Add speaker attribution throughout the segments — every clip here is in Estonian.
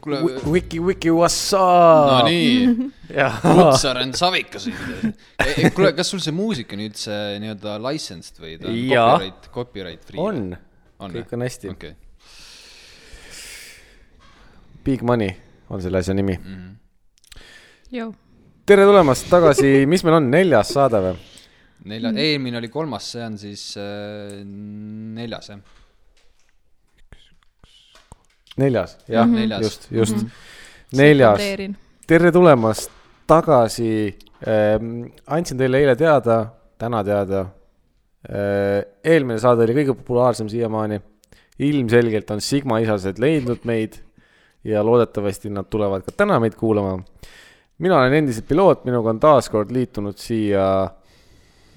Speaker 1: kuule ,
Speaker 2: Wiki , Wiki , what's up ?
Speaker 1: Nonii ,
Speaker 2: jaa .
Speaker 1: Kutsaren Savikas . Eh, kuule , kas sul see muusika on üldse nii-öelda licensed või ta on
Speaker 2: Jaa.
Speaker 1: copyright , copyright free ?
Speaker 2: on ,
Speaker 1: On,
Speaker 2: kõik
Speaker 1: jah?
Speaker 2: on hästi .
Speaker 1: okei ,
Speaker 2: Big Money on selle asja nimi .
Speaker 1: Mm.
Speaker 3: Jou.
Speaker 2: tere tulemast tagasi , mis meil on , neljas saade või ?
Speaker 1: nelja , eelmine oli kolmas , see on siis äh, neljas jah .
Speaker 2: neljas , jah
Speaker 1: Mhm. Neljas.
Speaker 2: just , just mm . -hmm. neljas , tere tulemast tagasi ähm, . andsin teile eile teada , täna teada äh, . eelmine saade oli kõige populaarsem siiamaani . ilmselgelt on Sigma isased leidnud meid ja loodetavasti nad tulevad ka täna meid kuulama . mina olen endiselt piloot , minuga on taaskord liitunud siia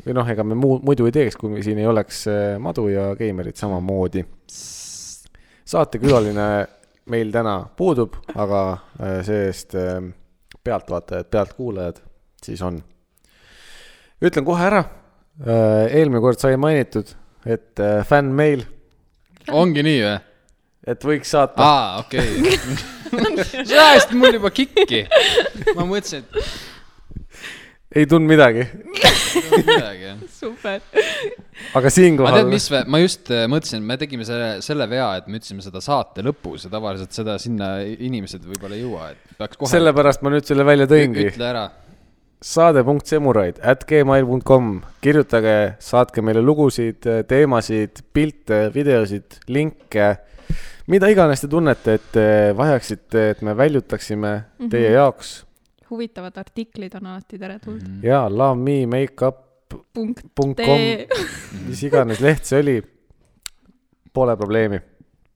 Speaker 2: või noh , ega me muu , muidu ei teeks , kui me siin ei oleks äh, madu ja geimerid samamoodi . saatekülaline meil täna puudub , aga äh, see-eest äh, pealtvaatajad , pealtkuulajad siis on . ütlen kohe ära , eelmine kord sai mainitud , et äh, fännmeil ,
Speaker 1: ongi nii või ?
Speaker 2: et võiks saata ah. ,
Speaker 1: aa , okei . sa ajasid mul juba kikki . ma mõtlesin , et
Speaker 2: ei tundnud midagi ,
Speaker 1: ei olnud midagi jah .
Speaker 3: super .
Speaker 2: aga
Speaker 1: ma tean ,
Speaker 2: siinkohal .
Speaker 1: mis , ma just äh, mõtlesin , me tegime selle , selle vea , et me ütlesime seda saate lõpus ja tavaliselt seda sinna inimesed võib-olla ei jõua , et peaks kohe
Speaker 2: sellepärast ma nüüd selle välja tõingi .
Speaker 1: ütle ära .
Speaker 2: saade.semuraid at gmail.com , kirjutage , saatke meile lugusid , teemasid , pilte , videosid , linke , mida iganes te tunnete , et eh, vajaksite , et me väljutaksime mm -hmm. teie jaoks
Speaker 3: huvitavad artiklid on alati teretulnud .
Speaker 2: ja lovememakeupcom ,
Speaker 3: punkt
Speaker 2: mis iganes leht see oli , pole probleemi .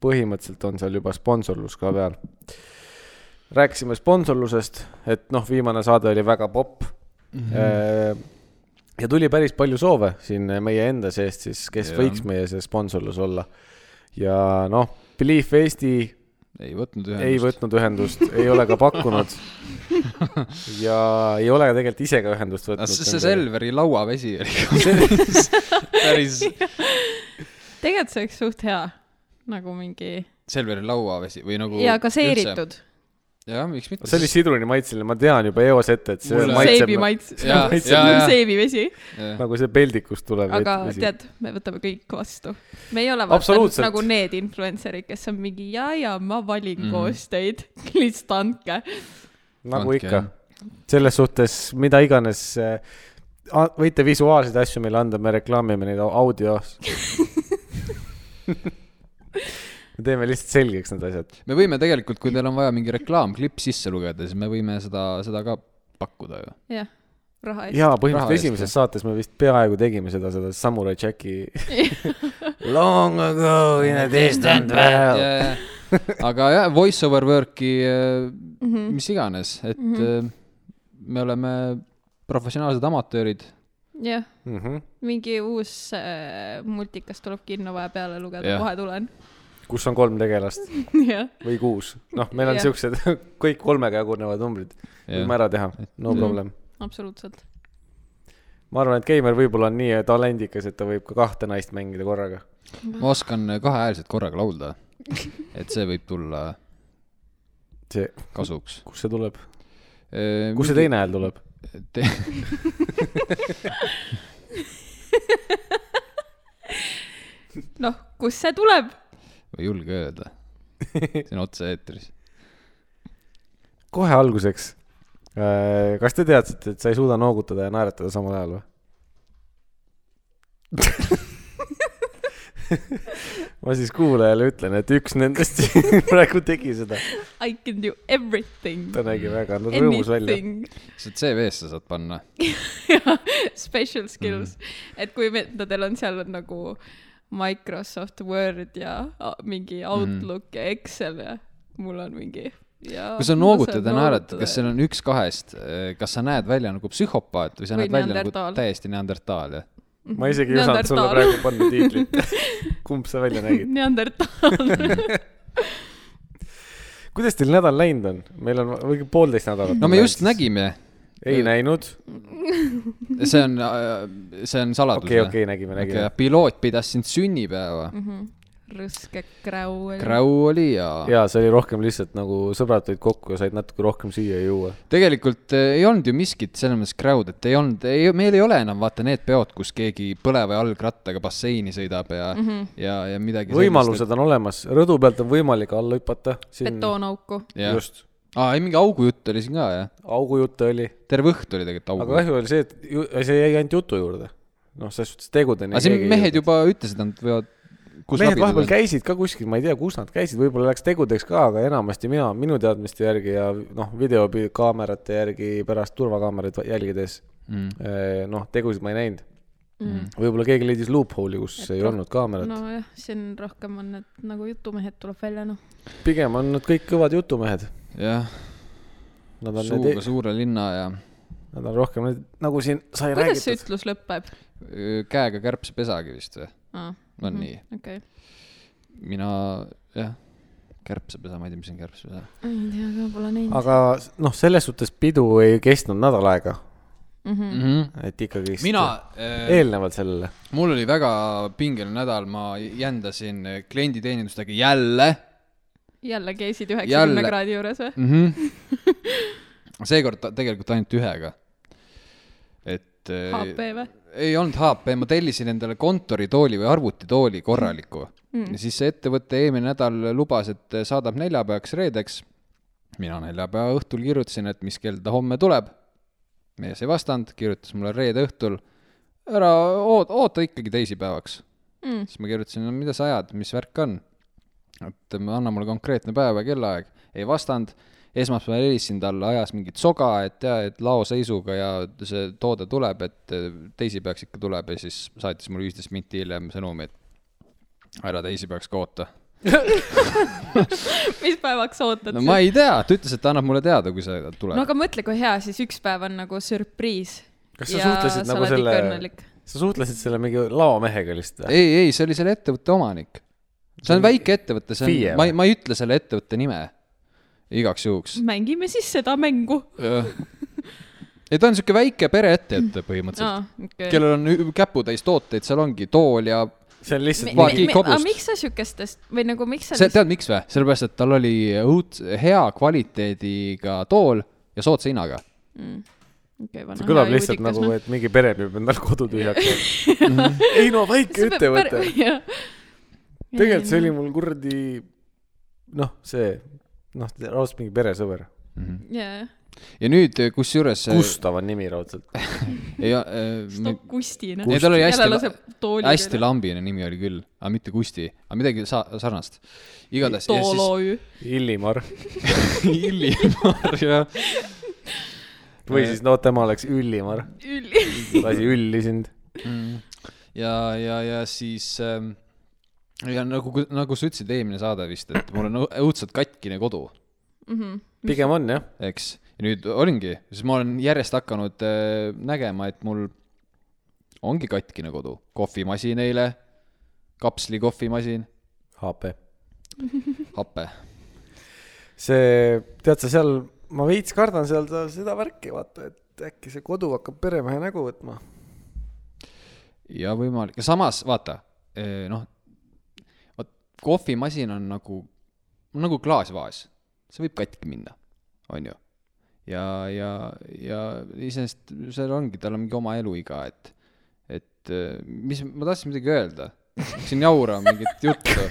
Speaker 2: põhimõtteliselt on seal juba sponsorlus ka peal . rääkisime sponsorlusest , et noh , viimane saade oli väga popp
Speaker 1: Mhm.
Speaker 2: mm . -hmm. ja tuli päris palju soove siin meie enda seest siis , kes
Speaker 1: Jah.
Speaker 2: ja. võiks meie see sponsorlus olla . ja noh , Belief Eesti
Speaker 1: ei võtnud
Speaker 2: ei
Speaker 1: ühendust .
Speaker 2: võtnud ühendust , ei ole ka pakkunud . ja ei ole tegelikult ise ka ühendust võtnud .
Speaker 1: Ah, see , see Selveri lauavesi oli päris ,
Speaker 3: tegelikult see oleks suht hea , nagu mingi
Speaker 1: Selveri lauavesi või nagu .
Speaker 3: ja gaseeritud .
Speaker 1: jah , miks mitte .
Speaker 2: see oli sitrunimaitseline , ma tean juba eos ette , et see
Speaker 1: Mulle-
Speaker 2: maitseb
Speaker 3: seebi maits ,
Speaker 1: Jaa, jaa, jaa.
Speaker 3: seebivesi ,
Speaker 1: siit .
Speaker 2: nagu see peldikust tulev .
Speaker 3: aga tead , me võtame kõik vastu . me ei ole
Speaker 2: Absoluutselt.
Speaker 3: vaata nagu need influencer'id , kes on mingi ja , ja ma valin
Speaker 1: Mhm.
Speaker 3: mm. koos teid , lihtsalt andke .
Speaker 2: nagu
Speaker 1: Andke.
Speaker 2: ikka . selles suhtes , mida iganes , võite visuaalseid asju meile anda , me reklaamime neid au- audios . me teeme lihtsalt selgeks need asjad .
Speaker 1: me võime tegelikult , kui teil on vaja mingi reklaamklipp sisse lugeda , siis me võime seda , seda ka pakkuda ju .
Speaker 3: jah , raha eest .
Speaker 2: jaa ,
Speaker 1: Raha eest,
Speaker 2: põhimõtteliselt esimeses saates me vist peaaegu tegime seda , seda Samurai Jacki Long ago in a distant world .
Speaker 1: aga jah , voice over work'i mm -hmm. mis iganes , et mm -hmm. me oleme professionaalsed amatöörid .
Speaker 3: jah ,
Speaker 2: Mm -hmm.
Speaker 3: mingi uus äh, multikas tuleb kinno , vaja peale lugeda
Speaker 1: Jah. ,
Speaker 3: kohe tulen .
Speaker 2: kus on kolm tegelast
Speaker 3: jah ,
Speaker 2: või kuus , noh , meil on
Speaker 3: Jah.
Speaker 2: siuksed kõik kolmega jagunevad numbrid , võime ära teha , no
Speaker 3: Mhm.
Speaker 2: problem .
Speaker 3: absoluutselt .
Speaker 2: ma arvan , et Keimer võib-olla on nii talendikas , et ta võib ka kahte naist mängida korraga .
Speaker 1: ma oskan kahehäälselt korraga laulda . et see võib tulla
Speaker 2: see ,
Speaker 1: kasuks . Äh,
Speaker 2: kust see tuleb , kust see ? teine hääl tuleb ?
Speaker 3: noh , kust see tuleb ?
Speaker 1: ma ei julge öelda . see on otse-eetris .
Speaker 2: kohe alguseks . kas te teadsite , et sa ei suuda noogutada ja naeratada samal ajal või ? ma siis kuulajale ütlen , et üks nendest praegu tegi seda ,
Speaker 3: I can do everything .
Speaker 2: ta nägi väga no, rõõmus välja .
Speaker 3: Anything .
Speaker 1: lihtsalt CV-sse saad panna .
Speaker 3: Special
Speaker 1: Mhm.
Speaker 3: skills mm . -hmm. et kui vendadel on seal on nagu Microsoft Word ja a- mingi Outlook mm -hmm. ja Excel ja mul on mingi .
Speaker 1: Mhm. kui sa noogutad ja naerad , kas seal on üks kahest , kas sa näed välja nagu psühhopaat või sa
Speaker 3: Või
Speaker 1: näed välja nagu
Speaker 3: neandertaal.
Speaker 1: täiesti neandertaal , jah ?
Speaker 2: ma isegi ei osanud sulle
Speaker 3: Neandertaal.
Speaker 2: praegu panna tiitlit . kumb sa välja nägid ?
Speaker 3: Neandertal .
Speaker 2: kuidas teil nädal läinud on ? meil on või poolteist nädalat .
Speaker 1: no me just . nägime ,
Speaker 2: ei näinud .
Speaker 1: see on , see on saladus
Speaker 2: okei ,. okei , nägime , nägime
Speaker 1: piloot pidas sind sünnipäeva .
Speaker 3: rõske kräu oli .
Speaker 1: Grau oli ja, ja.
Speaker 2: ja see oli rohkem lihtsalt nagu sõbrad tulid kokku ja said natuke rohkem süüa ja juua .
Speaker 1: tegelikult eh, ei olnud ju miskit selles mõttes crowd , et ei olnud , ei , meil ei ole enam vaata need peod , kus keegi põleva jalgrattaga basseini sõidab ja mm , -hmm. ja , ja midagi .
Speaker 2: võimalused on olemas , rõdu pealt on võimalik alla hüpata .
Speaker 3: betoonauku .
Speaker 1: jah ,
Speaker 2: just ,
Speaker 1: aa , ei mingi augujutt oli siin ka jah ,
Speaker 2: augujutte oli ,
Speaker 1: terve õht oli tegelikult augujutt .
Speaker 2: aga kahju oli see , et ju, see jäi ainult jutu juurde . noh , selles suhtes tegudeni .
Speaker 1: aga siin mehed . juba ütlesid , et nad võivad .
Speaker 2: mehed vahepeal käisid ka kuskil , ma ei tea , kus nad käisid , võib-olla läks tegudeks ka , aga enamasti mina , minu teadmiste järgi ja noh , videokaamerate järgi pärast turvakaameraid jälgides
Speaker 1: mm. .
Speaker 2: eh, noh , tegusid ma ei näinud mm. . võib-olla keegi leidis loophole'i , kus
Speaker 3: Et
Speaker 2: ei
Speaker 3: roh-
Speaker 2: olnud kaamerat no. .
Speaker 3: nojah , siin rohkem on need nagu jutumehed tuleb välja , noh .
Speaker 2: pigem on nad kõik kõvad jutumehed .
Speaker 1: jah ,
Speaker 2: Nad on
Speaker 1: suure ,
Speaker 2: need ,
Speaker 1: suure linna ja
Speaker 2: nad on rohkem need , nagu siin sai
Speaker 3: kuidas see
Speaker 2: räägitud .
Speaker 3: ütlus lõpeb ?
Speaker 1: öö, äh, käega kärbsepesagi vist või ?
Speaker 3: aa ,
Speaker 1: on mm -hmm. nii ,
Speaker 3: okei okay. .
Speaker 1: mina jah , kärbsepesa , ma ei tea , mis on kärbsepesa .
Speaker 3: ei tea ka , pole näinud .
Speaker 2: aga noh , selles suhtes pidu ei kestnud nädal aega ,
Speaker 3: Mhm.
Speaker 1: Mm -hmm.
Speaker 2: et ikkagi .
Speaker 1: mina ,
Speaker 2: eelnevalt sellele .
Speaker 1: mul oli väga pingeline nädal , ma jändasin äh, klienditeenindustega jälle
Speaker 3: jälle käisid üheksakümne
Speaker 1: Jälle.
Speaker 3: kraadi juures või ?
Speaker 1: mm . -hmm. seekord ta- tegelikult ainult ühega . et äh,
Speaker 3: HP või ?
Speaker 1: ei olnud HP , ma tellisin endale kontoritooli või arvutitooli korraliku mm. . ja siis see ettevõte eelmine nädal lubas , et saadab neljapäevaks reedeks . mina neljapäeva õhtul kirjutasin , et mis kell ta homme tuleb . mees ei vastanud , kirjutas mulle reede õhtul . ära oot- , oota ikkagi teisipäevaks
Speaker 3: Mm.
Speaker 1: siis ma kirjutasin , no mida sa ajad , mis värk on ? et ma- anna mulle konkreetne päev ja kellaaeg . ei vastanud , esmaspäeval helistasin talle , ajas mingit soga , et jaa , et laoseisuga ja see toode tuleb , et eh, teisipäevaks ikka tuleb ja siis saatis mulle viisteist minti hiljem sõnumi , et ära teisipäevaks ka oota .
Speaker 3: mis päevaks ootad
Speaker 1: no ma ei tea , ta ütles , et ta annab mulle teada , kui see
Speaker 3: no
Speaker 1: tuleb .
Speaker 3: aga mõtle , kui hea siis üks päev on nagu sürpriis .
Speaker 2: kas sa suhtlesid nagu selle , sa suhtlesid selle mingi laomehega lihtsalt ?
Speaker 1: ei , ei , see oli selle ettevõtte omanik . see on väike ettevõte , see
Speaker 2: FIE
Speaker 1: on , ma
Speaker 2: või?
Speaker 1: ei , ma ei ütle selle ettevõtte nime igaks juhuks .
Speaker 3: mängime siis seda mängu .
Speaker 1: jah . ei , ta on sihuke väike pereettevõte põhimõtteliselt ,
Speaker 3: aa , okei .
Speaker 1: kellel on ü- käputäis tooteid , seal ongi tool ja
Speaker 2: see on lihtsalt
Speaker 1: Mi-
Speaker 2: mingi
Speaker 1: mi- . kobust.
Speaker 3: aga miks sa siukestest või nagu miks sa
Speaker 1: see , tead miks või ? sellepärast , et tal oli õud- , hea kvaliteediga tool ja soodsa hinnaga .
Speaker 3: Mm. okei , vana
Speaker 2: see kõlab lihtsalt nagu ,
Speaker 3: noh.
Speaker 2: et mingi pere peab endal kodu tühjaks tegema . ei no väike ettevõte . tegelikult see oli . mul kuradi , noh , see , noh , raudselt mingi peresõber .
Speaker 3: jajah ,
Speaker 1: Mhm. ja nüüd , kusjuures .
Speaker 2: Gustav on nimi raudselt .
Speaker 1: ei , äh,
Speaker 3: Stopp Kustina .
Speaker 1: ei tal oli hästi , hästi
Speaker 3: hästi
Speaker 1: lambine nimi oli küll , aga mitte Kusti , aga midagi sa- , sarnast . igatahes .
Speaker 3: Tool OÜ .
Speaker 2: Illimar
Speaker 1: Illimar ja .
Speaker 2: või siis no tema oleks Üllimar ,
Speaker 3: Üli- ,
Speaker 2: lasi ülli sind .
Speaker 1: Mm. ja , ja , ja siis ähm, ja nagu , nagu sa ütlesid eelmine saade vist , et mul on õ- õudselt katkine kodu ,
Speaker 2: pigem on jah ,
Speaker 1: eks . ja nüüd olingi , siis ma olen järjest hakanud äh, nägema , et mul ongi katkine kodu , kohvimasin eile , kapsli kohvimasin ,
Speaker 2: HP .
Speaker 1: hape .
Speaker 2: see , tead sa seal , ma veits kardan seal seda- seda värki , vaata , et äkki see kodu hakkab peremehe nägu võtma .
Speaker 1: ja võimalik , ja samas vaata , noh , vot kohvimasin on nagu , nagu klaasvaas , see võib katki minna , on ju . ja , ja , ja iseenesest seal ongi , tal on mingi oma eluiga , et , et eh, mis , ma tahtsin midagi öelda , siin jaura mingit juttu .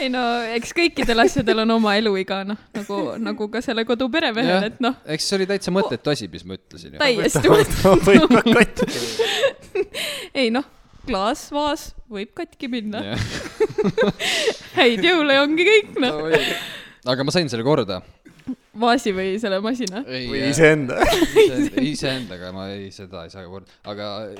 Speaker 3: ei no eks kõikidel asjadel on oma eluiga , noh , nagu , nagu ka selle kodu peremehel , et noh ,
Speaker 1: eks see oli täitsa mõttetu asi , mis ma ütlesin ju .
Speaker 3: täiesti mõttetu . ei noh , klaasvaas võib katki minna . häid jõule ja ongi kõik , noh .
Speaker 1: aga ma sain selle korda .
Speaker 3: vaasi või selle masina .
Speaker 2: või . iseenda .
Speaker 1: iseendaga ma ei , seda ei saa korda , aga äh,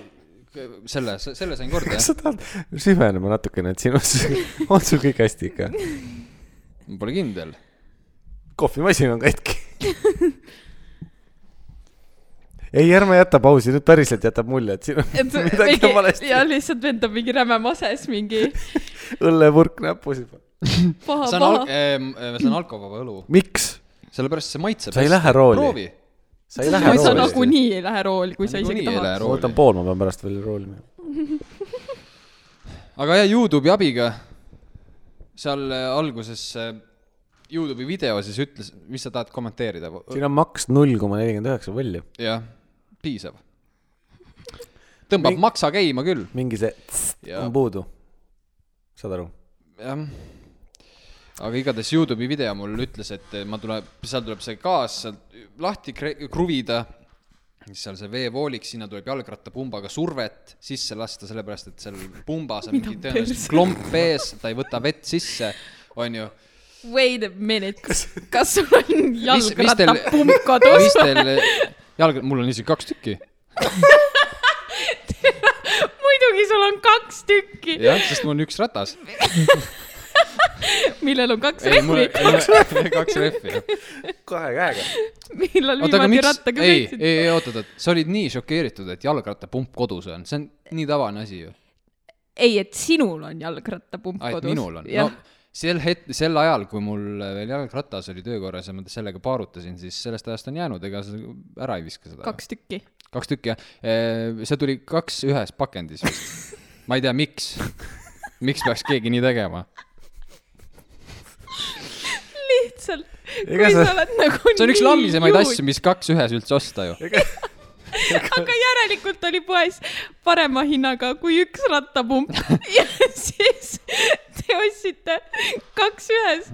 Speaker 1: selle , selle sain korda jah
Speaker 2: kas sa tahad süvenema natukene , et sinu , on sul kõik hästi ikka ?
Speaker 1: ma pole kindel .
Speaker 2: kohvimasin on katki . ei , ärme jäta pausi , nüüd päriselt jätab mulje , et siin
Speaker 3: et
Speaker 2: on midagi on valesti
Speaker 3: ja . lihtsalt vend on mingi räme mases , mingi
Speaker 2: õllepurk näpus juba . Ah,
Speaker 3: paha ,
Speaker 1: see on
Speaker 3: paha
Speaker 1: al- ,. see on alkovaba õlu ,
Speaker 2: miks ?
Speaker 1: sellepärast see maitseb .
Speaker 2: Sa ei lähe rooli.
Speaker 1: proovi .
Speaker 2: sa ei lähe
Speaker 1: Ma ei
Speaker 3: sa
Speaker 1: saa
Speaker 3: nagu
Speaker 2: rooli .
Speaker 3: nagunii ei lähe rooli , kui sa
Speaker 1: Ma
Speaker 3: isegi
Speaker 1: niikuinii ei lähe
Speaker 3: tahad .
Speaker 2: ma
Speaker 1: rooli.
Speaker 2: võtan pool , ma pean pärast veel rooli minema .
Speaker 1: aga jah , Youtube'i abiga seal äh, alguses äh, Youtube'i video siis ütles , mis sa tahad kommenteerida .
Speaker 2: siin on maks null koma nelikümmend üheksa võlju .
Speaker 1: jah , piisav . tõmbab
Speaker 2: Mi-
Speaker 1: maksa käima küll ,
Speaker 2: mingi see tss
Speaker 1: Jaa.
Speaker 2: on puudu . saad aru ?
Speaker 1: jah . aga igatahes Youtube'i video mul ütles , et ma tuleb , seal tuleb see gaas sealt lahti kre- kruvida , siis seal see veevoolik , sinna tuleb jalgrattapumbaga survet sisse lasta , sellepärast et seal pumbas on
Speaker 3: Mida
Speaker 1: mingi tõenäoliselt
Speaker 3: perse?
Speaker 1: klomp ees , ta ei võta vett sisse , onju
Speaker 3: Wait a minute , kas sul on
Speaker 1: mis teil-
Speaker 3: jalgrattapump kodus
Speaker 1: mis ? teil jalg , mul on isegi kaks tükki ,
Speaker 3: muidugi sul on kaks tükki ,
Speaker 1: jah , sest mul on üks ratas .
Speaker 3: millel on kaks
Speaker 1: ei , mul
Speaker 3: rehvi .
Speaker 1: on kaks rehvi , jah .
Speaker 2: kahe käega .
Speaker 3: millal
Speaker 1: oota , aga
Speaker 3: viimati
Speaker 1: miks ,
Speaker 3: rattaga
Speaker 1: ei ,
Speaker 3: sõitsid ?
Speaker 1: ei , oot , oot , oot , sa olid nii šokeeritud , et jalgrattapump kodus on , see on nii tavaline asi ju .
Speaker 3: ei , et sinul on jalgrattapump
Speaker 1: aa , et
Speaker 3: kodus .
Speaker 1: minul on ,
Speaker 3: jah
Speaker 1: no , sel het- , sel ajal , kui mul veel jalgratas oli töökorras ja ma sellega paarutasin , siis sellest ajast on jäänud , ega sa ära ei viska seda .
Speaker 3: kaks tükki .
Speaker 1: kaks tükki , jah . see tuli kaks ühes pakendis vist . ma ei tea , miks , miks peaks keegi nii tegema
Speaker 3: lihtsalt ,
Speaker 2: Ega
Speaker 3: kui
Speaker 2: sa-
Speaker 3: sa oled nagu
Speaker 1: see on üks lammisemaid asju , mis kaks ühes üldse osta ju .
Speaker 3: aga järelikult oli poes parema hinnaga kui üks rattapump ja siis te ostsite kaks ühes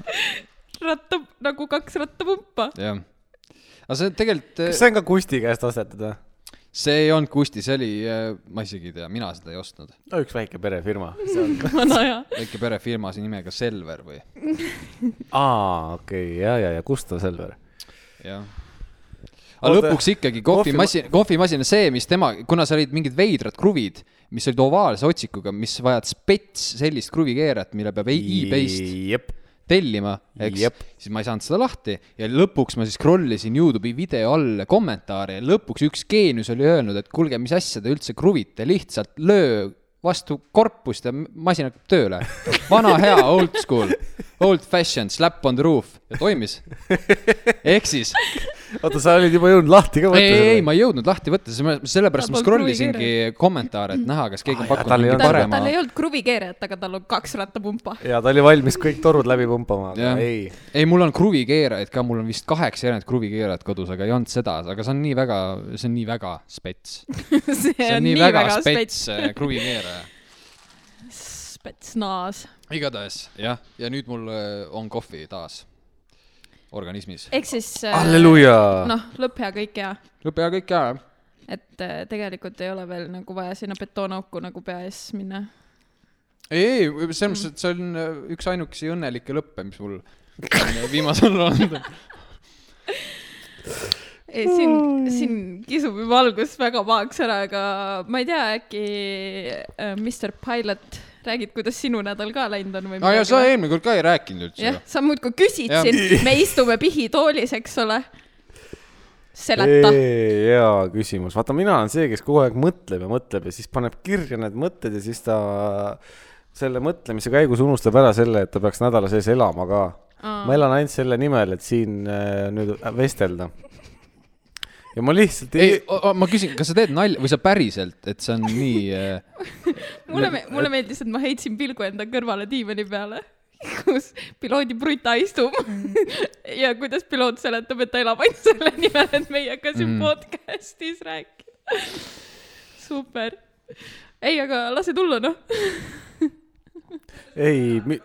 Speaker 3: ratta , nagu kaks rattapumpa .
Speaker 1: jah . aga see tegelikult
Speaker 2: kas , see on ka Kusti käest ostetud või ?
Speaker 1: see ei olnud Kusti , see oli , ma isegi ei tea , mina seda ei ostnud .
Speaker 2: no üks väike perefirma .
Speaker 3: vana hea .
Speaker 1: väike perefirma siin nimega Selver või ,
Speaker 2: aa , okei okay, , ja , ja , ja Gustav Selver .
Speaker 1: jah . aga
Speaker 2: Oota,
Speaker 1: lõpuks ikkagi kohvimasin , kohvimasin on see , mis tema , kuna seal olid mingid veidrad kruvid , mis olid ovaalse otsikuga , mis vajad spets sellist kruvikeerat , mille peab e- e-based
Speaker 2: jep .
Speaker 1: tellima , eks
Speaker 2: Jep. ,
Speaker 1: siis ma ei saanud seda lahti ja lõpuks ma siis scroll isin Youtube'i video all kommentaare ja lõpuks üks geenius oli öelnud , et kuulge , mis asja te üldse kruvite , lihtsalt löö vastu korpust ja m- masin hakkab tööle . vana hea old school , old fashion , slap on the roof ja toimis . ehk siis ,
Speaker 2: oota , sa olid juba jõudnud lahti ka
Speaker 1: ei , ei , ma ei jõudnud lahti võtta , sellepärast ma
Speaker 3: Polnud
Speaker 1: scroll
Speaker 3: kruvikeere.
Speaker 1: isingi kommentaare , et näha , kas keegi on
Speaker 2: Aa, jaa, tal
Speaker 1: pakkunud
Speaker 2: ei
Speaker 1: mingi
Speaker 2: olnud-
Speaker 3: tal ,
Speaker 1: parema
Speaker 3: tal ei olnud kruvikeerajat , aga tal on kaks rattapumpa .
Speaker 2: ja ta oli valmis kõik torud läbi pumpama , aga
Speaker 1: Jah.
Speaker 2: ei .
Speaker 1: ei , mul on kruvikeerajaid ka , mul on vist kaheksa erinevat kruvikeerajat kodus , aga ei olnud seda , aga see on nii väga , see on nii väga spets .
Speaker 3: see
Speaker 1: see on nii väga spets eh, kruvikeeraja .
Speaker 3: spetsnaas .
Speaker 1: igatahes jah , ja nüüd mul eh, on kohvi taas organismis .
Speaker 3: ehk siis . äh,
Speaker 1: Äh,
Speaker 2: halleluuja .
Speaker 3: noh , lõpp hea , kõik hea .
Speaker 1: lõpe ja kõik ära .
Speaker 3: et äh, tegelikult ei ole veel nagu vaja sinna betoonauku nagu pea ees minna .
Speaker 1: ei , ei , selles mõttes , et see on eh, üks ainukesi õnnelikke lõppe , mis mul on eh, viimasel ajal olnud .
Speaker 3: ei , siin , siin kisub juba algus väga pahaks ära , aga ma ei tea , äkki äh, Mr Pilot , räägid , kuidas sinu nädal ka läinud on või
Speaker 1: aa ja sa
Speaker 3: või?
Speaker 1: eelmine kord ka ei rääkinud üldse
Speaker 3: jah
Speaker 1: ju .,
Speaker 3: sa muudkui küsid
Speaker 1: Jah.
Speaker 3: siin , me istume pihitoolis , eks ole . seleta .
Speaker 2: hea küsimus , vaata , mina olen see , kes kogu aeg mõtleb ja mõtleb ja siis paneb kirja need mõtted ja siis ta selle mõtlemise käigus unustab ära selle , et ta peaks nädala sees elama ka . ma elan ainult selle nimel , et siin äh, nüüd vestelda . ja ma lihtsalt
Speaker 1: ei , ma küsin , kas sa teed nalja või sa päriselt , et see on nii eh,
Speaker 3: mulle , mulle meeldis , et ma heitsin pilgu enda kõrvale diivani peale , kus piloodi bruta istub ja kuidas piloot seletab , et ta elab ainult selle nimel , et meiega siin
Speaker 1: Mm.
Speaker 3: mm. podcast'is rääkida . super . ei , aga lase tulla , noh .
Speaker 2: ei mi... .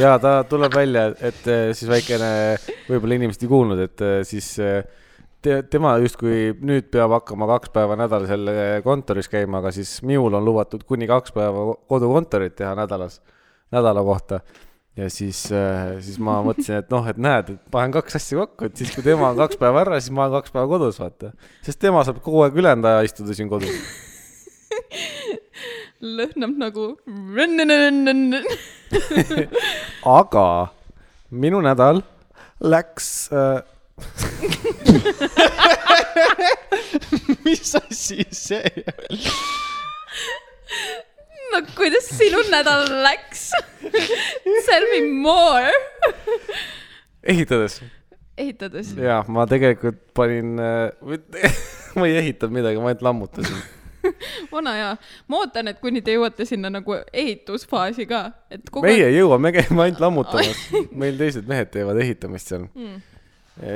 Speaker 2: ja ta tuleb välja , et eh, siis väikene , võib-olla inimesed ei kuulnud , et eh, siis eh, te, tema justkui nüüd peab hakkama kaks päeva nädalas jälle kontoris käima , aga siis minul on lubatud kuni kaks päeva ko- kodukontorit teha nädalas , nädala kohta ja siis , siis ma mõtlesin , et noh , et näed , et panen kaks asja kokku , et siis kui tema on kaks päeva ära , siis ma olen kaks päeva kodus , vaata . sest tema saab kogu aeg ülejäänud aja istuda siin kodus .
Speaker 3: lõhnab nagu . nagu
Speaker 2: aga minu nädal läks äh, ,
Speaker 1: mis asi see oli ?
Speaker 3: no kuidas sinu nädal läks ? Tell me more .
Speaker 2: ehitades
Speaker 3: ehitades .
Speaker 2: ja ma tegelikult panin äh, , ma ei ehitanud midagi , ma ainult lammutasin .
Speaker 3: vana hea , ma ootan , et kuni te jõuate sinna nagu ehitusfaasi ka , et kogu
Speaker 2: meie jõuame , käime ainult lammutamas , meil teised mehed teevad ehitamist seal .
Speaker 3: Mm.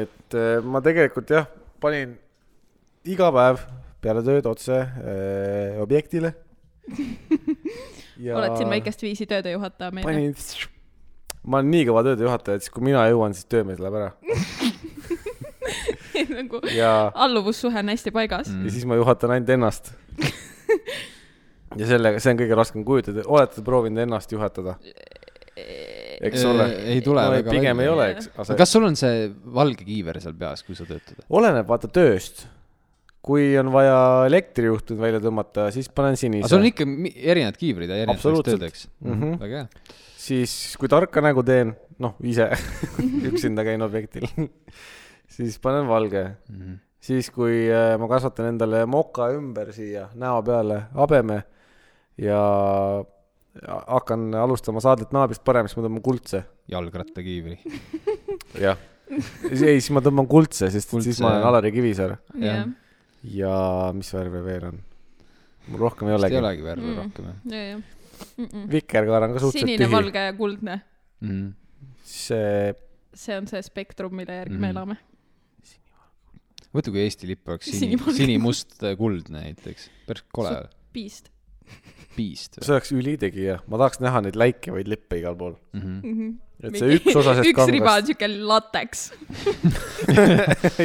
Speaker 2: et eh, ma tegelikult jah , panin iga päev peale tööd otse eh, objektile
Speaker 3: oled siin väikest viisi töödejuhataja meil .
Speaker 2: panin , ma olen nii kõva töödejuhataja , et siis kui mina jõuan , siis töömees läheb ära
Speaker 3: nagu
Speaker 2: ja ,
Speaker 3: alluvussuhe on hästi paigas mm. .
Speaker 2: ja siis ma juhatan ainult ennast . ja sellega , see on kõige raskem kujutada , olete proovinud ennast juhatada ? eks ole .
Speaker 1: ei tule
Speaker 2: no, .
Speaker 1: väga
Speaker 2: pigem
Speaker 1: välja.
Speaker 2: ei ole , eks .
Speaker 1: kas sul on see valge kiiver seal peas , kui sa töötad ?
Speaker 2: oleneb vaata tööst . kui on vaja elektrijuhtmed välja tõmmata , siis panen
Speaker 1: aga sul on
Speaker 2: sinise .
Speaker 1: ikka mi- erinevad kiivrid ja erinevateks
Speaker 2: Absoluutselt.
Speaker 1: töödeks mm .
Speaker 2: Mhm.
Speaker 1: -hmm. väga hea .
Speaker 2: siis kui tarka nägu teen , noh ise üksinda käin objektil , siis panen valge . siis , kui äh, ma kasvatan endale moka ümber siia näo peale habeme ja hakkan alustama saadet naabrist parem , siis ma tõmban kuldse .
Speaker 1: jalgrattakiivri .
Speaker 2: jah . ei , siis ma tõmban kuldse , sest kuldse. siis
Speaker 1: Kuldse,
Speaker 2: ma olen
Speaker 1: jah.
Speaker 2: Alari Kivisaar .
Speaker 1: Mm, jah.
Speaker 3: jah ,
Speaker 2: ja mis värve veel on ? mul rohkem ei
Speaker 1: ei
Speaker 2: olegi .
Speaker 1: olegi värve
Speaker 3: Mm.
Speaker 1: mm. rohkem jah
Speaker 3: ja , ja .
Speaker 2: vikerkaar on ka suhteliselt
Speaker 3: sinine ,
Speaker 2: tühi .
Speaker 3: valge ja kuldne ,
Speaker 1: mm. .
Speaker 2: see ,
Speaker 3: see on see spektrum , mille järgi me
Speaker 1: Mhm.
Speaker 3: elame .
Speaker 1: mõtle , kui Eesti lipp oleks sini ,
Speaker 3: Sinivalge.
Speaker 1: sinimust äh, kuldne näiteks , päris kole
Speaker 3: Su- piist
Speaker 1: piist .
Speaker 2: see oleks ülitegija , ma tahaks näha neid läikivaid lippe igal pool .
Speaker 1: Mm -hmm.
Speaker 3: mm . -hmm.
Speaker 2: et see üks osa sellest
Speaker 3: üks riba
Speaker 2: kangast
Speaker 3: on siuke lateks .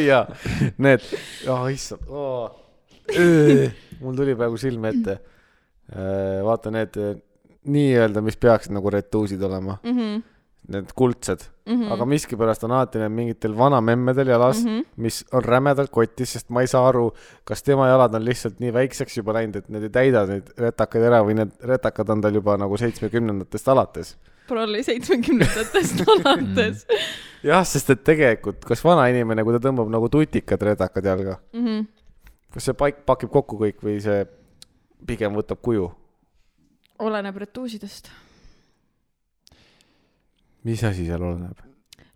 Speaker 2: ja need , ah issand oh. , mul tuli praegu silme ette . vaata need eh, nii-öelda , mis peaksid nagu retuusid olema , need kuldsed mm ,
Speaker 3: Mhm.
Speaker 2: -hmm. Mhm. aga miskipärast on alati need mingitel vanamemmedel jalas mm , -hmm. mis on rämedalt kotis , sest ma ei saa aru , kas tema jalad on lihtsalt nii väikseks juba läinud , et need ei täida neid retakaid ära või need retakad on tal juba nagu seitsmekümnendatest alates
Speaker 3: Prolli
Speaker 2: Mhm.
Speaker 3: seitsmekümnendatest alates
Speaker 2: jah , sest et tegelikult , kas vanainimene , kui ta tõmbab nagu tutikad redakad jalga mm ,
Speaker 3: Mhm.
Speaker 2: kas see paik pakib kokku kõik või see pigem võtab kuju ?
Speaker 3: oleneb retuusidest .
Speaker 2: mis asi seal oleneb ?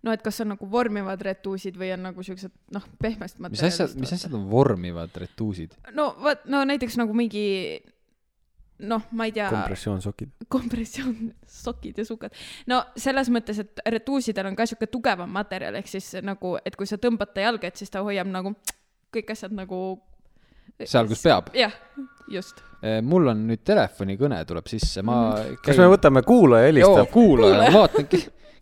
Speaker 3: no et kas on nagu vormivad retuusid või on nagu siuksed noh , pehmest
Speaker 1: mis asjad ,
Speaker 3: materjalist .
Speaker 1: mis asjad on vormivad retuusid ?
Speaker 3: no vot , no näiteks nagu mingi noh , ma ei tea ,
Speaker 2: kompressioonsokid .
Speaker 3: kompressioon , sokid ja sukad . no selles mõttes , et retuusidel on ka siuke tugevam materjal , ehk siis nagu , et kui sa tõmbad ta jalga , et siis ta hoiab nagu kõik asjad nagu .
Speaker 1: Seal, kus peab. Äh,
Speaker 3: jah , just .
Speaker 1: mul on nüüd telefonikõne tuleb sisse , ma
Speaker 2: kas me võtame
Speaker 1: Joo,
Speaker 2: kuulaja helistab ?
Speaker 1: kuulaja , ma vaatan ,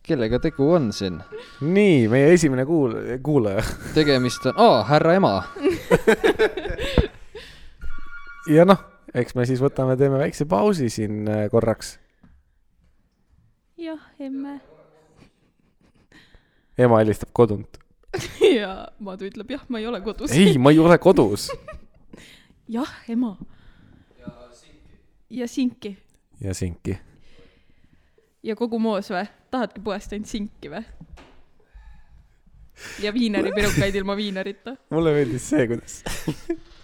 Speaker 1: kellega tegu on siin .
Speaker 2: nii , meie esimene kuul- , kuulaja .
Speaker 1: tegemist on , aa , härra ema .
Speaker 2: ja noh , eks me siis võtame , teeme väikse pausi siin äh, korraks .
Speaker 3: jah , emme .
Speaker 2: ema helistab kodunt .
Speaker 3: ja Madu ütleb jah , ma ei ole kodus .
Speaker 2: ei , ma ei ole kodus .
Speaker 3: jah , ema . ja sinki .
Speaker 2: ja sinki .
Speaker 3: ja kogu moos või ? tahadki poest ainult sinki või ? ja viineripirukaid ilma viinerita .
Speaker 2: mulle meeldis see , kuidas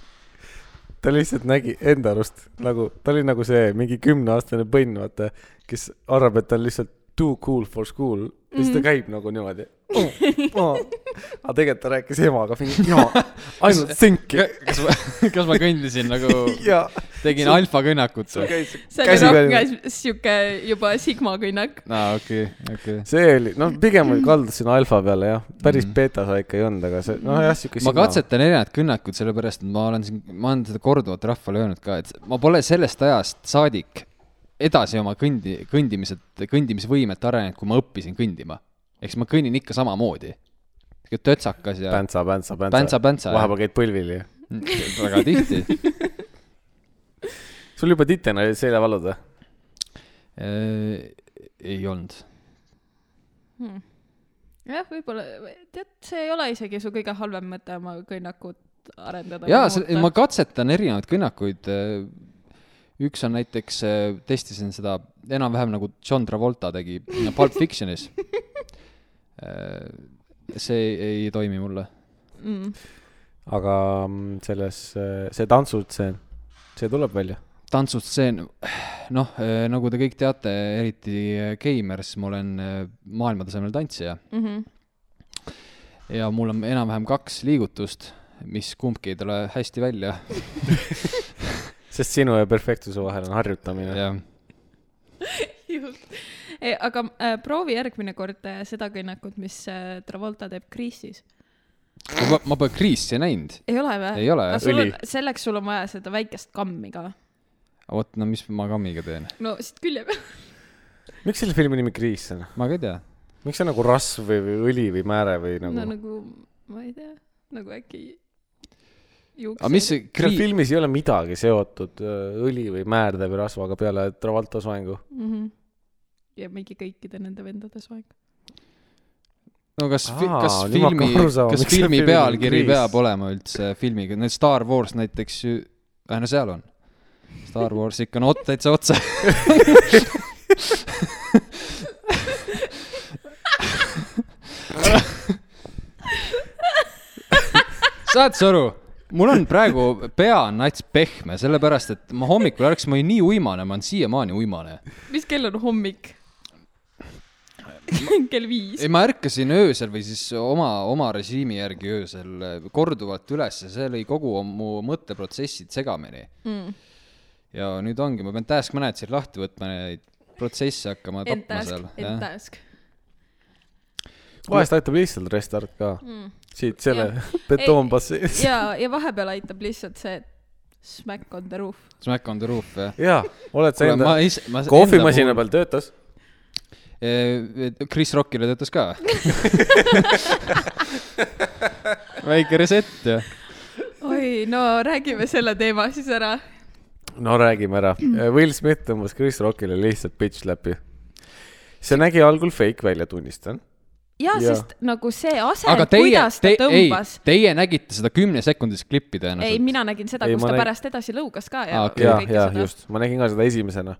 Speaker 2: ta lihtsalt nägi enda arust nagu , ta oli nagu see mingi kümneaastane põnn , vaata , kes arvab , et ta on lihtsalt too cool for school ja siis ta käib nagu niimoodi . aga tegelikult ta rääkis emaga mingi , jaa , ainult sinki
Speaker 1: kas ma , kas ma kõndisin nagu ,
Speaker 2: ja
Speaker 1: tegin alfakõnnakut või ?
Speaker 2: käis
Speaker 3: see oli
Speaker 2: käsi peal .
Speaker 3: rohkem siuke juba Sigma kõnnak .
Speaker 1: aa , okei , okei .
Speaker 2: see oli , noh , pigem kaldus sinna alfa peale jah , päris beeta sa ikka ei olnud , aga see , noh, nojah , siuke .
Speaker 1: Mhm. ma . katsetan erinevat kõnnakut , sellepärast et ma olen siin , ma olen seda korduvalt rahvale öelnud ka , et ma pole sellest ajast saadik edasi oma kõndi , kõndimised , kõndimisvõimet arenenud , kui ma õppisin kõndima . ehk siis ma kõnnin ikka samamoodi . sihuke tötsakas ja
Speaker 2: päntsa , päntsa , päntsa .
Speaker 1: Päntsa-päntsa, jah.
Speaker 2: vahepeal käid põlvili .
Speaker 1: väga tihti .
Speaker 2: sul juba titena olid seljavallud või ?
Speaker 1: Äh, ei olnud .
Speaker 3: jah , võib-olla , tead , see ei ole isegi su kõige halvem mõte oma kõnnakut arendada .
Speaker 1: jaa , ma katsetan erinevaid kõnnakuid . üks on näiteks , testisin seda enam-vähem nagu John Travolta tegi Pulp Fictionis . see ei toimi mulle .
Speaker 3: mm. .
Speaker 2: aga mm, selles , see tantsutseen , see tuleb välja .
Speaker 1: tantsutseen , noh , nagu te kõik teate , eriti geimers , ma olen eh, maailmatasemel tantsija
Speaker 3: Mm -hmm.
Speaker 1: ja mul on enam-vähem kaks liigutust , mis kumbki ei tule hästi välja .
Speaker 2: sest sinu ja perfektsuse vahel on harjutamine .
Speaker 1: jah ,
Speaker 3: just . aga äh, proovi järgmine kord äh, seda kõnnakut , mis äh, Travolta teeb kriisis .
Speaker 1: ma , ma pole kriisi näinud .
Speaker 3: ei ole või ?
Speaker 1: Ei ole, jah.
Speaker 2: Õli.
Speaker 3: jah . selleks sul on vaja seda väikest kammi ka .
Speaker 1: vot , no mis ma kammiga teen ?
Speaker 3: no siit külje peal .
Speaker 2: miks selle filmi nimi Kriis on ?
Speaker 1: ma ka ei tea .
Speaker 2: miks see on nagu rasv või , või õli või määre või
Speaker 3: no
Speaker 2: nagu ?
Speaker 3: nagu , ma ei tea , nagu äkki
Speaker 1: aga mis
Speaker 3: juuksed .
Speaker 1: see
Speaker 2: seal
Speaker 1: kriis ,
Speaker 2: filmis ei ole midagi seotud öö, õli või määrde või rasvaga peale Travolta soengu .
Speaker 3: Mhm. ja mingi kõikide nende vendade soeng .
Speaker 1: no kas ,
Speaker 2: Aa,
Speaker 1: kas
Speaker 2: nüüd ma hakkan
Speaker 1: filmi
Speaker 2: aru , saama,
Speaker 1: kas
Speaker 2: miks see
Speaker 1: filmi
Speaker 2: film on
Speaker 1: pealkiri
Speaker 2: kriis.
Speaker 1: peab olema üldse filmiga , need Star Wars näiteks ju , äh no seal on . Star Wars ikka on ot- , täitsa otse . saad sa aru ? mul on praegu pea on nats pehme , sellepärast et ma hommikul ärkasin , ma olin nii uimane , ma olen siiamaani uimane .
Speaker 3: mis kell on hommik ? kell viis
Speaker 1: ei ,. ma ärkasin öösel või siis oma , oma režiimi järgi öösel eh, korduvalt üles ja see lõi kogu mu mõtteprotsessid segamini .
Speaker 3: Mm.
Speaker 1: ja nüüd ongi , ma pean task manager'i lahti võtma ja neid protsesse hakkama
Speaker 3: End
Speaker 1: tapma
Speaker 3: task
Speaker 1: seal ,.
Speaker 3: end
Speaker 1: jah .
Speaker 3: task .
Speaker 2: vahest aitab lihtsalt restart ka mm. . siit selle
Speaker 3: Jah.
Speaker 2: betoonbassein .
Speaker 3: ja , ja vahepeal aitab lihtsalt see smack on the roof .
Speaker 1: Smack on the roof , jah .
Speaker 2: jaa , oled sa
Speaker 1: kuule ,
Speaker 2: enda
Speaker 1: ma ise , ma .
Speaker 2: kohvimasina . peal töötas ?
Speaker 1: Chris Rockile töötas ka . väike reset , jah .
Speaker 3: oi , no räägime selle teema siis ära .
Speaker 2: no räägime ära . Will Smith tõmbas Chris Rockile lihtsalt bitch slap'i . see nägi algul fake välja , tunnistan .
Speaker 3: ja
Speaker 2: Jaa.
Speaker 3: sest nagu see ase
Speaker 1: aga , teie
Speaker 3: kuidas , ta
Speaker 1: te, ei
Speaker 3: tõmbas ,,
Speaker 1: teie nägite seda kümnesekundilist klippi
Speaker 3: ei ,
Speaker 1: tõenäoliselt .
Speaker 3: mina nägin seda ,
Speaker 2: Ei,
Speaker 3: kus
Speaker 2: ma
Speaker 3: ta
Speaker 2: nägin-
Speaker 3: pärast edasi lõugas ka ja
Speaker 1: Aa, okei.
Speaker 2: ja ,
Speaker 3: kõike
Speaker 2: ja
Speaker 3: seda.
Speaker 2: just , ma nägin ka seda esimesena .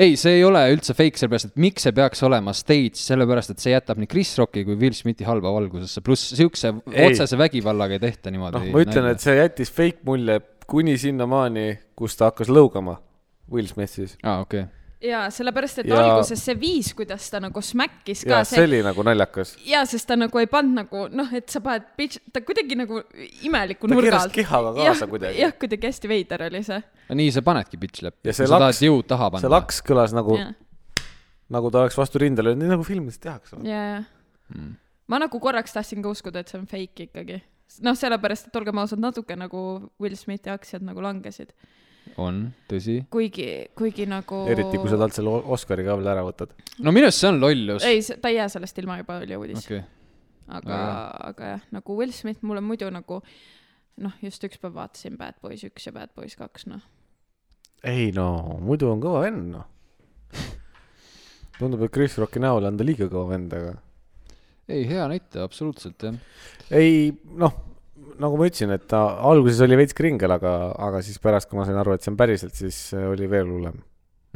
Speaker 1: ei , see ei ole üldse fake , sellepärast et miks see peaks olema stage , sellepärast et see jätab nii Chris Rocki kui Will Smithi halba valgusesse , pluss siukse
Speaker 2: Ei.
Speaker 1: otsese vägivallaga ei tehta niimoodi .
Speaker 2: noh , ma ütlen , et see jättis fake mulje kuni sinnamaani , kus ta hakkas lõugama . Will Smith siis .
Speaker 1: aa , okei .
Speaker 3: ja sellepärast , et
Speaker 2: Ja-
Speaker 3: ja... alguses see viis , kuidas ta nagu smäkkis ka
Speaker 2: ja
Speaker 3: ja,
Speaker 2: see
Speaker 3: see,
Speaker 2: oli nagu naljakas .
Speaker 3: ja sest ta nagu ei pannud nagu noh , et sa paned , ta kuidagi nagu imeliku
Speaker 2: ta
Speaker 3: nurga
Speaker 2: keeras
Speaker 3: alt .
Speaker 2: kehaga kaasa kuidagi
Speaker 3: jah ,. kuidagi hästi veider oli see .
Speaker 1: nii see panedki bitch läppi .
Speaker 2: Ja
Speaker 1: sa
Speaker 2: see
Speaker 1: tahad
Speaker 2: laks-
Speaker 1: jõud taha
Speaker 2: see
Speaker 1: panna .
Speaker 2: laks kõlas nagu ,
Speaker 3: ja ,
Speaker 2: nagu ta oleks vastu rinda löönud , nii nagu filmides tehakse .
Speaker 3: ja , ja .
Speaker 1: Hmm.
Speaker 3: ma nagu korraks tahtsin ka uskuda , et see on fake ikkagi . noh , sellepärast , et olgem ausad , natuke nagu Will Smithi aktsiad nagu langesid .
Speaker 1: on , tõsi .
Speaker 3: kuigi , kuigi nagu .
Speaker 2: eriti , kui sa . talt selle O- Oscari ka veel ära võtad .
Speaker 1: no minu arust see on lollus .
Speaker 3: ei , ta ei jää sellest ilma juba , oli uudis .
Speaker 1: okei ,
Speaker 3: aga , aga jah , nagu Will Smith mulle muidu nagu noh , just üks päev vaatasin Bad Boys üks ja Bad Boys kaks , noh .
Speaker 2: ei no , muidu on kõva vend noh . tundub , et Chris Rocki näol on ta liiga kõva vend , aga
Speaker 1: ei hea näitaja , absoluutselt jah .
Speaker 2: ei noh , nagu ma ütlesin , et ta alguses oli veits kringel , aga , aga siis pärast , kui ma sain aru , et see on päriselt , siis äh, oli veel hullem .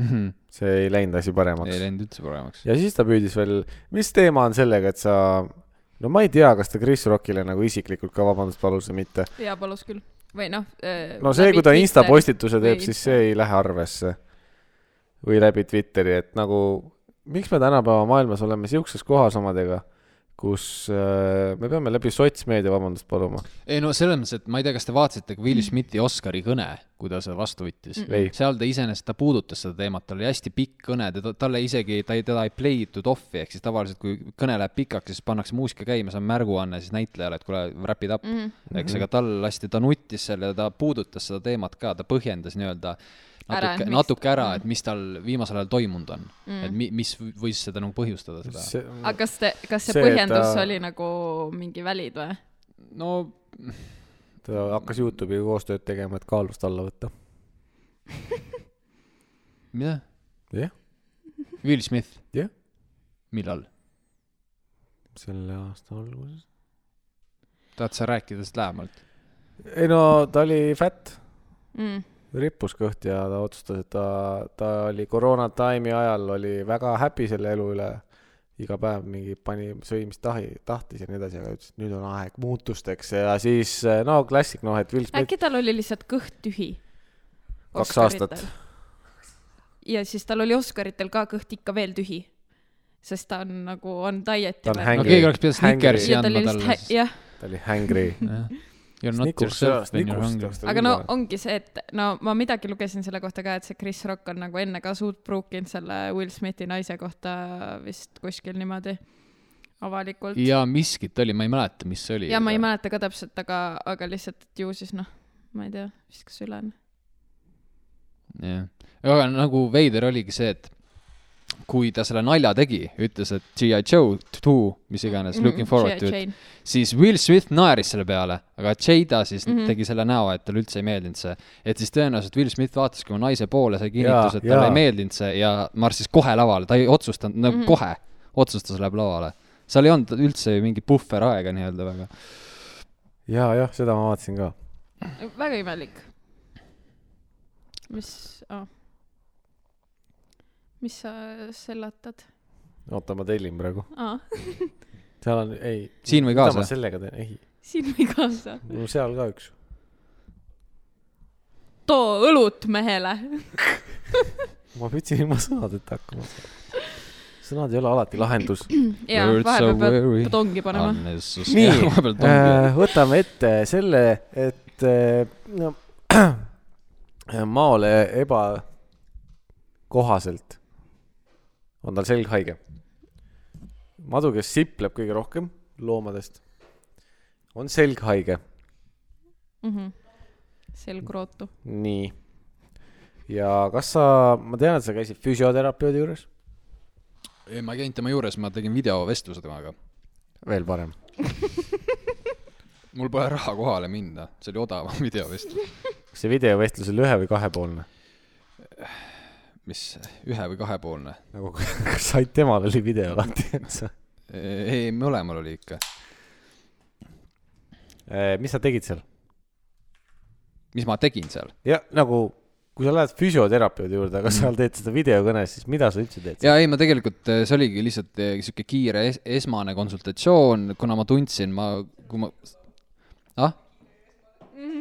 Speaker 1: ei
Speaker 2: see ei läinud asi paremaks .
Speaker 1: läinud üldse paremaks .
Speaker 2: ja siis ta püüdis veel , mis teema on sellega , et sa , no ma ei tea , kas ta Chris Rockile nagu isiklikult ka vabandust palus või mitte .
Speaker 3: ja palus küll . või noh .
Speaker 2: no see , kui ta Insta postituse teeb ,
Speaker 3: või
Speaker 2: siis
Speaker 3: Insta.
Speaker 2: see ei lähe arvesse . või läbi Twitteri , et nagu miks me tänapäeva maailmas oleme siukses kohas omadega , kus äh, me peame läbi sotsmeedia vabandust paluma .
Speaker 1: ei no selles mõttes , et ma ei tea , kas te vaatasite ka Will Smithi Oscari kõne , kui ta seda vastu võttis
Speaker 2: Mm-mm. Ei.
Speaker 1: seal ta iseenesest , ta puudutas seda teemat , tal oli hästi pikk kõne , teda , talle isegi , ta ei , teda ei play itud off'i , ehk siis tavaliselt , kui kõne läheb pikaks , siis pannakse muusika käima , see on märguanne siis näitlejale , et kuule , wrap it up mm ,
Speaker 3: Mhm,
Speaker 1: -hmm. eks , aga tal lasti , ta nuttis seal ja ta puudutas seda teemat ka , ta põhjendas nii-öelda
Speaker 3: Ära,
Speaker 1: natuke ,
Speaker 3: Mhm. miks-
Speaker 1: natuke ära , et mis tal viimasel ajal toimunud on mm , -hmm. et mi, mis võis seda nagu põhjustada , seda .
Speaker 3: mhm. aga kas te , kas see,
Speaker 2: See,
Speaker 3: see
Speaker 2: et
Speaker 3: põhjendus
Speaker 2: ta-
Speaker 3: ta... oli nagu mingi välid või ?
Speaker 1: no
Speaker 2: ta hakkas Youtube'iga koostööd tegema , et kaalust alla võtta .
Speaker 1: jah ,
Speaker 2: jah ,
Speaker 1: Will Smith ,
Speaker 2: jah ,
Speaker 1: millal ?
Speaker 2: selle aasta alguses .
Speaker 1: tahad sa rääkida sellest lähemalt ?
Speaker 2: ei no ta oli fätt ,
Speaker 3: Mm.
Speaker 2: rippus kõht ja ta otsustas , et ta , ta oli koroona time'i ajal oli väga happy selle elu üle . iga päev mingi pani , sõi mis tahi , tahtis ja nii edasi , aga ütles , et nüüd on aeg muutusteks ja siis no klassik noh , et Will Smith
Speaker 3: äkki tal oli lihtsalt kõht tühi ?
Speaker 2: kaks aastat .
Speaker 3: ja siis tal oli Oscaritel ka kõht ikka veel tühi . sest ta on nagu , on diet'i
Speaker 2: Ta on
Speaker 3: peal.
Speaker 2: häng-
Speaker 1: no
Speaker 2: Hangry-
Speaker 1: keegi oleks pidanud
Speaker 2: Hangry.
Speaker 1: Snickersi
Speaker 3: ja ta oli
Speaker 1: andma
Speaker 3: lihtsalt
Speaker 1: talle
Speaker 3: hä- ,. jah ,
Speaker 2: ta oli hangry .
Speaker 1: jah , You are not yourself when you are hungry .
Speaker 3: aga no ongi see , et no ma midagi lugesin selle kohta ka , et see Chris Rock on nagu enne ka suud pruukinud selle Will Smithi naise kohta vist kuskil niimoodi avalikult .
Speaker 1: ja miskit oli , ma ei mäleta , mis see oli .
Speaker 3: ja ma ei . mäleta ka täpselt , aga , aga lihtsalt , et ju siis noh , ma ei tea , viskas üle .
Speaker 1: jah , aga nagu veider oligi see , et kui ta selle nalja tegi , ütles , et G.I. Joe two , mis iganes
Speaker 3: Mhm.
Speaker 1: mm , -hmm, looking forward to it , siis Will Smith naeris selle peale , aga Jada siis mm
Speaker 3: Mhm.
Speaker 1: -hmm. tegi selle näo , et talle üldse ei meeldinud see . et siis tõenäoliselt Will Smith vaatas ka oma naise poole , sai kinnituse ,
Speaker 2: Jaa,
Speaker 1: et talle
Speaker 2: jaa.
Speaker 1: ei meeldinud see ja marssis kohe lavale , ta ei otsustanud , nagu mm
Speaker 3: Mhm.
Speaker 1: -hmm. kohe otsustas , läheb lavale . seal ei olnud üldse ju mingit puhveraega nii-öelda väga .
Speaker 2: ja , jah , seda ma vaatasin ka .
Speaker 3: väga imelik . mis oh. , mis sa sellatad
Speaker 2: oota , ma tellin praegu .
Speaker 3: ah, ?
Speaker 2: seal on , ei .
Speaker 1: Siin või kaasa?
Speaker 2: mida ma sellega teen , ei ,
Speaker 3: silmi kaasa .
Speaker 2: mul seal ka üks .
Speaker 3: too õlut mehele .
Speaker 2: ma püüdsin ilma sõnadeta hakkama saada . sõnad ei ole alati lahendus .
Speaker 3: ja
Speaker 1: Words are
Speaker 3: vahepeal
Speaker 1: weary.
Speaker 3: peab tongi panema .
Speaker 1: nii
Speaker 2: Nii, , Äh, võtame ette selle , et äh, no, maole ebakohaselt on tal selg haige . madu , kes sipleb kõige rohkem loomadest , on selg haige .
Speaker 3: mm . -hmm. selgrootu .
Speaker 2: nii . ja kas sa , ma tean , et sa käisid füsioterapeudi juures .
Speaker 1: ei , ma ei käinud tema juures , ma tegin videovestluse temaga .
Speaker 2: veel parem .
Speaker 1: mul pole raha kohale minna , see oli odavam videovestlus ,
Speaker 2: kas see videovestlus oli ühe või kahepoolne ?
Speaker 1: mis ühe või kahepoolne .
Speaker 2: nagu kas ainult temal oli video lahti , et sa ,
Speaker 1: ei , mõlemal oli ikka .
Speaker 2: Äh, mis sa tegid seal ?
Speaker 1: mis ma tegin seal ?
Speaker 2: ja nagu , kui sa lähed füsioterapeudi juurde , aga seal teed seda videokõnes , siis mida sa üldse teed ?
Speaker 1: ja ei , ma tegelikult , see oligi lihtsalt eh, sihuke kiire es esmane konsultatsioon , kuna ma tundsin , ma , kui ma , ah ,
Speaker 2: Eh.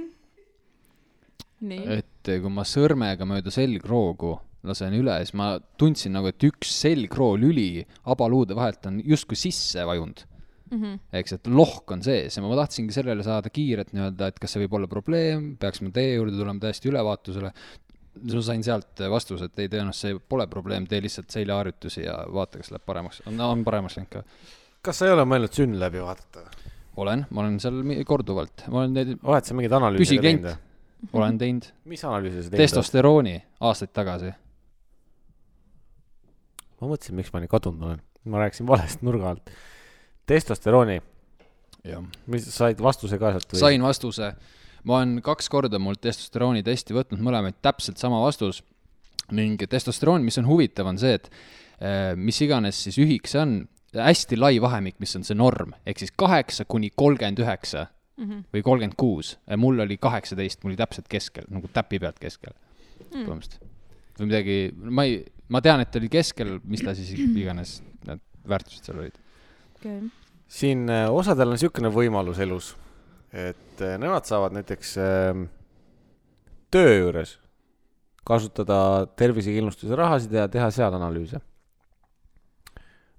Speaker 3: nii .
Speaker 1: et äh, kui ma sõrmega mööda selgroogu lasen üle , siis ma tundsin nagu , et üks selgroolüli abaluude vahelt on justkui sisse vajunud .
Speaker 3: Mhm.
Speaker 1: eks , et lohk on sees ja ma tahtsingi sellele saada kiiret nii-öelda , et kas see võib olla probleem , peaks ma teie juurde tulema täiesti ülevaatusele . ma sain sealt vastuse , et ei , tõenäoliselt see pole probleem , tee lihtsalt seljaharjutusi ja vaata , kas läheb paremaks . no on paremaks läinud ka .
Speaker 2: kas sa ei ole mõelnud sünn läbi vaadata ?
Speaker 1: olen , ma olen seal mi- korduvalt , ma olen neid ,
Speaker 2: oled sa mingeid analüüse
Speaker 1: Püsiklient.
Speaker 2: teinud ?
Speaker 1: olen teinud
Speaker 2: mis analüüse sa teinud oled ?
Speaker 1: testosterooni aastaid tagasi .
Speaker 2: ma mõtlesin , miks ma nii kadunud olen . ma rääkisin valest nurga alt . testosterooni ,
Speaker 1: jah
Speaker 2: mis , said vastuse ka sealt või ?
Speaker 1: sain vastuse , ma olen kaks korda mul testosterooni testi võtnud , mõlemaid täpselt sama vastus ning testosteroon , mis on huvitav , on see , et eh, mis iganes siis ühik see on , hästi lai vahemik , mis on see norm , ehk siis kaheksa kuni kolmkümmend üheksa või kolmkümmend kuus , mul oli kaheksateist , mul oli täpselt keskel , nagu täpi pealt keskel põhimõtteliselt . või midagi , ma ei , ma tean , et oli keskel , mis ta siis iganes , need väärtused seal olid .
Speaker 3: okei .
Speaker 2: siin äh, osadel on niisugune võimalus elus , et äh, nemad saavad näiteks äh, töö juures kasutada tervisekindlustuse rahasid ja teha seal analüüse .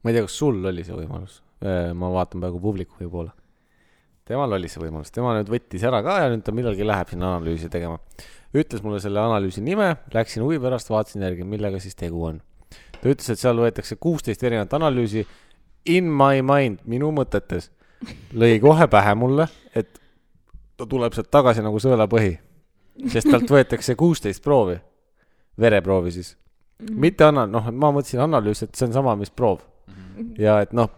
Speaker 2: ma ei tea , kas sul oli see võimalus , ma vaatan praegu publiku poole . temal oli see võimalus , tema nüüd võttis ära ka ja nüüd ta millalgi läheb sinna analüüsi tegema . ütles mulle selle analüüsi nime , läksin huvi pärast , vaatasin järgi , millega siis tegu on . ta ütles , et seal võetakse kuusteist erinevat analüüsi in my mind , minu mõtetes , lõi kohe pähe mulle , et ta tuleb sealt tagasi nagu sõelapõhi , sest talt võetakse kuusteist proovi , vereproovi siis .
Speaker 3: Mhm.
Speaker 2: mitte anna- , noh , ma mõtlesin analüüs , et see on sama , mis proov
Speaker 3: Mhm.
Speaker 2: ja et noh .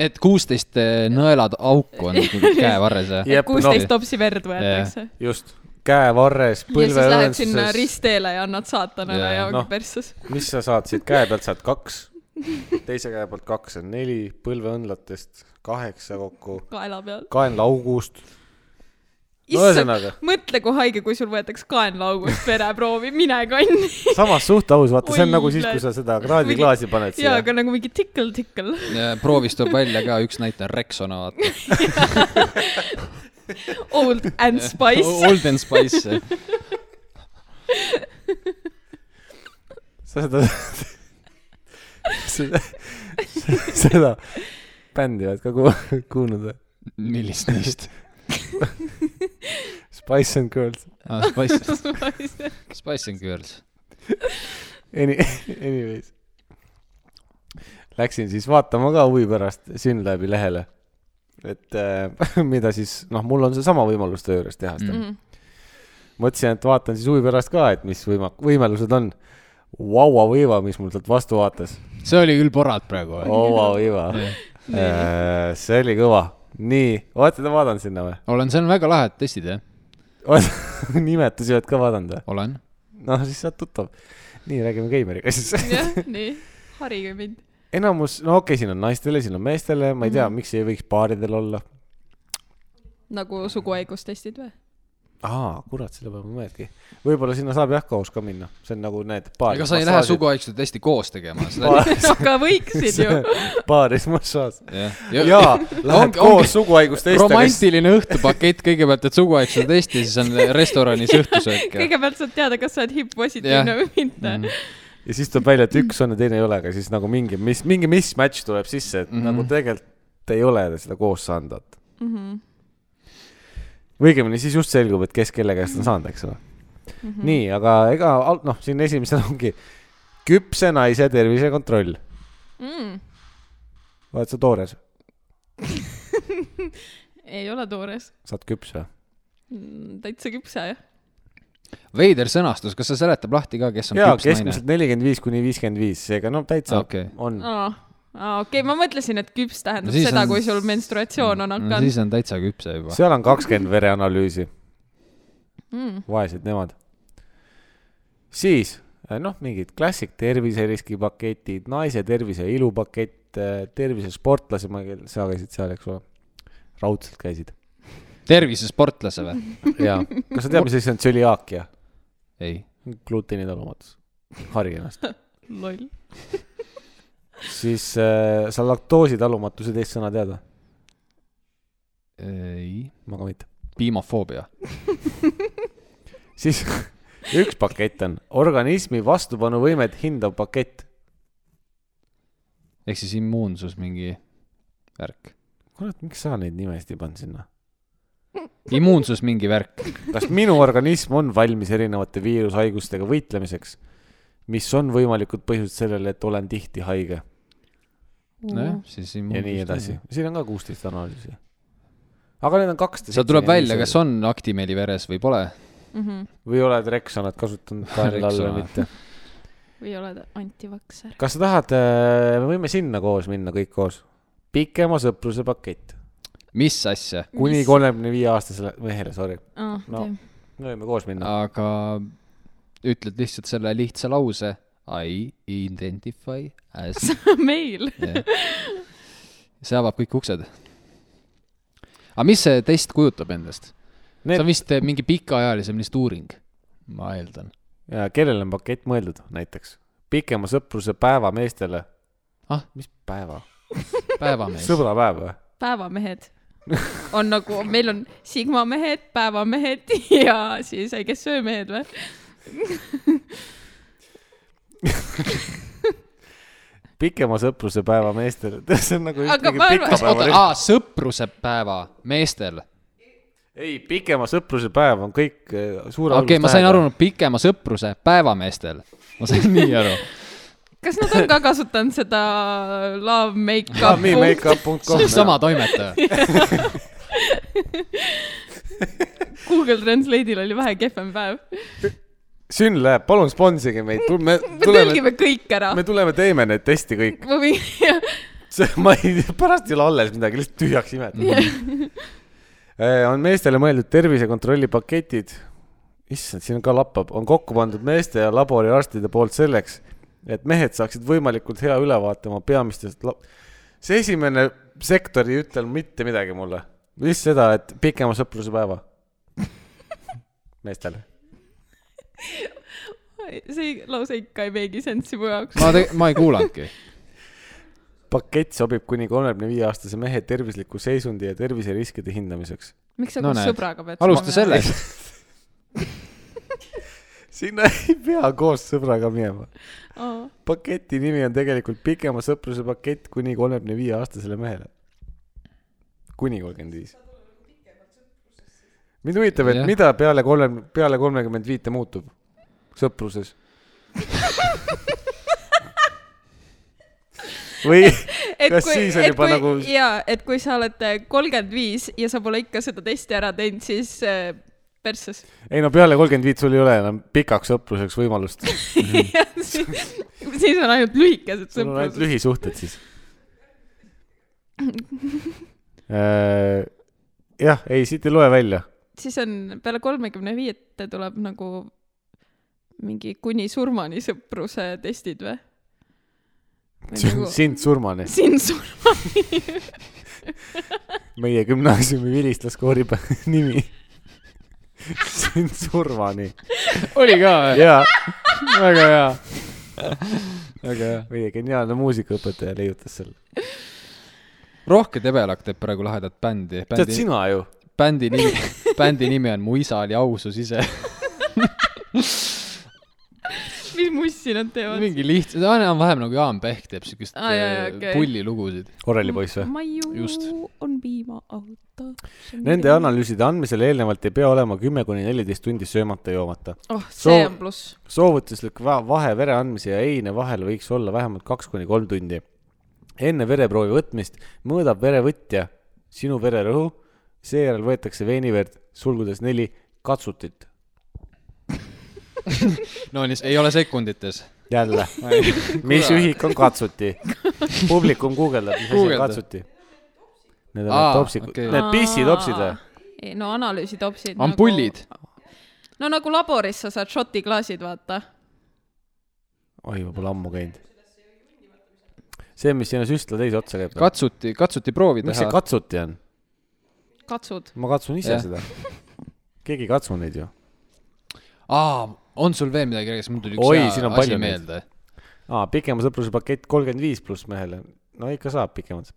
Speaker 1: et kuusteist äh, nõelad auku on käevarres ja
Speaker 2: Jep,
Speaker 3: kuusteist topsi verd võetakse .
Speaker 2: just , käevarres ,
Speaker 3: ja siis lähed sinna
Speaker 2: põlveõõnsuses ,
Speaker 3: ristteele ja annad saatanale
Speaker 1: Jaa,
Speaker 3: ja ongi
Speaker 2: noh.
Speaker 3: no. persses .
Speaker 2: mis sa saad siit käe pealt , saad kaks , teise käe pealt kaks on neli , põlveõnlatest kaheksa kokku ,
Speaker 3: kaela peal .
Speaker 2: kaenlaaugust . No ühesõnaga.
Speaker 3: mõtle , kui haige , kui sul võetakse kaenlaaugust vereproovi , mine kanni .
Speaker 2: samas suht aus , vaata , see on
Speaker 3: Oi,
Speaker 2: nagu siis , kui
Speaker 3: näed.
Speaker 2: sa seda kraadiklaasi paned
Speaker 3: jaa ,
Speaker 2: siia .
Speaker 3: aga nagu mingi tikkel-tikkel .
Speaker 1: Ja Äh, proovis tuleb välja ka üks näitaja , Rexona , vaata .
Speaker 3: Old and spice .
Speaker 1: Old and Spice .
Speaker 2: sa seda seda, seda bändi oled ka ku- kuulnud või ?
Speaker 1: millist neist ?
Speaker 2: Spice and girls .
Speaker 1: ah, Spice , Spice and Girls .
Speaker 2: Any , anyways . Läksin siis vaatama ka huvi pärast Synlabi lehele . et äh, mida siis , noh , mul on seesama võimalus töö juures teha seda mm. . mõtlesin , et vaatan siis huvi pärast ka , et mis võima- , võimalused on . Vaua võiva , mis mul sealt vastu vaatas .
Speaker 1: see oli küll porad praegu või ?
Speaker 2: Vaua võiva .
Speaker 1: Oh.
Speaker 2: Äh, see oli kõva . nii , olete te vaadanud sinna või ?
Speaker 1: olen , see on väga lahe , et testid jah ?
Speaker 2: nimetusi oled ka vaadanud või ?
Speaker 1: olen .
Speaker 2: noh , siis saad tuttav . nii , räägime Keimeriga siis .
Speaker 3: jah , nii , harige mind .
Speaker 2: enamus , no okei okay, , siin on naistele , siin on meestele , ma ei
Speaker 1: Mhm.
Speaker 2: tea , miks ei võiks paaridel olla .
Speaker 3: nagu suguhaigustestid või ?
Speaker 2: aa , kurat , selle peale ma ei mõelnudki . võib-olla sinna saab jah koos ka minna , see on nagu need paari .
Speaker 1: ega sa ei lähe . suguhaiguse testi koos tegema , seda
Speaker 3: aga võiksid ju .
Speaker 2: paaris massaaž .
Speaker 1: jah .
Speaker 2: jaa , lähed
Speaker 1: Ongi-
Speaker 2: koos
Speaker 1: ongi
Speaker 2: suguhaiguste eestlasest .
Speaker 1: romantiline õhtupakett kõigepealt , et suguhaiguse testi , siis on restoranis õhtusöök ja .
Speaker 3: kõigepealt saad teada , kas sa oled HIV-positiivne
Speaker 1: Jah.
Speaker 3: või mitte .
Speaker 2: ja siis tuleb välja , et üks on ja teine ei ole , aga siis nagu mingi , mis , mingi mismatch tuleb sisse , et mm
Speaker 1: Mhm.
Speaker 2: -hmm. nagu tegelikult ei ole seda koos saanud , vaata .
Speaker 3: Mhm.
Speaker 2: või õigemini siis just selgub , et kes kelle käest on saanud , eks ole mm . -hmm. nii , aga ega al- noh , siin esimesel ongi küpse naise tervisekontroll .
Speaker 3: Mm.
Speaker 2: oled sa toores ,
Speaker 3: ei ole toores .
Speaker 2: saad küps või ?
Speaker 3: täitsa küpse , jah .
Speaker 1: veider sõnastus , kas see seletab lahti ka , kes on
Speaker 2: jaa ,
Speaker 1: küps naine ?
Speaker 2: keskmiselt nelikümmend viis kuni viiskümmend viis , seega no täitsa okay.
Speaker 1: Okei.
Speaker 2: on .
Speaker 3: aa , okei , ma mõtlesin , et küps tähendab
Speaker 1: Mm. No siis
Speaker 3: seda
Speaker 1: on- ,
Speaker 3: kui sul menstruatsioon on
Speaker 1: no
Speaker 3: hakanud .
Speaker 1: siis on täitsa küpse juba .
Speaker 2: seal on kakskümmend vereanalüüsi ,
Speaker 3: Mm.
Speaker 2: vaesed nemad . siis eh, noh , mingid klassik terviseriskipaketid , naise tervise ja ilu pakett , tervisesportlase , ma ei tea , sa käisid seal , eks ole ? raudselt käisid .
Speaker 1: tervisesportlase või ?
Speaker 3: Mhm.
Speaker 2: jaa , kas sa tead , mis asi on tsöliaakia ?
Speaker 1: ei .
Speaker 2: glutenitalumatus , hari ennast .
Speaker 3: loll .
Speaker 2: siis äh, sa laktoositalumatuse teist sõna tead või ?
Speaker 1: ei .
Speaker 2: ma ka mitte .
Speaker 1: piimafoobia .
Speaker 2: siis üks pakett on organismi vastupanuvõimet hindav pakett .
Speaker 1: ehk siis immuunsus mingi värk .
Speaker 2: kurat , miks sa neid nimesid ei pannud sinna ?
Speaker 1: immuunsus mingi värk .
Speaker 2: kas minu organism on valmis erinevate viirushaigustega võitlemiseks , mis on võimalikud põhjused sellele , et olen tihti haige
Speaker 1: nojah , siis immuunsus .
Speaker 2: ja nii edasi .. siin on ka kuusteist analüüsi . aga need on kaksteist .
Speaker 1: seal tuleb välja , kas . on aktimeeli veres või pole .
Speaker 3: Mhm.
Speaker 2: või oled reksanat kasutanud kaela all
Speaker 1: Rexona.
Speaker 2: või mitte .
Speaker 3: või oled antivakser .
Speaker 2: kas sa tahad , me võime sinna koos minna , kõik koos ? pikema sõpruse pakett .
Speaker 1: mis asja ?
Speaker 2: kuni
Speaker 3: Mis?
Speaker 2: kolmekümne viie aastasele mehele , sorry .
Speaker 3: aa ,
Speaker 2: No.
Speaker 3: tee .
Speaker 2: me võime koos minna .
Speaker 1: aga ütled lihtsalt selle lihtsa lause I identify as .
Speaker 3: meil .
Speaker 1: see avab kõik uksed . aga mis see test kujutab endast ? see
Speaker 2: Need-
Speaker 1: on vist eh, mingi pikaajalisem lihtsalt uuring , ma eeldan .
Speaker 2: ja kellele on pakett mõeldud , näiteks ? pikema sõpruse päeva meestele .
Speaker 1: Ah? ?
Speaker 2: mis päeva ?
Speaker 1: päevamees .
Speaker 2: sõbrapäev või ?
Speaker 3: päevamehed on nagu , meil on Sigma mehed , päevamehed ja siis ei , kes söömehed või ?
Speaker 2: pikema sõpruse päeva meestele . see on nagu
Speaker 3: Aga
Speaker 2: ühtegi
Speaker 3: ma arvan-
Speaker 2: pika
Speaker 1: oota ,
Speaker 2: päeva .
Speaker 1: aa , sõprusepäeva meestel .
Speaker 2: ei , pikema sõpruse päev on kõik eh, suure
Speaker 1: okei okay, , ma sain aru , pikema sõpruse päevameestel . ma sain nii aru .
Speaker 3: kas nad on ka kasutanud seda love makeup punkti
Speaker 2: makeup.com .
Speaker 1: sama toimetaja .
Speaker 3: Google Translate'il oli vähe kehvem päev .
Speaker 2: Synlab , palun sponsige meid , me
Speaker 3: me
Speaker 2: tuleme ,
Speaker 3: tõlgime kõik ära .
Speaker 2: me tuleme , teeme need testi kõik .
Speaker 3: ma võin ,
Speaker 2: see , ma ei , pärast ei ole alles midagi , lihtsalt tühjaks imetada . on meestele mõeldud tervisekontrolli paketid . issand , siin ka lappab , on kokku pandud meeste ja laboriarstide poolt selleks , et mehed saaksid võimalikult hea ülevaate oma peamistest lab- . see esimene sektor ei ütle mitte midagi mulle , lihtsalt seda , et pikema sõpruse päeva meestele .
Speaker 3: see lause ikka ei meegi sensi mu jaoks .
Speaker 1: ma , ma ei kuulanudki .
Speaker 2: pakett sobib kuni kolmekümne viie aastase mehe tervisliku seisundi ja terviseriskide hindamiseks .
Speaker 3: miks sa
Speaker 1: No
Speaker 3: no, koos
Speaker 1: näed.
Speaker 3: sõbraga pead ?
Speaker 1: alusta . sellest .
Speaker 2: sinna ei pea koos sõbraga minema . paketi nimi on tegelikult pikema sõpruse pakett kuni kolmekümne viie aastasele mehele . kuni kolmkümmend viis . mind huvitab , et
Speaker 1: Jah.
Speaker 2: mida peale kolm , peale kolmekümmend viite muutub sõpruses või
Speaker 3: et
Speaker 2: Kas
Speaker 3: kui,
Speaker 2: siis on
Speaker 3: et
Speaker 2: juba
Speaker 3: kui,
Speaker 2: nagu-
Speaker 3: jaa , et kui sa oled kolmkümmend viis ja sa pole ikka seda testi ära teinud , siis äh, persses .
Speaker 2: ei no peale kolmkümmend viit sul ei ole enam pikaks sõpruseks võimalust ,
Speaker 3: siis siis on ainult lühikesed
Speaker 2: sul on ainult
Speaker 3: sõprused .
Speaker 2: lühisuhted siis . Äh, jah , ei siit ei loe välja ,
Speaker 3: siis on peale kolmekümne viiete tuleb nagu mingi kuni surmani sõpruse testid või ? nagu-
Speaker 2: sind surmani ,
Speaker 3: sind surmani .
Speaker 2: meie gümnaasiumi vilistlaskoori pä- nimi . sind surmani
Speaker 1: oli ka või ?
Speaker 2: ja
Speaker 1: väga hea . väga hea .
Speaker 2: meie geniaalne muusikaõpetaja leiutas selle .
Speaker 1: Rohke Debelak teeb praegu lahedat bändi .
Speaker 2: tead
Speaker 1: bändi ,
Speaker 2: sina ju ,
Speaker 1: bändi nimi , bändi nimi on Mu isa oli ausus ise .
Speaker 3: mis mussi nad teevad ?
Speaker 1: mingi lihtsalt , enam-vähem nagu Jaan Pehk teeb siukest
Speaker 3: Aa, jaa, jaa,
Speaker 1: eh,
Speaker 3: okei.
Speaker 1: pullilugusid .
Speaker 2: orelipoiss või ?
Speaker 3: maiu
Speaker 1: Just.
Speaker 3: on piimaauto .
Speaker 2: Nende . analüüside andmisel eelnevalt ei pea olema kümme kuni neliteist tundi söömata ja joomata .
Speaker 3: oh , see
Speaker 2: Soo-
Speaker 3: on pluss .
Speaker 2: soovituslik va- vahe vere andmise ja eine vahel võiks olla vähemalt kaks kuni kolm tundi . enne vereproovi võtmist mõõdab verevõtja sinu vererõhu , seejärel võetakse veiniverd , sulgudes neli katsutit .
Speaker 1: no nii , ei ole sekundites .
Speaker 2: jälle , mis ühik on katsuti ? publikum guugeldab , mis asi on
Speaker 1: Guugelda.
Speaker 2: katsuti . Need on
Speaker 1: Aa,
Speaker 2: need topsikud
Speaker 1: okei.
Speaker 2: okay. , need pissitopsid või ??
Speaker 3: ei no analüüsitopsid .
Speaker 1: ampullid .
Speaker 3: Nagu, no nagu laboris sa saad šoti klaasid , vaata .
Speaker 2: oi , ma pole ammu käinud . see , mis sinna süstla teise otsa käib .
Speaker 1: katsuti , katsuti proovi
Speaker 2: mis see
Speaker 1: teha .
Speaker 2: katsuti on ?
Speaker 3: katsud .
Speaker 2: ma katsun ise
Speaker 1: Jah.
Speaker 2: yeah. seda . keegi ei katsu neid ju .
Speaker 1: aa , on sul veel midagi rääkida , mul tuli üks
Speaker 2: Oi, siin
Speaker 1: hea
Speaker 2: on
Speaker 1: asi
Speaker 2: palju neid.
Speaker 1: meelde .
Speaker 2: aa , pikema sõpruse pakett kolmkümmend viis pluss mehele . no ikka saab pikemat .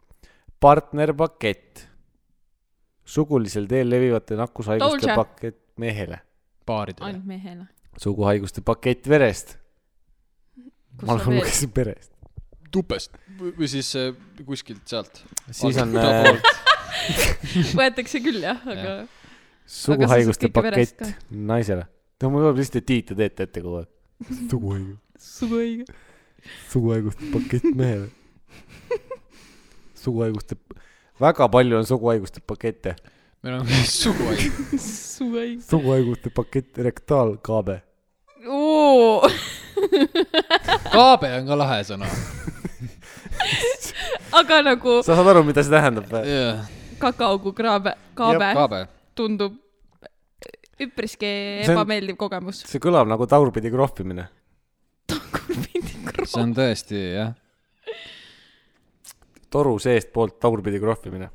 Speaker 2: partnerpakett . sugulisel teel levivate nakkushaiguste
Speaker 3: Dolce.
Speaker 2: pakett mehele .
Speaker 1: baaridele .
Speaker 3: ainult mehele .
Speaker 2: suguhaiguste pakett verest . ma
Speaker 3: kus sa veel ,
Speaker 2: lugesin perest .
Speaker 1: tupest või või siis eh, kuskilt sealt .
Speaker 2: siis on äh,
Speaker 1: äh... .
Speaker 3: võetakse küll jah , aga
Speaker 1: Jah.
Speaker 2: suguhaiguste
Speaker 3: Aga sa saad kõike verest
Speaker 2: pakett naisele . no mul tuleb lihtsalt Tiit ja Teet ette kogu aeg . suguhaigus ,
Speaker 3: sugu õige .
Speaker 2: suguhaiguste pakett mehele . suguhaiguste , väga palju on suguhaiguste pakette .
Speaker 1: meil on suguhaig .
Speaker 3: sugu õige .
Speaker 2: suguhaiguste pakett rektaalkaabe .
Speaker 3: oo ,
Speaker 1: kaabe on ka lahe sõna .
Speaker 3: aga nagu
Speaker 2: sa saad aru , mida see tähendab või ?
Speaker 3: kakaokukraabe , kaabe
Speaker 1: kaabe .
Speaker 3: tundub üpriski
Speaker 2: See on-
Speaker 3: ebameeldiv kogemus .
Speaker 2: see kõlab nagu tagurpidi krohvimine .
Speaker 1: see on tõesti jah .
Speaker 2: toru seestpoolt tagurpidi krohvimine .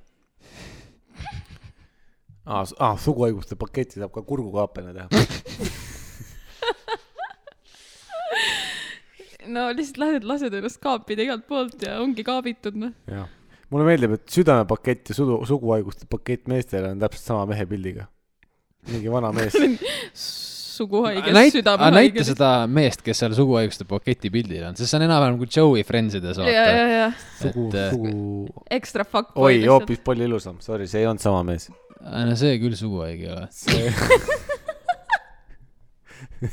Speaker 2: aa , aa , Ah, suguhaiguste paketti saab ka kurgukaapena teha .
Speaker 3: no lihtsalt lähed , lased ennast kaapida igalt poolt ja ongi kaabitud noh .
Speaker 2: jah . mulle meeldib , et südamepakett ja sudu , suguhaiguste pakett meestele on täpselt sama mehe pildiga . mingi vana mees .
Speaker 3: suguhaige ,
Speaker 1: näita , näita
Speaker 3: südamehaige .
Speaker 1: seda meest , kes seal suguhaiguste paketi pildil on , sest see on enam-vähem kui Joey Friendsides
Speaker 3: ja ,
Speaker 1: vaata .
Speaker 3: ja , ja
Speaker 2: sugu ,
Speaker 1: Et, äh,
Speaker 2: sugu .
Speaker 3: ekstra fuck .
Speaker 2: oi , hoopis palju ilusam , sorry , see ei olnud sama mees .
Speaker 1: no see küll suguhaig ei ole .
Speaker 2: see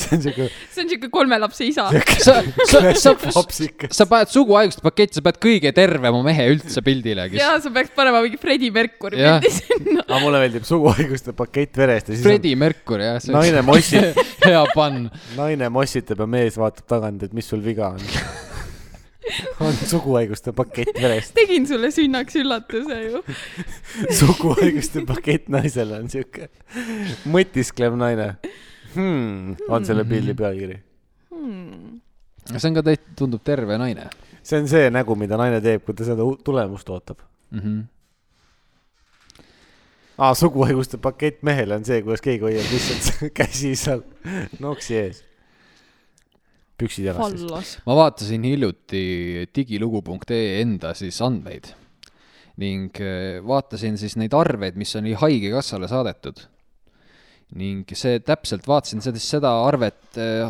Speaker 2: see on siuke
Speaker 3: see on siuke kolme lapse isa .
Speaker 1: sa , sa , sa ,
Speaker 2: lapsikas .
Speaker 1: sa paned suguhaiguste paketti , sa paned kõige tervema mehe üldse pildile , kes
Speaker 3: ja sa peaks panema mingi Freddie Mercury
Speaker 1: Jah.
Speaker 3: pildi sinna .
Speaker 2: aga mulle meeldib suguhaiguste pakett verest ja siis on
Speaker 1: Freddie Mercury jah , see on
Speaker 2: naine mossib ,
Speaker 1: hea pann .
Speaker 2: naine mossitab ja mees vaatab tagant , et mis sul viga on . on suguhaiguste pakett verest .
Speaker 3: tegin sulle sünnaks üllatuse ju .
Speaker 2: suguhaiguste pakett naisele on siuke mõtisklev naine hmm, . on selle pildi pealkiri .
Speaker 1: see on ka täit- , tundub terve naine
Speaker 2: see on see nägu , mida naine teeb , kui ta seda u- tulemust ootab .
Speaker 1: mm . -hmm.
Speaker 2: aa , suguhaiguste pakett mehele on see , kuidas keegi hoiab lihtsalt käsi seal noksi ees . püksid jalas siis .
Speaker 3: fallos .
Speaker 1: ma vaatasin hiljuti digilugu.ee enda siis andmeid ning eh, vaatasin siis neid arveid , mis oli Haigekassale saadetud . ning see täpselt , vaatasin seda , seda arvet ,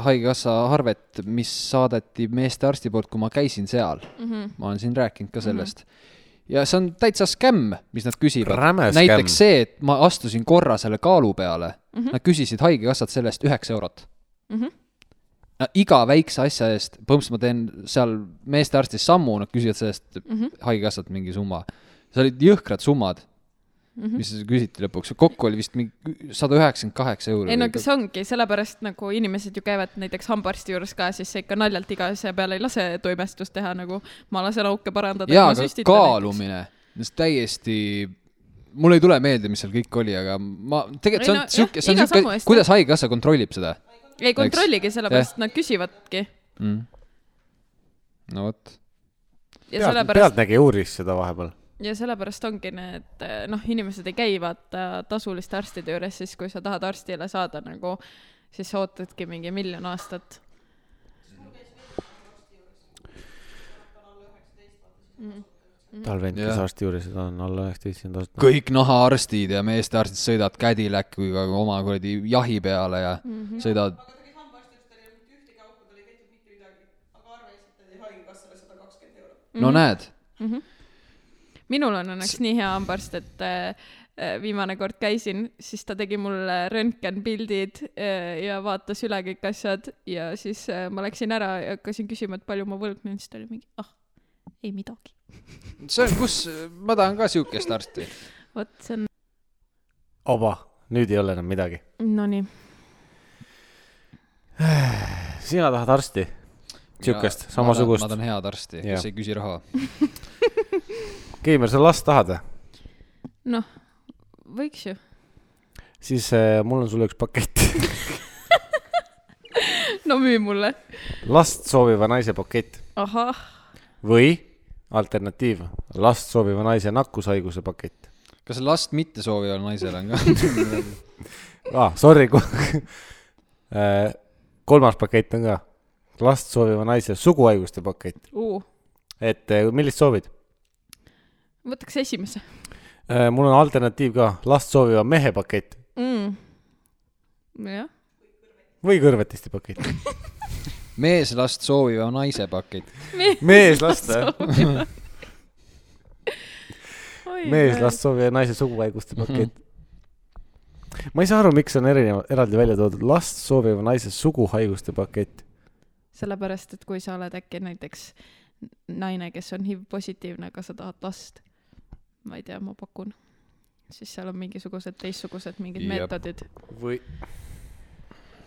Speaker 1: Haigekassa arvet ,
Speaker 3: Mhm.
Speaker 1: mis saadeti meestearsti poolt , kui ma käisin seal mm . -hmm. ma olen siin rääkinud ka sellest mm . -hmm. ja see on täitsa skämm , mis nad küsivad
Speaker 2: Räme .
Speaker 1: näiteks
Speaker 2: skämm.
Speaker 1: see , et ma astusin korra selle kaalu peale mm , -hmm. nad küsisid Haigekassalt selle eest üheksa eurot
Speaker 3: Mhm.
Speaker 1: no, . iga väikse asja eest , põhimõtteliselt ma teen seal meestearstis sammu , nad küsivad selle eest mm
Speaker 3: Mhm.
Speaker 1: -hmm. Haigekassalt mingi summa . see olid jõhkrad summad mm ,
Speaker 3: Mhm.
Speaker 1: -hmm. mis küsiti lõpuks , kokku oli vist mingi sada üheksakümmend kaheksa euri .
Speaker 3: ei no aga see ongi , sellepärast nagu inimesed ju käivad näiteks hambaarsti juures ka , siis sa ikka naljalt iga asja peale ei lase toimestust teha nagu , ma lasen auke parandada .
Speaker 1: jaa , aga kaalumine , täiesti , mul ei tule meelde , mis seal kõik oli , aga ma , tegelikult see
Speaker 3: Ei
Speaker 1: on
Speaker 3: no jah,
Speaker 1: sihuke , see on
Speaker 3: iga sammu
Speaker 1: sihuke
Speaker 3: eest ,
Speaker 1: kuidas Haigekassa kontrollib seda
Speaker 3: ei kontrolligi , sellepärast nad küsivadki
Speaker 1: mm. ? no vot ,
Speaker 3: ja sellepärast ,
Speaker 2: pealtnägija uuris seda vahepeal .
Speaker 3: ja sellepärast ongi need eh, noh , inimesed ei käi vaata tasuliste arstide juures , siis kui sa tahad arstile saada nagu , siis sa ootadki mingi miljon aastat . Mhm.
Speaker 2: tal vend , kes
Speaker 1: Jah.
Speaker 2: arsti juures on , on alla üheksateistkümnenda aasta .
Speaker 1: kõik nahaarstid ja meestearstid sõidavad Cadillaciga oma kuradi jahi peale ja mm
Speaker 3: Mhm.
Speaker 1: -hmm. sõidavad , no
Speaker 3: Mhm.
Speaker 1: mm -hmm. näed ,
Speaker 3: minul on õnneks nii hea hambaarst , et eh, eh, viimane kord käisin , siis ta tegi mulle röntgenpildid eh, ja vaatas üle kõik asjad ja siis eh, ma läksin ära ja hakkasin küsima , et palju ma võlgnen , siis ta oli mingi , ah , ei midagi .
Speaker 1: see on , kus , ma tahan ka sihukest arsti .
Speaker 3: vot see on ,
Speaker 2: oba , nüüd ei ole enam midagi .
Speaker 3: nonii ,
Speaker 2: sina tahad arsti ? sihukest , samasugust
Speaker 1: ma . tahan head arsti ,
Speaker 2: Jah.
Speaker 1: kes ei küsi raha .
Speaker 2: Keimer , sa last tahad või ?
Speaker 3: noh , võiks ju .
Speaker 2: siis äh, mul on sulle üks pakett .
Speaker 3: no müü mulle .
Speaker 2: last sooviva naise pakett
Speaker 3: ahah ,
Speaker 2: või alternatiiv , last sooviva naise nakkushaiguse pakett .
Speaker 1: kas last mittesoovijal naisel on ka ?
Speaker 2: ah, . Sorry , kolmas pakett on ka , last sooviva naise suguhaiguste pakett , et eh, millist soovid ?
Speaker 3: võtaks esimese
Speaker 2: Äh, mul on alternatiiv ka , last sooviva mehe pakett
Speaker 3: mm. . jah ,
Speaker 2: või kõrvetisti pakett .
Speaker 1: mees last sooviva naise pakett .
Speaker 2: mees last , äh?
Speaker 3: oi
Speaker 2: mees last sooviva naise suguhaiguste pakett . ma ei saa aru , miks on erinev , eraldi välja toodud last sooviva naise suguhaiguste pakett .
Speaker 3: sellepärast , et kui sa oled äkki näiteks naine , kes on HIV-positiivne , aga sa tahad last , ma ei tea , ma pakun , siis seal on mingisugused teistsugused mingid
Speaker 1: Jep.
Speaker 3: meetodid
Speaker 2: või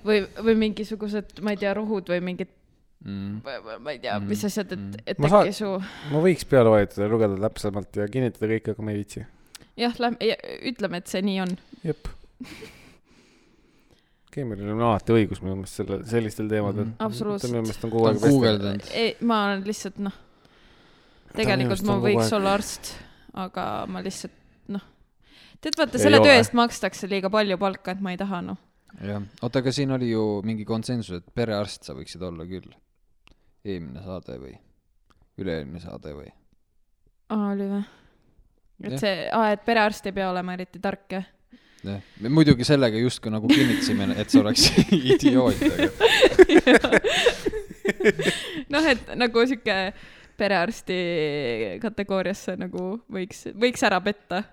Speaker 3: või , või mingisugused , ma ei tea , rohud või mingid ,
Speaker 1: mm. .
Speaker 3: ma ei tea ,
Speaker 1: Mm,
Speaker 3: mis asjad , et , et
Speaker 2: Ma
Speaker 3: äkki
Speaker 2: saan-
Speaker 3: saan... su
Speaker 2: ma võiks peale vajutada ja lugeda täpsemalt ja kinnitada kõike , aga ma ei viitsi .
Speaker 3: jah , lähme , ütleme , et see nii on .
Speaker 2: jep . Keimeril on alati õigus minu meelest selle , sellistel teemadel
Speaker 1: Mhm. .
Speaker 3: Absoluutselt.
Speaker 2: ta minu meelest on
Speaker 1: ta
Speaker 2: kogu
Speaker 1: on
Speaker 2: aeg
Speaker 1: guugeldanud .
Speaker 3: ei , E, ma olen lihtsalt noh , tegelikult
Speaker 2: just
Speaker 3: ma
Speaker 2: on kogu
Speaker 3: võiks
Speaker 2: aeg-
Speaker 3: olla arst , aga ma lihtsalt noh , tead vaata ,
Speaker 2: Ei
Speaker 3: selle
Speaker 2: ole.
Speaker 3: töö eest makstakse liiga palju palka , et ma ei taha noh .
Speaker 1: jah , oota , aga siin oli ju mingi konsensus , et perearst sa võiksid olla küll . eelmine saade või üle-eelmine saade või ?
Speaker 3: aa , oli või ? et
Speaker 1: Jah.
Speaker 3: see , aa , et perearst ei pea olema eriti tark , jah ?
Speaker 1: jah , me muidugi sellega justkui nagu kinnitasime , et sa oleks idioot , aga
Speaker 3: noh , et nagu sihuke perearsti kategooriasse nagu võiks , võiks ära petta .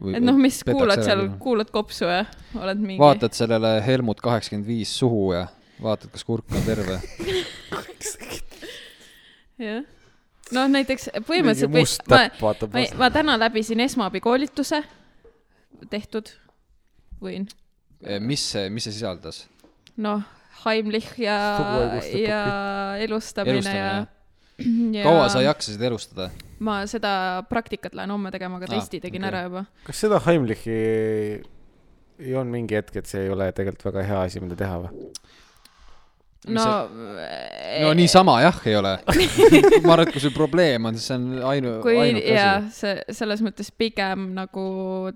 Speaker 1: või,
Speaker 3: et noh , mis
Speaker 1: petaks
Speaker 3: kuulad
Speaker 1: ära
Speaker 3: seal
Speaker 1: küll. ,
Speaker 3: kuulad kopsu ja oled mingi .
Speaker 1: vaatad sellele Helmut kaheksakümmend viis suhu ja vaatad , kas kurk on terve .
Speaker 3: jah . noh , näiteks
Speaker 2: mingi
Speaker 3: põhimõtteliselt
Speaker 2: must
Speaker 3: ma,
Speaker 2: täpp vaatab
Speaker 3: ma,
Speaker 2: vastu .
Speaker 3: ma täna läbisin esmaabikoolituse , tehtud , võin ,
Speaker 1: Eh, mis see , mis see sisaldas ?
Speaker 3: noh , Heimlich ja
Speaker 2: Suguhaiguste ,
Speaker 3: ja elustamine ja,
Speaker 1: elustamine .
Speaker 3: ja
Speaker 1: kaua sa jaksasid elustada ?
Speaker 3: ma seda praktikat lähen homme tegema , aga
Speaker 1: Aa,
Speaker 3: testi tegin
Speaker 1: Ah, okei.
Speaker 3: ära juba .
Speaker 2: kas seda Heimlichi ei olnud mingi hetk , et see ei ole tegelikult väga hea asi , mida teha või ?
Speaker 1: Mis
Speaker 3: no Eh.
Speaker 1: no niisama jah , ei ole . ma arvan , et kui sul probleem on , siis see on ainu ,
Speaker 3: eh, kui
Speaker 1: ainuke
Speaker 3: jaa
Speaker 1: asi .,
Speaker 3: see selles mõttes pigem nagu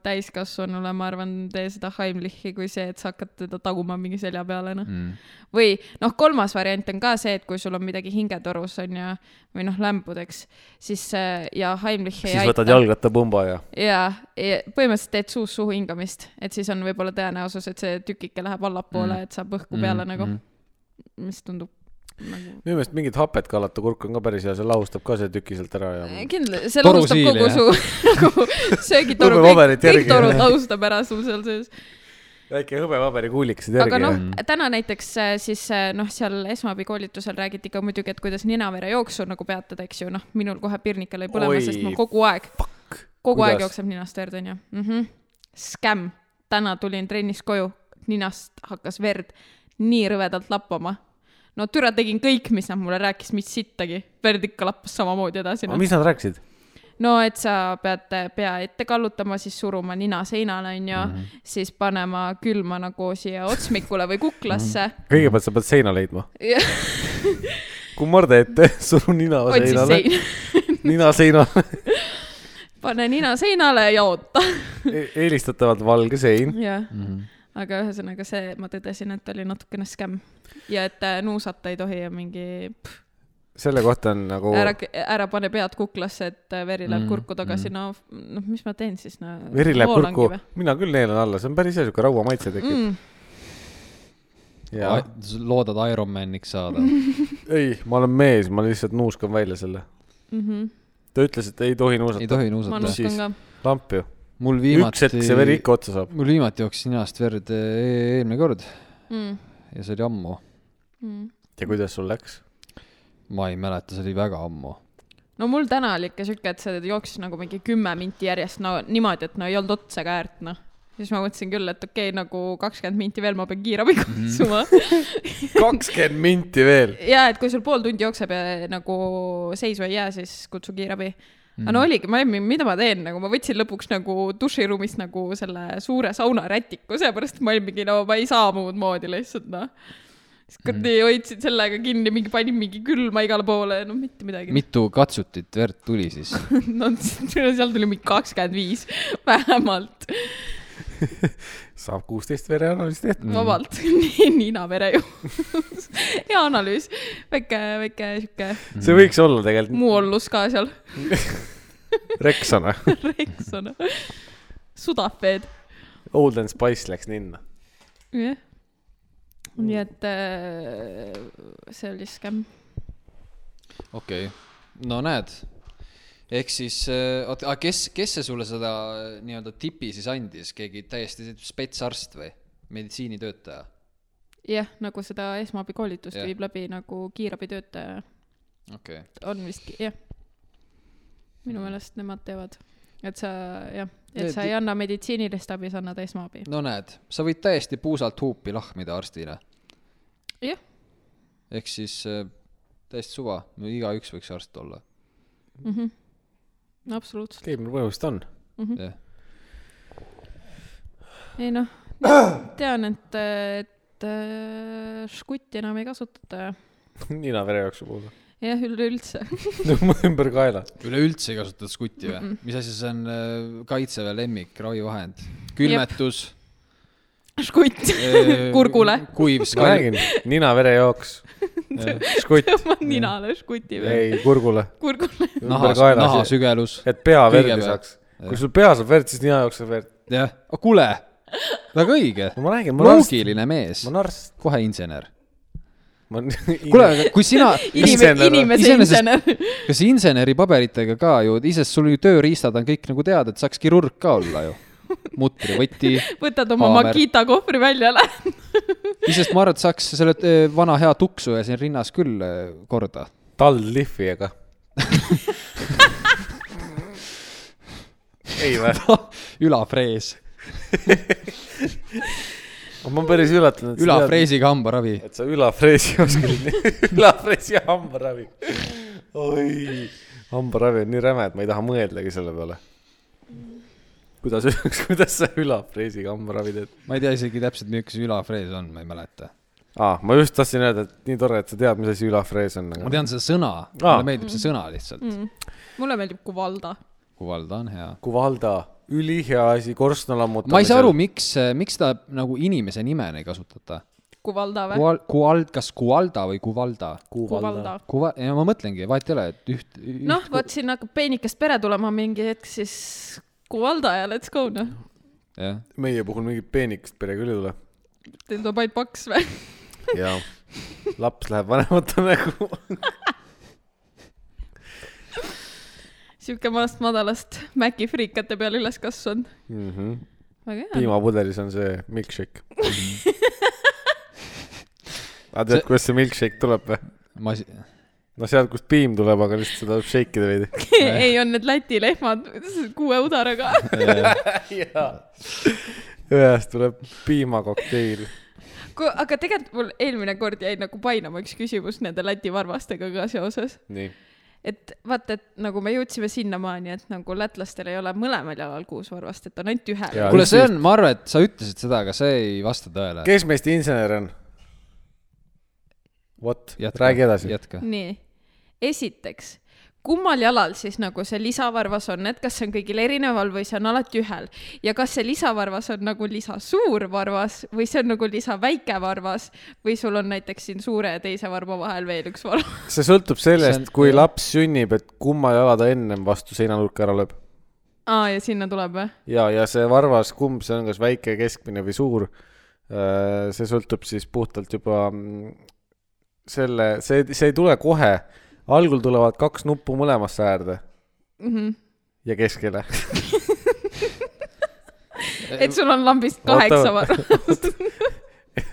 Speaker 3: täiskasvanule , ma arvan , tee seda Heimlichi kui see , et sa hakkad teda taguma mingi selja peale ,
Speaker 1: Mm.
Speaker 3: noh . või noh , kolmas variant on ka see , et kui sul on midagi hingetorus on ju , või noh , lämbudeks , siis äh, ja Heimlich ei
Speaker 2: siis võtad
Speaker 3: aita .
Speaker 2: jalgrattapumba ja .
Speaker 3: ja, ja e, põhimõtteliselt teed suus-suhu hingamist , et siis on
Speaker 2: Mm.
Speaker 3: võib-olla tõenäosus , et see tükike läheb allapoole , et saab õhku peale mm, nagu mm. , nagu, mis tundub nagu
Speaker 2: minu meelest mingit hapet kallata kurk on ka päris hea , see lahustab ka selle tüki sealt ära ja
Speaker 3: kindlasti , see
Speaker 1: Toru
Speaker 3: lahustab
Speaker 1: siil,
Speaker 3: kogu
Speaker 1: jah.
Speaker 3: su nagu söögitoru ,
Speaker 2: Hõbepaberit
Speaker 3: kõik, kõik
Speaker 2: järgi.
Speaker 3: torud lahustab ära sul seal sees .
Speaker 2: väike hõbepaberikuulikesed
Speaker 3: aga
Speaker 2: järgi Mm.
Speaker 3: noh
Speaker 2: ja- ,
Speaker 3: täna näiteks äh, siis äh, noh , seal esmaabikoolitusel räägiti ka muidugi , et kuidas ninavere jooksu nagu peatada , eks ju , noh , minul kohe pirnika lõi põlema ,
Speaker 2: Oi,
Speaker 3: sest ma kogu aeg , kogu kuidas? aeg
Speaker 2: Kuidas?
Speaker 3: jookseb ninast verd , onju mm . -hmm. Skäm , täna tulin trennis koju , ninast hakkas verd nii rõvedalt lappama . no türa tegin kõik , mis nad mulle rääkis , mis sittagi , verd ikka lappas samamoodi edasi .
Speaker 2: aga mis nad rääkisid ?
Speaker 3: no et sa pead pea ette kallutama , siis suruma nina seinale , onju ,
Speaker 1: Mhm.
Speaker 3: siis panema külma nagu siia otsmikule või kuklasse .
Speaker 2: kõigepealt sa pead seina leidma .
Speaker 3: otsi
Speaker 2: kui marde ette , suru nina seinale ,
Speaker 3: sein ,
Speaker 2: nina seinale ,
Speaker 3: pane nina seinale ja oota .
Speaker 2: e-, eelistatavalt valge sein .
Speaker 3: jah ,
Speaker 1: mhm.
Speaker 3: aga ühesõnaga see , ma tõdesin , et oli natukene skäm ja et äh, nuusata ei tohi ja mingi pff,
Speaker 2: selle kohta on nagu ,
Speaker 3: ära , ära pane pead kuklasse , et äh, veri läheb
Speaker 1: Mm,
Speaker 3: kurku tagasi , no f- noh , mis ma teen siis , no .
Speaker 2: veri läheb kurku , mina küll neelan alla , see on päris hea siuke rauamaitse tekib
Speaker 3: Mm,
Speaker 2: ja
Speaker 1: loodad Ironmaniks saada .
Speaker 2: ei , ma olen mees , ma lihtsalt nuuskan välja selle .
Speaker 3: mm -hmm.
Speaker 2: ta ütles , et ei tohi
Speaker 1: ei
Speaker 2: nuusata ,
Speaker 1: tohi
Speaker 3: ma
Speaker 1: nuusata .
Speaker 2: siis-
Speaker 3: nuustan ka .
Speaker 2: lamp ju .
Speaker 1: mul
Speaker 2: üks
Speaker 1: viimati ,
Speaker 2: hetk see veri ikka otsa saab .
Speaker 1: mul viimati jooksis ninast verd eh, eelmine kord
Speaker 3: Mm,
Speaker 1: ja see oli ammu .
Speaker 3: mm.
Speaker 2: ja kuidas sul läks ?
Speaker 1: ma ei mäleta , see oli väga ammu .
Speaker 3: no mul täna oli ikka siuke , et see jooksis nagu mingi kümme minti järjest , no niimoodi , et no ei olnud otsa ka äärt , noh . siis ma mõtlesin küll , et okei okay, , nagu kakskümmend minti veel ma pean
Speaker 2: Mhm.
Speaker 3: kiirabi kutsuma mm. .
Speaker 2: kakskümmend minti veel .
Speaker 3: ja et kui sul pool tundi jookseb ja nagu seisu ei jää , siis kutsu kiirabi mm. . aga no oligi , ma ei , mida ma teen , nagu ma võtsin lõpuks nagu duširuumist nagu selle suure saunarätiku , seepärast et ma olin mingi , no ma ei saa muud moodi lihtsalt , noh . siis kuradi mm. hoidsin sellega kinni , mingi panin mingi külma igale poole , no mitte midagi .
Speaker 1: mitu katsutit verd tuli siis ?
Speaker 3: no seal tuli mingi kakskümmend viis vähemalt ,
Speaker 2: saab kuusteist vereanalüüsi tehtud .
Speaker 3: vabalt mm. , ninavere ju . hea analüüs , väike , väike sihuke
Speaker 2: see võiks olla tegelikult
Speaker 3: muu ollus ka seal ,
Speaker 2: reksana .
Speaker 3: eks ole . sudafeed ,
Speaker 2: Old and Spice läks ninna .
Speaker 1: Mm.
Speaker 3: jah . nii et äh, see oli skäm .
Speaker 1: okei , no näed , ehk siis , oota , kes , kes see sulle seda äh, nii-öelda tipi siis andis , keegi täiesti spetsarst või meditsiinitöötaja ?
Speaker 3: jah , nagu seda esmaabikoolitust
Speaker 1: Jah.
Speaker 3: viib läbi nagu kiirabitöötaja
Speaker 1: okei okay. ,
Speaker 3: on vist , jah . minu meelest nemad teevad , et sa jah , et
Speaker 1: Mm. Need-
Speaker 3: sa ei anna meditsiinilist abi , sa annad esmaabi .
Speaker 1: no näed , sa võid täiesti puusalt huupi lahmida arstile ,
Speaker 3: jah ,
Speaker 1: ehk siis äh, täiesti suva , no igaüks võiks arst olla , Mm.
Speaker 3: Mhm. absoluutselt ,
Speaker 2: keegi meil põhimõtteliselt on .
Speaker 3: Mhm.
Speaker 1: jah .
Speaker 3: ei noh , tean , et , et äh, žgutti enam ei kasutata ja
Speaker 2: nina verejooksu puudu .
Speaker 3: jah , üleüldse .
Speaker 2: ümber kaela .
Speaker 1: üleüldse ei kasutata skutti või
Speaker 3: Mhm.
Speaker 1: mm ? -mm. mis asi see on äh, kaitseväe lemmik , ravivahend , külmetus ,
Speaker 3: žgutt kurgule ,
Speaker 1: kuiv
Speaker 2: ma
Speaker 1: skalp ,
Speaker 2: räägin , nina verejooks . skutt ,
Speaker 3: ma ninale žgutti peal ,
Speaker 2: ei kurgule ,
Speaker 3: kurgule .
Speaker 2: ümber
Speaker 1: nahas ,
Speaker 2: kaela ,
Speaker 1: nahasügelus ,
Speaker 2: et pea verdi
Speaker 1: Kõigepealt.
Speaker 2: saaks . kui sul pea saab verd , siis nina jookseb verd .
Speaker 1: jah , kuule , väga õige
Speaker 2: no ma räägin , ma olen arst ,
Speaker 1: loogiline mees
Speaker 2: ma , olen arst .
Speaker 1: kohe insener .
Speaker 2: ma olen
Speaker 1: kuule , aga kui sina ,
Speaker 3: inimene ,
Speaker 2: Insener-
Speaker 3: inimese
Speaker 1: iseenesest-
Speaker 3: insener .
Speaker 1: kas inseneri paberitega ka ju , isest sul ju tööriistad on kõik nagu teada , et saaks kirurg ka olla ju . mutrivõti ,
Speaker 3: võtad oma
Speaker 1: Haamer.
Speaker 3: Makita kohvri välja , lähed .
Speaker 1: isest ma arvan , et saaks selle eh, vana hea tuksuja siin rinnas küll eh, korda .
Speaker 2: taldlihvijaga . ei või ?
Speaker 1: ülafrees ,
Speaker 2: ma olen päris üllatunud .
Speaker 1: ülafreesiga hambaravi .
Speaker 2: et sa ülafreesi oskad , ülafreesi hambaravi . oi , hambaravi on nii räme , et ma ei taha mõeldagi selle peale . kuidas , kuidas sa ülafreesiga hambaravi teed ?
Speaker 1: ma ei tea isegi täpselt , milline see ülafrees on , ma ei mäleta .
Speaker 2: aa , ma just tahtsin öelda , et nii tore , et sa tead , mis asi ülafrees on ,
Speaker 1: ma
Speaker 2: aga
Speaker 1: tean seda sõna ,
Speaker 2: Aa.
Speaker 1: mulle meeldib see sõna lihtsalt .
Speaker 3: Mm. mulle meeldib Kuvalda .
Speaker 1: Kuvalda on hea .
Speaker 2: Kuvalda , ülihea asi , korstna lammutamisel .
Speaker 1: ma ei saa aru , miks , miks ta nagu inimese nimena ei kasutata .
Speaker 3: Kuvalda või ?
Speaker 1: Kual- , Kual- , kas Kualda või Kuvalda ?
Speaker 3: Kuvalda .
Speaker 1: kuva- , ja ma mõtlengi , vahet ei ole , et üht, üht
Speaker 3: noh , vot siin hakkab peenikest pere tulema mingi hetk , siis Kuvalda ja let's go noh .
Speaker 1: jah ,
Speaker 2: meie puhul mingit peenikest pere küll ei tule .
Speaker 3: Teil tuleb ainult paks või ?
Speaker 2: jaa . laps läheb vanemate nägu .
Speaker 3: sihuke maast madalast Maci friikate peal üles kasvanud .
Speaker 1: Mhm.
Speaker 3: väga hea .
Speaker 2: piimapudelis on see milkshake . aga tead , kust see milkshake tuleb või ?
Speaker 1: ma si- ,
Speaker 2: no sealt , kust piim tuleb , aga lihtsalt seda tuleb shake ida veidi .
Speaker 3: ei , on need Läti lehmad kuue udaraga .
Speaker 2: ühest tuleb piimakokteil .
Speaker 3: aga tegelikult mul eelmine kord jäi nagu painama üks küsimus nende Läti varvastega ka seoses .
Speaker 2: nii .
Speaker 3: et vaata , et nagu me jõudsime sinnamaani , et nagu lätlastel ei ole mõlemal jalal kuus varvast , et on ainult ühel
Speaker 2: Jaa. .
Speaker 1: kuule , see on , ma arvan , et sa ütlesid seda , aga see ei vasta tõele .
Speaker 2: kes meist insener on ? vot , räägi edasi .
Speaker 1: jätka .
Speaker 3: nii , esiteks , kummal jalal siis nagu see lisavarvas on , et kas see on kõigil erineval või see on alati ühel ja kas see lisavarvas on nagu lisasuur varvas või see on nagu lisaväike varvas või sul on näiteks siin suure ja teise varba vahel veel üks varvas .
Speaker 2: see sõltub sellest
Speaker 1: See , on-
Speaker 2: kui laps sünnib , et kumma jala ta ennem vastu seinanurka ära lööb .
Speaker 3: aa , ja sinna tuleb või ?
Speaker 2: ja , ja see varvas , kumb see on , kas väike , keskmine või suur , see sõltub siis puhtalt juba mm, selle , see , see ei tule kohe . algul tulevad kaks nuppu mõlemasse äärde
Speaker 3: Mm -hmm.
Speaker 2: ja keskele .
Speaker 3: et sul on lambist
Speaker 2: Oota.
Speaker 3: kaheksa varvast .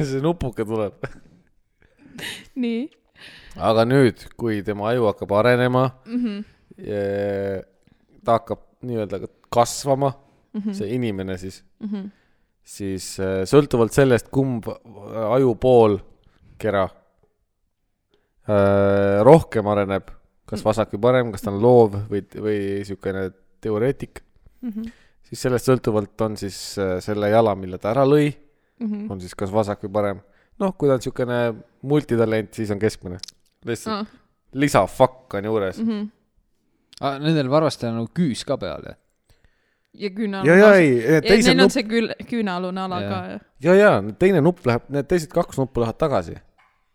Speaker 2: see nupuke tuleb .
Speaker 3: nii ,
Speaker 2: aga nüüd , kui tema aju hakkab arenema mm ,
Speaker 3: Mhm.
Speaker 2: -hmm. ta hakkab nii-öelda kasvama mm ,
Speaker 3: Mhm.
Speaker 2: -hmm. see inimene siis mm , -hmm. siis eh, sõltuvalt sellest , kumb ajupool kera eh, rohkem areneb , kas vasak või parem , kas ta on loov või , või niisugune teoreetik mm ,
Speaker 3: Mhm.
Speaker 2: -hmm. siis sellest sõltuvalt on siis eh, selle jala , mille ta ära lõi mm ,
Speaker 3: Mhm.
Speaker 2: -hmm. on siis kas vasak või parem . noh , kui ta on niisugune multitalent , siis on keskmine . lihtsalt
Speaker 3: Aa.
Speaker 2: ah. lisa fuck on juures mm .
Speaker 3: Mhm.
Speaker 1: Ah, Nendel varvastel on nagu küüs ka peal , jah ?
Speaker 3: ja küünal .
Speaker 2: -hmm. ja , ja ei ,
Speaker 3: ja
Speaker 2: teise
Speaker 3: neil on
Speaker 2: nupp ,
Speaker 3: see küül- , küünalune ala
Speaker 1: Jaa.
Speaker 3: ka .
Speaker 2: ja , ja teine nupp läheb , need teised kaks nuppu lähevad tagasi .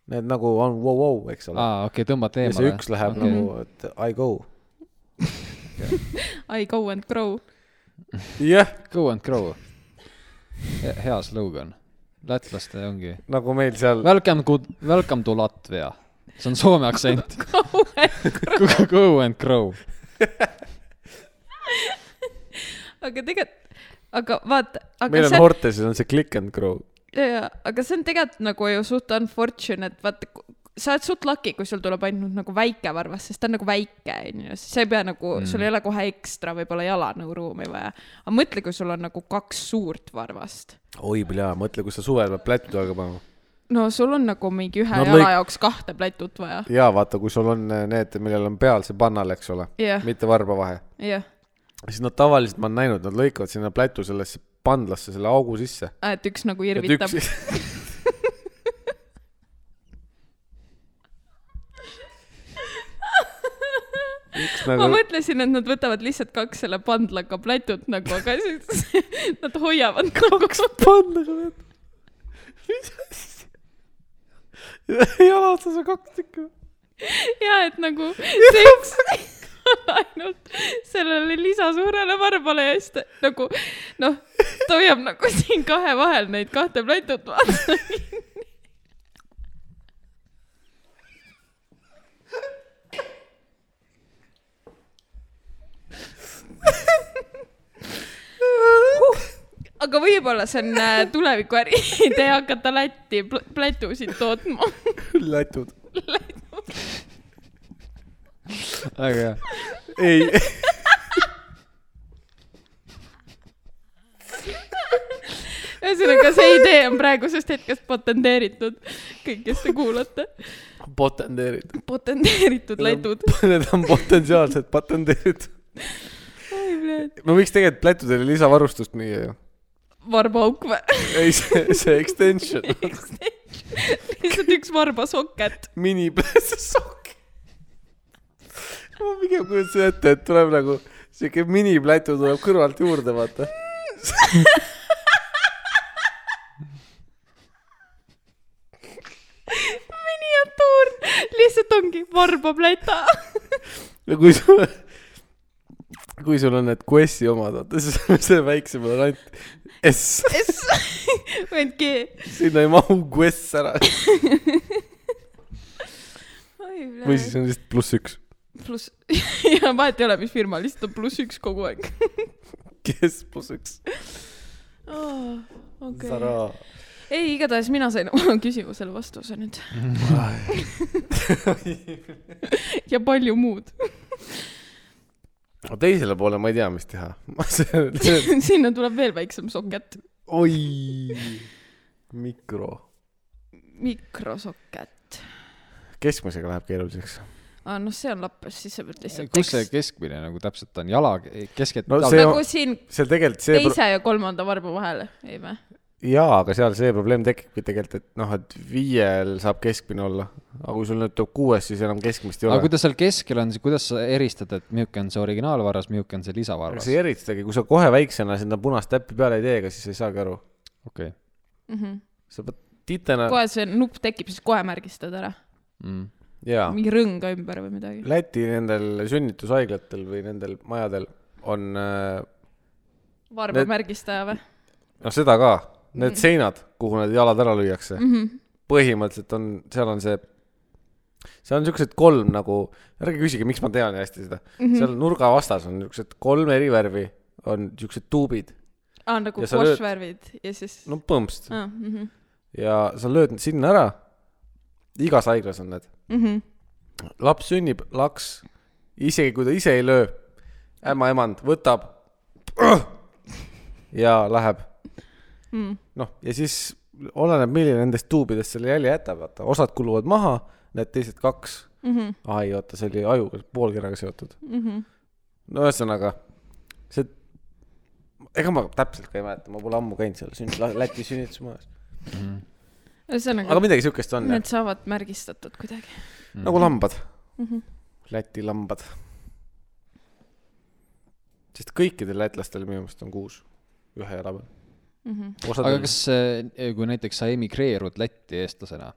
Speaker 2: Need nagu on vau-vau , eks ole .
Speaker 1: aa , Ah, okei okay, , tõmbate
Speaker 2: ja
Speaker 1: eemale .
Speaker 2: see üks läheb okay. nagu , et I go .
Speaker 3: I go and grow .
Speaker 2: jah ,
Speaker 1: Go and grow . hea slogan . lätlaste ongi .
Speaker 2: nagu meil seal ,
Speaker 1: Welcome to , welcome to Latvia . see on soome aktsent .
Speaker 3: Go and
Speaker 1: Go and grow .
Speaker 3: aga tegelikult , aga vaata , aga
Speaker 2: meil on
Speaker 3: see on ,
Speaker 2: Hortesis on see click and grow .
Speaker 3: aga see on tegelikult nagu ju suht unfortunate , vaata , sa oled suht lucky , kui sul tuleb ainult nagu väike varvas , sest ta on nagu väike , onju , sa ei pea nagu mm. , sul ei ole kohe ekstra võib-olla jalanõuruumi vaja . aga mõtle , kui sul on nagu kaks suurt varvast .
Speaker 2: oi , pljaa , mõtle , kus sa suvel pead plätud jalga panema .
Speaker 3: no sul on nagu mingi ühe
Speaker 2: No
Speaker 3: no,
Speaker 2: lõik-
Speaker 3: jala lõik... jaoks kahte plätut vaja .
Speaker 2: ja vaata , kui sul on eh, need , millel on peal see pannal , eks ole ,
Speaker 3: jah ,
Speaker 2: mitte varba vahe
Speaker 3: jah ,
Speaker 2: siis nad tavaliselt , ma olen näinud , nad lõikavad sinna plätu sellesse pandlasse selle augu sisse .
Speaker 3: et üks nagu irvitab .
Speaker 2: üks
Speaker 3: ma
Speaker 2: nagu ,
Speaker 3: mõtlesin , et nad võtavad lihtsalt kaks selle pandlaga plätut nagu , aga siis nad hoiavad nagu- kaks
Speaker 2: pandlaga pead . mis asja ? jalad on seal kaks tükki .
Speaker 3: ja et nagu see üks on ainult sellele lisasuurele varbale ja siis ta nagu noh , ta hoiab nagu siin kahe vahel neid kahte plätut vaata . Uh, aga võib-olla see on äh, tulevikuäri idee hakata Lätti pl- plätusid tootma .
Speaker 2: lätud .
Speaker 1: väga hea .
Speaker 2: ei .
Speaker 3: ühesõnaga , see idee on praegusest hetkest patenteeritud . kõik , kes te kuulate ,
Speaker 2: patenteerid .
Speaker 3: patenteeritud lätud .
Speaker 2: Need on potentsiaalselt patenteeritud . me võiks tegelikult plätudele lisavarustust müüa ju .
Speaker 3: varbaauk või ?
Speaker 2: ei , see , see extension ,
Speaker 3: lihtsalt üks varbasoket .
Speaker 2: miniplätusokk . ma pigem kujutasin ette , et tuleb nagu siuke miniplätu tuleb kõrvalt juurde , vaata .
Speaker 3: miniatuur , lihtsalt ongi varbapläta .
Speaker 2: ja kui sul , kui sul on need Questi omad , vaata siis on see väiksem on ainult S ,
Speaker 3: või G .
Speaker 2: sinna ei mahu Quest ära .
Speaker 3: oi ,
Speaker 2: või siis on lihtsalt pluss üks .
Speaker 3: pluss , ja vahet ei ole , mis firma , lihtsalt on pluss üks kogu aeg .
Speaker 2: kes pluss üks ?
Speaker 3: okei . ei , igatahes mina sain oma küsimusele vastuse nüüd . ja palju muud .
Speaker 2: teisele poole ma ei tea , mis teha . see ,
Speaker 3: sinna tuleb veel väiksem soket .
Speaker 2: oi , mikro .
Speaker 3: mikrosoket .
Speaker 2: keskmisega läheb keeruliseks .
Speaker 3: aa , noh , see on lappes , siis sa pead lihtsalt
Speaker 1: kus see keskmine nagu täpselt on , jala keskelt
Speaker 2: No
Speaker 1: no, ?
Speaker 2: see
Speaker 1: See...
Speaker 3: nagu siin
Speaker 2: seal tegelikult see pro... ,
Speaker 3: teise ja kolmanda varba vahele , ei vä ?
Speaker 2: jaa , aga seal see probleem tekibki tegelikult , et noh , et viiel saab keskmine olla , aga kui sul nüüd tuleb kuues , siis enam keskmist ei
Speaker 1: aga
Speaker 2: ole .
Speaker 1: kuidas seal keskel on , kuidas sa eristad , et milline on see originaalvarras , milline on see lisavarras
Speaker 2: sa ? ei eritagi , kui sa kohe väiksena sinna punast täppi peale ei tee , ega siis ei saagi aru .
Speaker 1: okei .
Speaker 2: sa pead titena ,
Speaker 3: Mhm. kohe see nupp tekib , siis kohe märgistad ära .
Speaker 1: Mm,
Speaker 2: jaa .
Speaker 3: mingi rõnga ümber või midagi .
Speaker 2: Läti nendel sünnitushaiglatel või nendel majadel on , noh ,
Speaker 3: varba
Speaker 2: Need-
Speaker 3: Need... märgistaja või ?
Speaker 2: noh, seda ka , need mm. seinad , kuhu need jalad ära lüüakse mm ,
Speaker 3: Mhm.
Speaker 2: -hmm. põhimõtteliselt on , seal on see , seal on siuksed kolm nagu , ärge küsige , miks ma tean nii hästi seda mm , -hmm. seal nurga vastas on siuksed kolm eri värvi , on siuksed tuubid ,
Speaker 3: aa , nagu
Speaker 2: Ja sa lööd-
Speaker 3: košvärvid ja siis
Speaker 2: no põmps
Speaker 3: aa, mhm.
Speaker 2: ja sa lööd need sinna ära . igas haiglas on need ,
Speaker 3: Mhm.
Speaker 2: laps sünnib , laks , isegi kui ta ise ei löö , ämmaemand võtab ja läheb
Speaker 3: Mm.
Speaker 2: noh , ja siis oleneb , milline nendest tuubidest selle jälje jätab , vaata , osad kuluvad maha , need teised kaks .
Speaker 3: Mhm.
Speaker 2: ai , oota , see oli ajuga , poolkeraga seotud .
Speaker 3: Mhm.
Speaker 2: no ühesõnaga , see , ega ma täpselt ka ei mäleta , ma pole ammu käinud seal sünni- , Läti sünnitusmajas .
Speaker 1: mhm,
Speaker 3: ühesõnaga
Speaker 2: aga , midagi siukest on jah
Speaker 3: need , saavad märgistatud kuidagi .
Speaker 1: mhm.
Speaker 2: nagu lambad ,
Speaker 3: Mm -hmm.
Speaker 2: Läti lambad . sest kõikidel lätlastel minu meelest on kuus , ühe jala peal .
Speaker 3: Mm -hmm.
Speaker 1: aga
Speaker 2: osadel
Speaker 1: kas , kui näiteks sa emigreerud Lätti eestlasena ,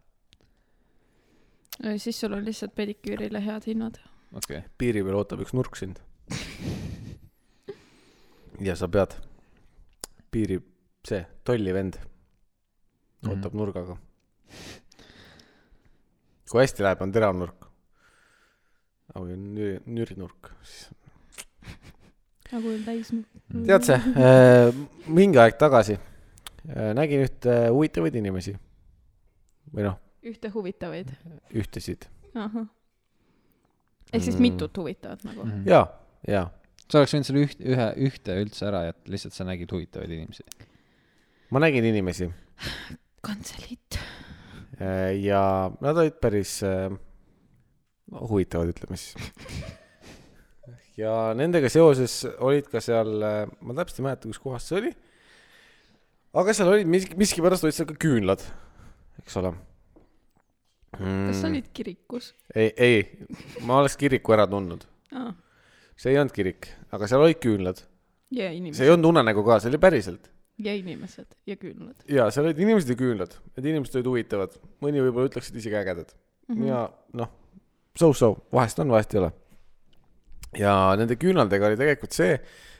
Speaker 3: siis sul on lihtsalt pediküürile head hinnad .
Speaker 1: okei okay. ,
Speaker 2: piiri peal ootab üks nurk sind . ja sa pead piiri , see tollivend
Speaker 1: Mhm.
Speaker 2: ootab mm. nurgaga . kui hästi läheb , on terav nurk . aga kui on nüri , nürinurk , siis .
Speaker 3: nagu on täis .
Speaker 2: tead sa äh, , mingi aeg tagasi äh, nägin ühte huvitavaid inimesi . või noh ,
Speaker 3: ühte huvitavaid .
Speaker 2: ühtesid .
Speaker 3: ehk siis
Speaker 2: Mm.
Speaker 3: mitut huvitavat nagu mm .
Speaker 1: Mhm.
Speaker 2: jaa , jaa .
Speaker 1: sa oleks võinud selle üht , ühe , ühte üldse ära jätta , lihtsalt sa nägid huvitavaid inimesi .
Speaker 2: ma nägin inimesi
Speaker 3: kantselit .
Speaker 2: Äh, ja nad olid päris äh, huvitavad , ütleme siis . ja nendega seoses olid ka seal , ma täpselt ei mäleta , kus kohas see oli . aga seal olid miski , miskipärast olid seal ka küünlad , eks ole mm.
Speaker 3: kas sa ? olid kirikus
Speaker 2: ei , ei , ma oleks kiriku ära tundnud ,
Speaker 3: ah, ?
Speaker 2: see ei olnud kirik , aga seal olid küünlad ,
Speaker 3: ja
Speaker 2: see ei
Speaker 3: inimesed .
Speaker 2: olnud unenägu ka , see oli päriselt .
Speaker 3: ja inimesed ja küünlad
Speaker 2: ja seal olid inimesed ja küünlad , need inimesed olid huvitavad , mõni võib-olla ütleks , et isegi ägedad .
Speaker 1: Mhm.
Speaker 3: mm . -hmm.
Speaker 2: ja noh , so-so , vahest on , vahest ei ole . ja nende küünaldega oli tegelikult see ,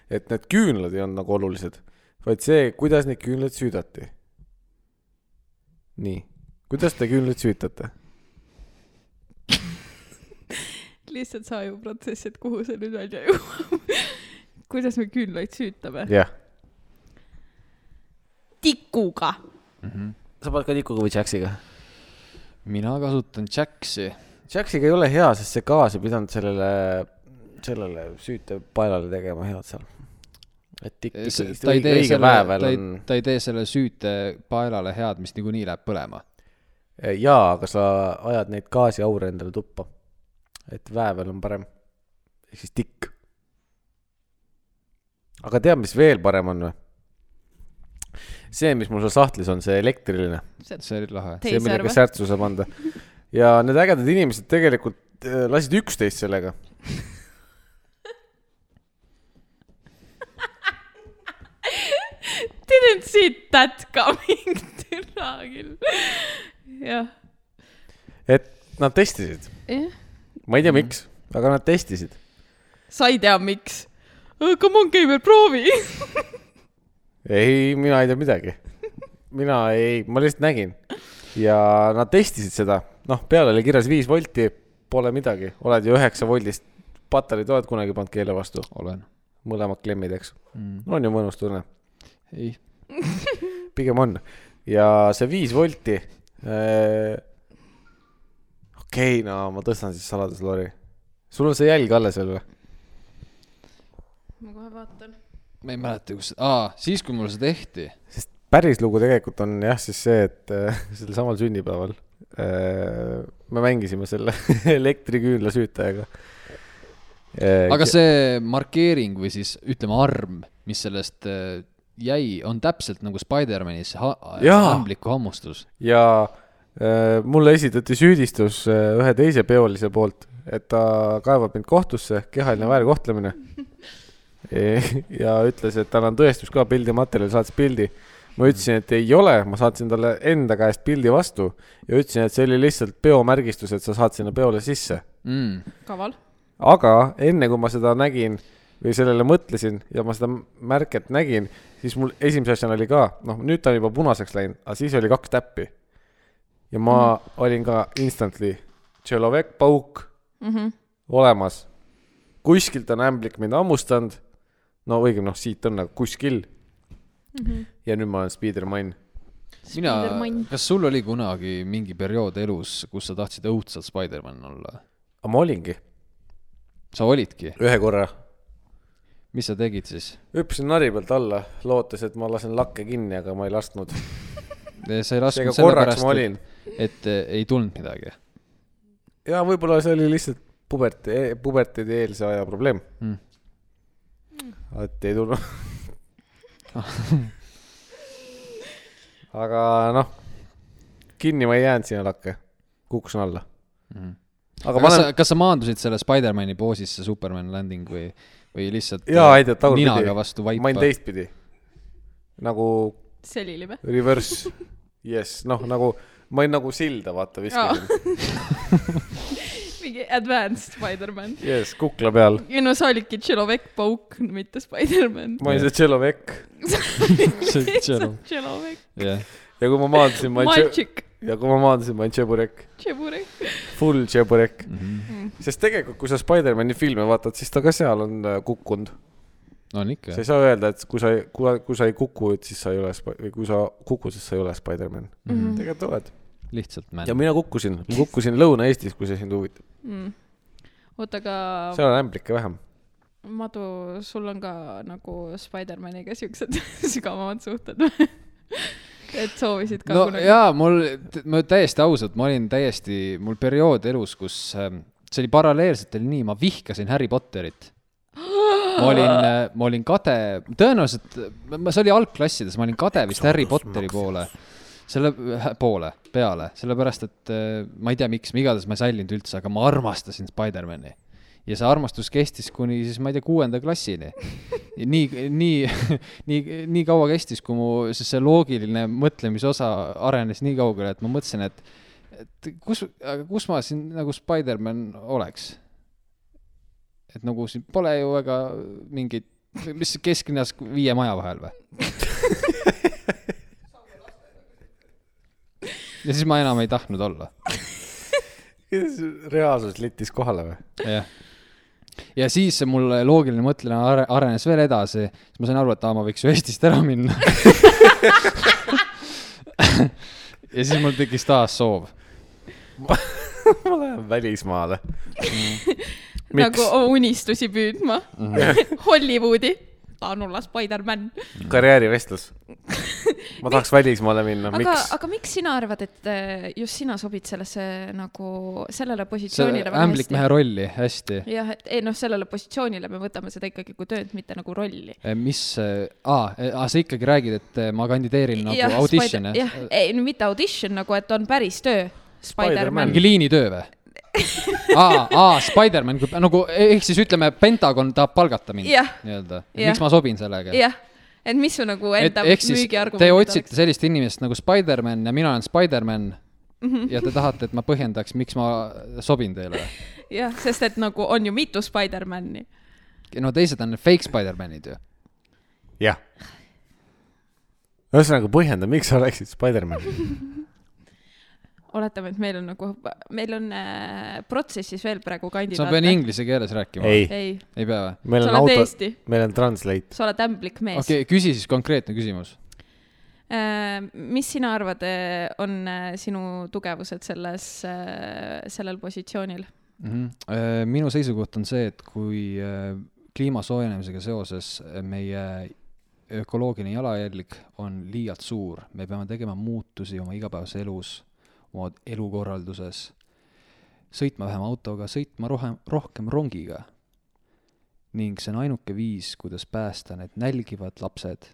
Speaker 2: et need küünlad ei olnud nagu olulised , vaid see , kuidas neid küünlaid süüdati . nii , kuidas te küünlaid süütate ?
Speaker 3: lihtsalt see ajuprotsess , et kuhu see nüüd välja jõuab . kuidas me küünlaid süütame ?
Speaker 2: jah .
Speaker 3: tikuga .
Speaker 2: sa paned ka tikuga või Jaxiga ?
Speaker 1: mina kasutan Jaxi .
Speaker 2: Jaxiga ei ole hea , sest see gaas ei pidanud sellele , sellele süütepaelale tegema head seal . et tikk
Speaker 1: ta ei
Speaker 2: ikkagi
Speaker 1: tee
Speaker 2: õige
Speaker 1: selle ,
Speaker 2: päev
Speaker 1: ta ei
Speaker 2: on ,,
Speaker 1: ta ei tee selle süüte paelale head , mis niikuinii läheb põlema .
Speaker 2: Äh, jaa , aga sa ajad neid gaasiaure endale tuppa . et väävel on parem . ehk siis tikk . aga tead , mis veel parem on või ? see , mis mul seal sahtlis on , see elektriline .
Speaker 1: see oli lahe .
Speaker 2: see ,
Speaker 3: teiser
Speaker 2: millega
Speaker 3: või ?
Speaker 2: särtsu saab anda . ja need ägedad inimesed tegelikult äh, lasid üksteist sellega .
Speaker 3: Didn't see that coming , türa küll . jah ,
Speaker 2: et nad testisid .
Speaker 3: jah ,
Speaker 2: ma ei tea , miks , aga nad testisid .
Speaker 3: sa ei tea , miks . Come on , Keimer , proovi .
Speaker 2: ei , mina ei tea midagi . mina ei , ma lihtsalt nägin ja nad testisid seda , noh , peal oli kirjas viis volti , Pole midagi , oled ju üheksa voldist patareid oled kunagi pannud keele vastu ,
Speaker 1: olen
Speaker 2: mõlemad klemmid , eks .
Speaker 1: mm. .
Speaker 2: on ju mõnus tunne ,
Speaker 1: ei ,
Speaker 2: pigem on . ja see viis volti . okei , no ma tõstan siis saladuslori . sul on see jälg alles veel või ?
Speaker 3: ma kohe vaatan .
Speaker 1: ma ei mäleta , kus , aa , siis kui mul see tehti ,
Speaker 2: sest päris lugu tegelikult on jah , siis see , et äh, sel samal sünnipäeval äh, me mängisime selle elektriküünla süütajaga . Äh,
Speaker 1: aga see markeering või siis ütleme arm , mis sellest äh, jäi , on täpselt nagu Spider-manis see ha-
Speaker 2: Jaa.
Speaker 1: ämbliku hammustus .
Speaker 2: ja äh, mulle esitati süüdistus äh, ühe teise peolise poolt , et ta kaevab mind kohtusse , kehaline väärkohtlemine . ja ütles , et tal on tõestus ka pildimaterjal , saatis pildi . ma ütlesin , et ei ole , ma saatsin talle enda käest pildi vastu ja ütlesin , et see oli lihtsalt peomärgistus , et sa saad sinna peole sisse .
Speaker 1: mm. .
Speaker 3: kaval .
Speaker 2: aga enne kui ma seda nägin või sellele mõtlesin ja ma seda märket nägin , siis mul esimese asjana oli ka , noh , nüüd ta on juba punaseks läinud , aga siis oli kaks täppi . ja ma mm. olin ka instantly , Tšelovek pauk
Speaker 3: Mm -hmm.
Speaker 2: olemas . kuskilt on ämblik mind hammustanud . no õigemini , noh , siit on , aga kuskil .
Speaker 3: Mm -hmm.
Speaker 2: ja nüüd ma olen Spider-man .
Speaker 1: mina
Speaker 3: Spider-man. ,
Speaker 1: kas sul oli kunagi mingi periood elus , kus sa tahtsid õudselt Spider-man olla ?
Speaker 2: aga ma olingi
Speaker 1: sa olidki ,
Speaker 2: ühe korra
Speaker 1: mis sa tegid siis ?
Speaker 2: hüppasin nari pealt alla , lootes , et ma lasen lakke kinni , aga ma ei lasknud .
Speaker 1: sa ei lasknud
Speaker 2: seega korraks ma olin .
Speaker 1: et, et eh, ei tulnud midagi
Speaker 2: ja võib-olla see oli lihtsalt puberti , puberteedi eelse aja probleem ,
Speaker 1: mm. . Mm.
Speaker 2: et ei tulnud . aga noh , kinni ma ei jäänud sinna lakke , kukkusin alla .
Speaker 1: Mm.
Speaker 2: aga
Speaker 1: aga kas
Speaker 2: ma
Speaker 1: sa
Speaker 2: olen ,,
Speaker 1: kas sa maandusid selle Spider-mani poosisse Superman landing või , või lihtsalt äh,
Speaker 2: jaa , aitäh ,
Speaker 1: ninaga
Speaker 2: tagurpidi .
Speaker 1: vastu
Speaker 2: ma olin
Speaker 1: vaipa ?
Speaker 2: teistpidi . nagu
Speaker 3: selili või ?
Speaker 2: reverse , jess , noh nagu , ma olin nagu silda , vaata , viskasin .
Speaker 3: mingi advanced Spider-man .
Speaker 2: jess , kukla peal .
Speaker 3: ei no sa olidki Tšelovek Pauk , mitte Spider-man .
Speaker 2: ma olin see Tšelovek
Speaker 1: Tšelo-
Speaker 3: Tšelovek ,
Speaker 1: jah ,
Speaker 2: ja kui ma maandusin , ma olin Tše- ,
Speaker 3: Maltšik ,
Speaker 2: ja kui ma maandusin , ma olin Tšeburek ,
Speaker 3: Tšeburek .
Speaker 2: full Tšeburek . sest tegelikult , kui sa Spider-man'i filme vaatad , siis ta ka seal on äh, kukkunud .
Speaker 1: on ikka
Speaker 2: sa . ei saa öelda , et kui sa , kui , kui sa ei kuku , et siis sa ei ole , või kui sa kukud , siis sa ei ole Spider-man . tegelikult oled .
Speaker 1: Mhm. lihtsalt
Speaker 2: Mhm. ja
Speaker 1: männ .
Speaker 2: mina kukkusin , ma kukkusin Lõuna-Eestis , kui see sind huvitab .
Speaker 3: Mhm. oota , aga
Speaker 2: seal on ämblikke vähem .
Speaker 3: Madu , sul on ka nagu Spider-maniga siuksed sügavamad suhted või ? et soovisid ka
Speaker 1: no
Speaker 3: kunagi ?
Speaker 1: jaa , mul , ma täiesti ausalt , ma olin täiesti , mul periood elus , kus ähm, see oli paralleelselt oli nii , ma vihkasin Harry Potterit . ma olin , ma olin kade , tõenäoliselt , ma , see oli algklassides , ma olin kade vist Harry Potteri poole , selle äh, poole peale , sellepärast et äh, ma ei tea , miks , ma igatahes ma ei sallinud üldse , aga ma armastasin Spider-mani . ja see armastus kestis kuni siis , ma ei tea , kuuenda klassini . nii , nii , nii , nii kaua kestis , kui mu siis see loogiline mõtlemisosa arenes nii kaugele , et ma mõtlesin , et , et kus , kus ma siin nagu Spider-man oleks et nagu siin pole ju väga mingit , mis see kesklinnas viie maja vahel või ? ja siis ma enam ei tahtnud olla ,
Speaker 2: reaalsus littis kohale või ?
Speaker 1: jah . ja siis mul loogiline mõtlemine are- arenes veel edasi , siis ma sain aru , et aa , ma võiks ju Eestist ära minna . ja siis mul tekkis taas soov .
Speaker 2: ma lähen välismaale .
Speaker 3: nagu
Speaker 2: miks ? Mhm.
Speaker 3: unistusi püüdma . Hollywoodi . tahan olla Spider-man .
Speaker 2: karjäärivestlus . ma tahaks välismaale minna ,
Speaker 3: aga
Speaker 2: miks ?,
Speaker 3: aga miks sina arvad , et eh, just sina sobid sellesse nagu , sellele
Speaker 1: see
Speaker 3: positsioonile väga
Speaker 1: ämblik
Speaker 3: hästi ?
Speaker 1: mehe rolli , hästi .
Speaker 3: jah , et ei noh , sellele positsioonile me võtame seda ikkagi kui tööd , mitte nagu rolli .
Speaker 1: Eh, mis , aa , sa ikkagi räägid , et eh, ma kandideerin nagu audition ,
Speaker 3: jah ? eh, jah , ei no mitte audition nagu , et on päris töö . Spider-man
Speaker 2: Spider-Man.
Speaker 1: mingi liinitöö või ? aa , aa , Spider-man , nagu ehk siis ütleme , Pentagon tahab palgata mind
Speaker 3: Jah.
Speaker 1: nii-öelda .
Speaker 3: Jah.
Speaker 1: miks ma sobin sellega ?
Speaker 3: jah , et mis su nagu
Speaker 1: et
Speaker 3: enda
Speaker 1: ehk siis
Speaker 3: müügiargument
Speaker 1: te otsite sellist inimest nagu Spider-man ja mina olen Spider-man
Speaker 3: Mhm.
Speaker 1: ja te tahate , et ma põhjendaks , miks ma sobin teile või ?
Speaker 3: oleks ? jah , sest et nagu on ju mitu Spider-mani .
Speaker 1: no teised on fake Spider-manid ju .
Speaker 2: jah . ühesõnaga põhjenda , miks sa oleksid Spider-man .
Speaker 3: oletame , et meil on nagu , meil on äh, protsessis veel praegu
Speaker 1: kas ma pean
Speaker 3: kandidaat .
Speaker 1: inglise keeles rääkima ?
Speaker 2: ei ,
Speaker 3: ei ,
Speaker 1: ei pea või ?
Speaker 2: meil
Speaker 3: sa
Speaker 2: on
Speaker 3: oled
Speaker 2: auto ,
Speaker 3: Eesti ,
Speaker 2: meil on translate .
Speaker 3: sa oled ämblik mees
Speaker 1: okei okay, , küsi siis konkreetne küsimus .
Speaker 3: Äh, mis sina arvad , on äh, sinu tugevused selles , sellel positsioonil ?
Speaker 1: mm . -hmm. minu seisukoht on see , et kui äh, kliima soojenemisega seoses äh, meie ökoloogiline jalajälg on liialt suur , me peame tegema muutusi oma igapäevases elus , oma elukorralduses , sõitma vähem autoga , sõitma rohem , rohkem rongiga . ning see on ainuke viis , kuidas päästa need nälgivad lapsed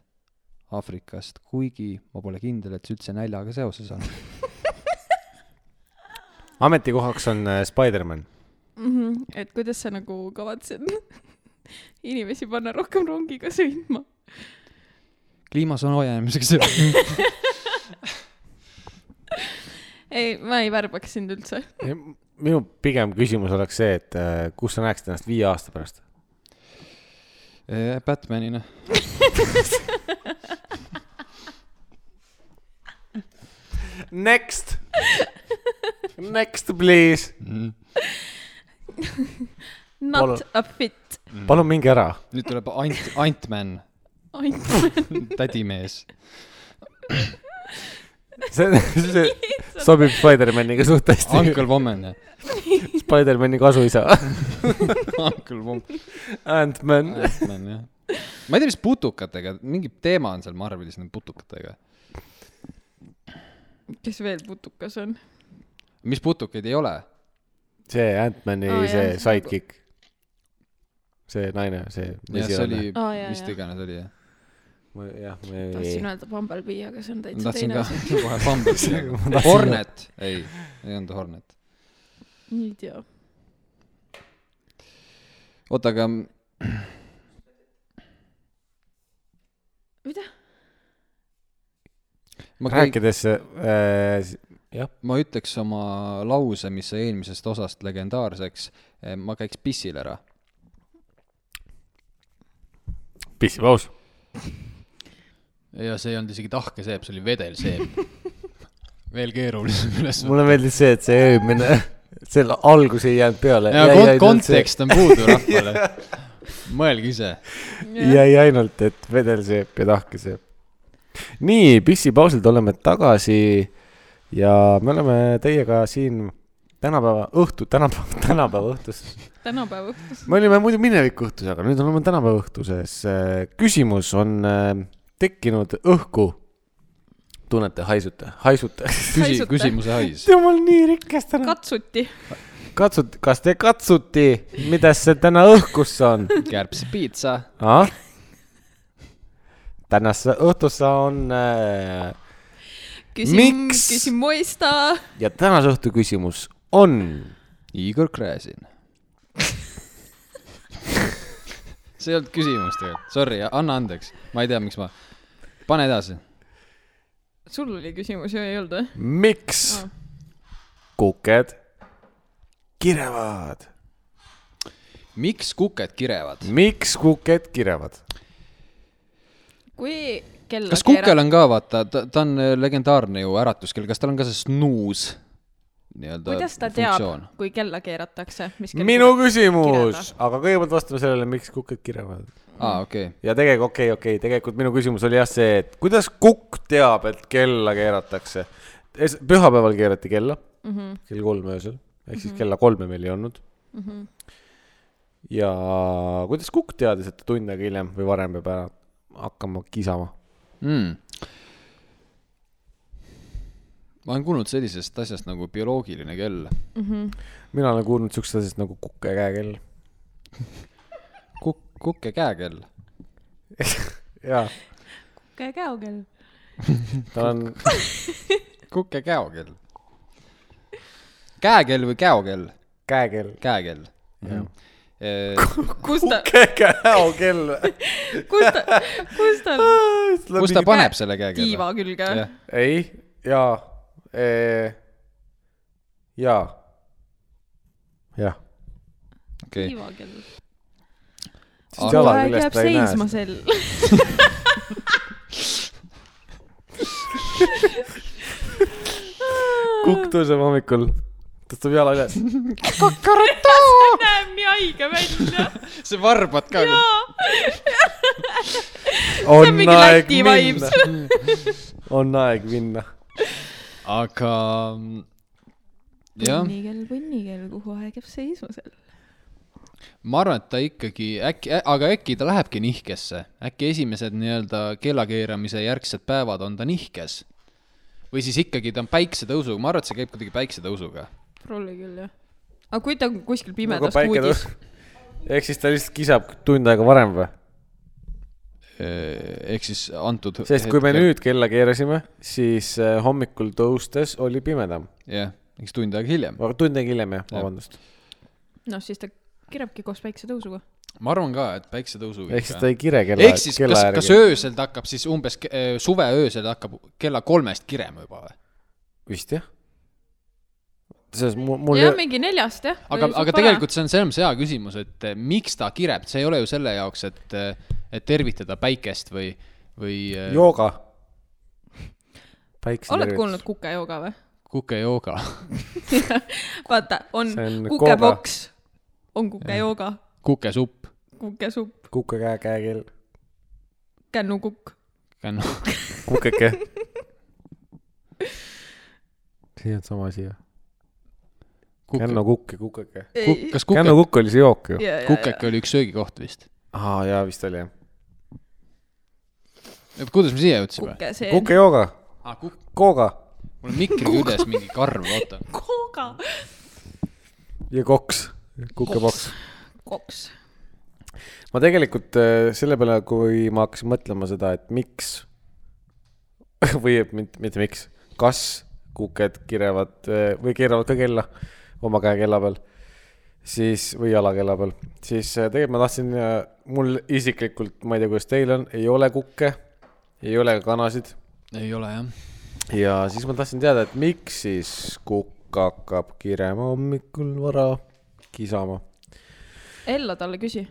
Speaker 1: Aafrikast , kuigi ma pole kindel , et see üldse näljaga seoses on .
Speaker 2: ametikohaks on äh, Spider-man .
Speaker 3: Mhm. et kuidas sa nagu kavatsed inimesi panna rohkem rongiga sõitma ?
Speaker 1: kliima soojenemisega seoses .
Speaker 3: ei , ma ei värbaks sind üldse .
Speaker 2: minu pigem küsimus oleks see , et äh, kus sa näeksid ennast viie aasta pärast ?
Speaker 1: Äh, Batmanina .
Speaker 2: Next , next please .
Speaker 3: Not
Speaker 2: Palun.
Speaker 3: a fit .
Speaker 2: palun minge ära .
Speaker 1: nüüd tuleb Ant , Antman ,
Speaker 3: ainult .
Speaker 1: tädimees .
Speaker 2: see , see sobib Spider-maniga suht hästi .
Speaker 1: Uncle Woman ,
Speaker 2: Spider-mani kasuisa ,
Speaker 1: Uncle Woman ,
Speaker 2: Ant-Man .
Speaker 1: Antman jah . ma ei tea , mis putukatega , mingi teema on seal Marvelis nende putukatega .
Speaker 3: kes veel putukas on ?
Speaker 1: mis putukaid ei ole ?
Speaker 2: see Ant-Mani
Speaker 3: Aa,
Speaker 2: oh,
Speaker 3: jah,
Speaker 2: see
Speaker 3: see
Speaker 2: sidekick . see naine , see .
Speaker 1: jah , see oli ,
Speaker 3: Aa, jaa,
Speaker 1: mis ta
Speaker 3: jaa.
Speaker 1: iganes oli jah .
Speaker 2: jah ,
Speaker 3: tahtsin
Speaker 2: me .
Speaker 3: öelda Bumblebee , aga see on
Speaker 1: ma
Speaker 3: täitsa
Speaker 1: tahtsin
Speaker 3: teine
Speaker 1: ka
Speaker 3: asi .
Speaker 1: kohe pambida . Hornet , ei , ei olnud Hornet .
Speaker 3: ei tea .
Speaker 1: oota , aga
Speaker 3: mida ?
Speaker 1: ma kõik ,
Speaker 2: rääkides äh, , jah ,
Speaker 1: ma ütleks oma lause , mis sai eelmisest osast legendaarseks . ma käiks pissil ära .
Speaker 2: pissipaus .
Speaker 1: ja see ei olnud isegi tahke seep , see oli vedel seep . veel keerulisem üles .
Speaker 2: mulle meeldis see , et see ööbimine , selle algus ei jäänud peale .
Speaker 1: ja kon- , kontekst on puudu rahvale . mõelge ise .
Speaker 2: jäi ainult , et vedel sööb ja tahke sööb . nii , pissipausilt oleme tagasi ja me oleme teiega siin tänapäeva õhtu , tänapäeva , tänapäeva õhtus .
Speaker 3: tänapäeva õhtus .
Speaker 2: me olime muidu mineviku õhtus , aga nüüd oleme tänapäeva õhtuses . küsimus on äh, tekkinud õhku . tunnete , haisute , haisute ?
Speaker 1: küsi ,
Speaker 3: Haisute.
Speaker 1: küsimuse hais .
Speaker 2: jumal , nii rikas täna .
Speaker 3: katsuti .
Speaker 2: katsut- , kas te katsuti , mida see täna õhkusse on ?
Speaker 1: kärbs piitsa .
Speaker 2: ah? . tänase õhtusse on äh,
Speaker 3: küsin ,
Speaker 2: Miks?
Speaker 3: küsin moista .
Speaker 2: ja tänase õhtu küsimus on .
Speaker 1: Igor Gräzin . see ei olnud küsimus tegelikult , sorry , anna andeks , ma ei tea , miks ma , pane edasi .
Speaker 3: sul oli küsimus ju , ei olnud või ?
Speaker 2: miks
Speaker 3: Aa.
Speaker 2: kuked kirevad ?
Speaker 1: miks kuked kirevad ?
Speaker 2: miks kuked kirevad ?
Speaker 3: kui kell
Speaker 1: kas kukel on ka , vaata , ta , ta on äh, legendaarne ju äratuskell , kas tal on ka see snuus nii-öelda
Speaker 3: kuidas ta teab , kui kella keeratakse , mis kell
Speaker 2: minu
Speaker 3: kuked-
Speaker 2: küsimus
Speaker 3: kireda. ,
Speaker 2: aga kõigepealt vastame sellele , miks kuked kirevad .
Speaker 1: aa , okei okay. .
Speaker 2: ja tegelikult , okei okay, , okei okay, , tegelikult minu küsimus oli jah see , et kuidas kukk teab , et kella keeratakse ? pühapäeval keerati kella
Speaker 3: mm . -hmm.
Speaker 2: kell kolm öösel , ehk siis kella kolme meil ei olnud .
Speaker 3: Mm -hmm.
Speaker 2: ja kuidas Kukk teadis , et ta tund aega hiljem või varem peab ära hakkama kisama ?
Speaker 1: mm. . ma olen kuulnud sellisest asjast nagu bioloogiline kell .
Speaker 3: Mm -hmm.
Speaker 2: mina olen kuulnud siuksest asjast nagu kuke käekell .
Speaker 1: Kukk , kukke käekell .
Speaker 2: jaa ,
Speaker 3: käe käokell .
Speaker 2: ta on ,
Speaker 1: kukke käokell . käekell või käokell ?
Speaker 2: käekell .
Speaker 1: käekell .
Speaker 2: Jah.
Speaker 1: Äh,
Speaker 3: kus ta ,
Speaker 2: kuke käokell .
Speaker 3: kus ta , kus tal
Speaker 1: kus ta paneb selle käekella ?
Speaker 3: tiiva külge
Speaker 1: jah ,
Speaker 2: ei , jaa , jaa , jah .
Speaker 1: okei okay. .
Speaker 3: tiiva kell .
Speaker 1: Ah.
Speaker 2: Jala
Speaker 3: aeg
Speaker 2: küljest
Speaker 3: jääb
Speaker 2: ta ei näe
Speaker 3: seisma sel .
Speaker 2: kukk tõuseb hommikul , tõstab jala üles .
Speaker 3: see näeb nii haige välja .
Speaker 1: see varbad ka .
Speaker 3: on mingi Läti vibes. .
Speaker 2: on aeg minna .
Speaker 1: aga mm, jah ,
Speaker 3: punnikell , punnikell , kuhu aeg jääb seisma seal ?
Speaker 1: ma arvan , et ta ikkagi äkki , aga äkki ta lähebki nihkesse , äkki esimesed nii-öelda kellakeeramise järgsed päevad on ta nihkes . või siis ikkagi ta on päiksetõusuga , ma arvan , et see käib kuidagi päiksetõusuga .
Speaker 3: prolli küll jah . aga kui ta on kuskil
Speaker 2: aga
Speaker 3: pimedas
Speaker 2: Nagu päike
Speaker 3: kuudis
Speaker 2: tõuseb .. ehk siis ta lihtsalt kisab tund aega varem või ?
Speaker 1: ehk siis antud .
Speaker 2: sest kui me . nüüd kella keerasime , siis äh, hommikul tõustes oli pimedam .
Speaker 1: jah , eks tund aega hiljem .
Speaker 2: tund aega hiljem jah ,
Speaker 1: Jah.
Speaker 2: vabandust .
Speaker 3: noh , siis ta kirjabki koos päiksetõusuga .
Speaker 1: ma arvan ka , et päiksetõusuga .
Speaker 2: ehk siis ta ei kire kella ,
Speaker 1: ehk siis ,
Speaker 2: kella
Speaker 1: kas , kas
Speaker 2: järgi .
Speaker 1: öösel ta hakkab siis umbes , suveöösel ta hakkab kella kolmest kirema juba või ?
Speaker 2: vist jah . selles mul , mul
Speaker 3: jah ,
Speaker 2: ei ,
Speaker 3: mingi neljast jah .
Speaker 1: aga , aga tegelikult see on selles mõttes hea küsimus , et eh, miks ta kireb , see ei ole ju selle jaoks , et , et tervitada päikest või , või eh,
Speaker 2: jooga . päikse .
Speaker 3: Äh. oled kuulnud ? kukejooga või ?
Speaker 1: kukejooga .
Speaker 3: vaata , on
Speaker 2: See on
Speaker 3: kukepoks , on kukejooga ,
Speaker 1: kukesupp .
Speaker 3: kukesupp ,
Speaker 2: kuke käe , käekell .
Speaker 3: kännukukk .
Speaker 2: kukeke . see ei olnud sama asi või ?
Speaker 1: Kuke,
Speaker 2: kännukukk ja kukeke .
Speaker 1: kuk- kas kuke ,
Speaker 2: kännukukk oli see jook ju .
Speaker 1: kukeke oli üks söögikoht vist ?
Speaker 2: aa , jaa , vist oli jah .
Speaker 1: kuidas me siia jõudsime ?
Speaker 3: kukeseen .
Speaker 2: kukejooga ,
Speaker 1: aa , kuk- ,
Speaker 2: kooga
Speaker 1: mul on mikri küljes mingi karv , oota .
Speaker 3: kooga .
Speaker 2: ja koks , kukepoks .
Speaker 3: koks .
Speaker 2: ma tegelikult äh, selle peale , kui ma hakkasin mõtlema seda , et miks või et mit- mitte miks , kas kuked kirevad äh, või keeravad ka kella oma käe kella peal , siis või jalakella peal , siis äh, tegelikult ma tahtsin , mul isiklikult , ma ei tea , kuidas teil on , ei ole kukke , ei ole ka kanasid
Speaker 1: ei ole jah .
Speaker 2: ja siis ma tahtsin teada , et miks siis kukk hakkab kirema hommikul vara kisama .
Speaker 3: Ella talle küsi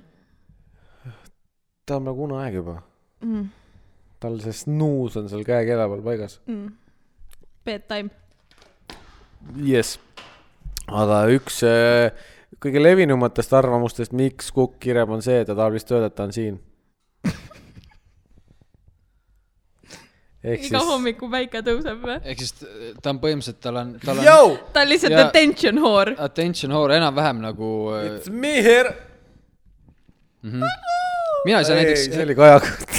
Speaker 2: ta on nagu uneaeg juba
Speaker 3: mm, .
Speaker 2: tal see snuus on seal käekella peal paigas .
Speaker 3: Mm. Bedtime .
Speaker 2: jess . aga üks äh, kõige levinumatest arvamustest , miks kukk kireb , on see , et ta tahab lihtsalt öelda , et ta on siin . ehk
Speaker 3: iga
Speaker 2: siis ,
Speaker 3: hommiku päike tõuseb või ?
Speaker 1: ehk siis t- ta on põhimõtteliselt , tal on , tal on
Speaker 2: yo ,
Speaker 3: ta on lihtsalt
Speaker 1: Ja-
Speaker 3: attention whore .
Speaker 1: attention whore enam-vähem nagu ,
Speaker 2: it's me here .
Speaker 1: mina ei saa näiteks ,
Speaker 2: see oli Kaja Kallas .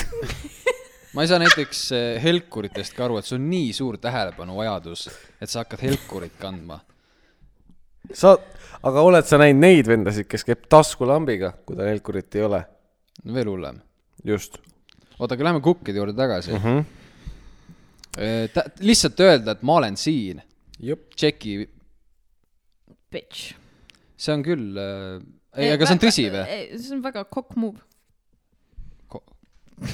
Speaker 1: ma ei saa näiteks eh, helkuritest ka aru , et sul on nii suur tähelepanuvajadus , et sa hakkad helkurit kandma .
Speaker 2: sa , aga oled sa näinud neid vendasid , kes käib taskulambiga , kui tal helkurit ei ole ?
Speaker 1: veel hullem .
Speaker 2: just .
Speaker 1: oota , aga lähme kukkide juurde tagasi mm . -hmm. lihtsalt öelda , et ma olen siin ,
Speaker 2: jep .
Speaker 1: tšeki ,
Speaker 3: Bitch .
Speaker 1: see on küll , ei , aga see on tõsi või ?
Speaker 3: või ? see on väga kokk move .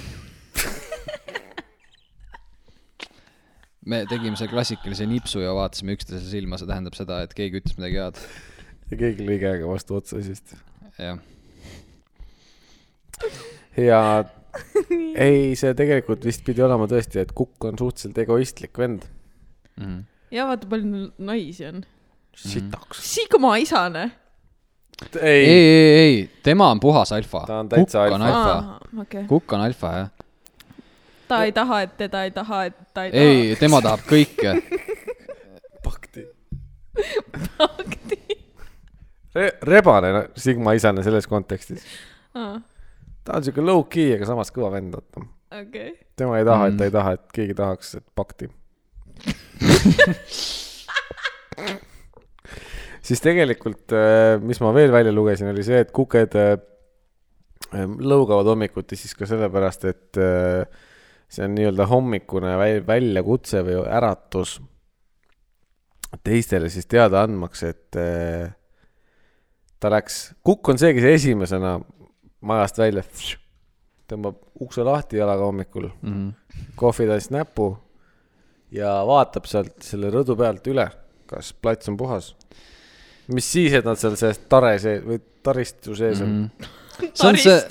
Speaker 1: me tegime selle klassikalise nipsu ja vaatasime üksteise silma , see tähendab seda , et keegi ütles midagi head .
Speaker 2: ja keegi lõi käega vastu otsa vist .
Speaker 1: jah ,
Speaker 2: ja ei , see tegelikult vist pidi olema tõesti , et Kukk on suhteliselt egoistlik vend .
Speaker 3: ja vaata , palju neil naisi on .
Speaker 2: Mhm. sitaks .
Speaker 3: Sigma isane .
Speaker 1: ei ,
Speaker 2: ei ,
Speaker 1: ei , ei , ei , tema on puhas alfa .
Speaker 2: Ta on täitsa
Speaker 1: kukk on
Speaker 2: alfa.
Speaker 1: alfa ,
Speaker 3: okei .
Speaker 1: kukk on alfa , jah .
Speaker 3: ta ei taha , et teda ei taha , et ta ei,
Speaker 1: ei , tema tahab kõike
Speaker 2: pakti .
Speaker 3: taha akti .
Speaker 2: Re- , rebane Sigma isane selles kontekstis .
Speaker 3: okei .
Speaker 2: ta on siuke low-key , aga samas kõva vend , vaata . tema ei taha , et ta ei taha , et keegi tahaks , et pakti . siis tegelikult , mis ma veel välja lugesin , oli see , et kuked äh, ähm, lõugavad hommikuti siis ka sellepärast , et äh, see on nii-öelda hommikune väl- väljakutse või äratus teistele siis teada andmaks , et äh, ta läks , kukk on see , kes esimesena majast välja tõmbab ukse lahti jalaga hommikul
Speaker 1: mm . -hmm.
Speaker 2: kohvitass näpu ja vaatab sealt selle rõdu pealt üle , kas plats on puhas . mis siis , et nad seal selles tare sees või taristu sees on mm .
Speaker 1: see on see ,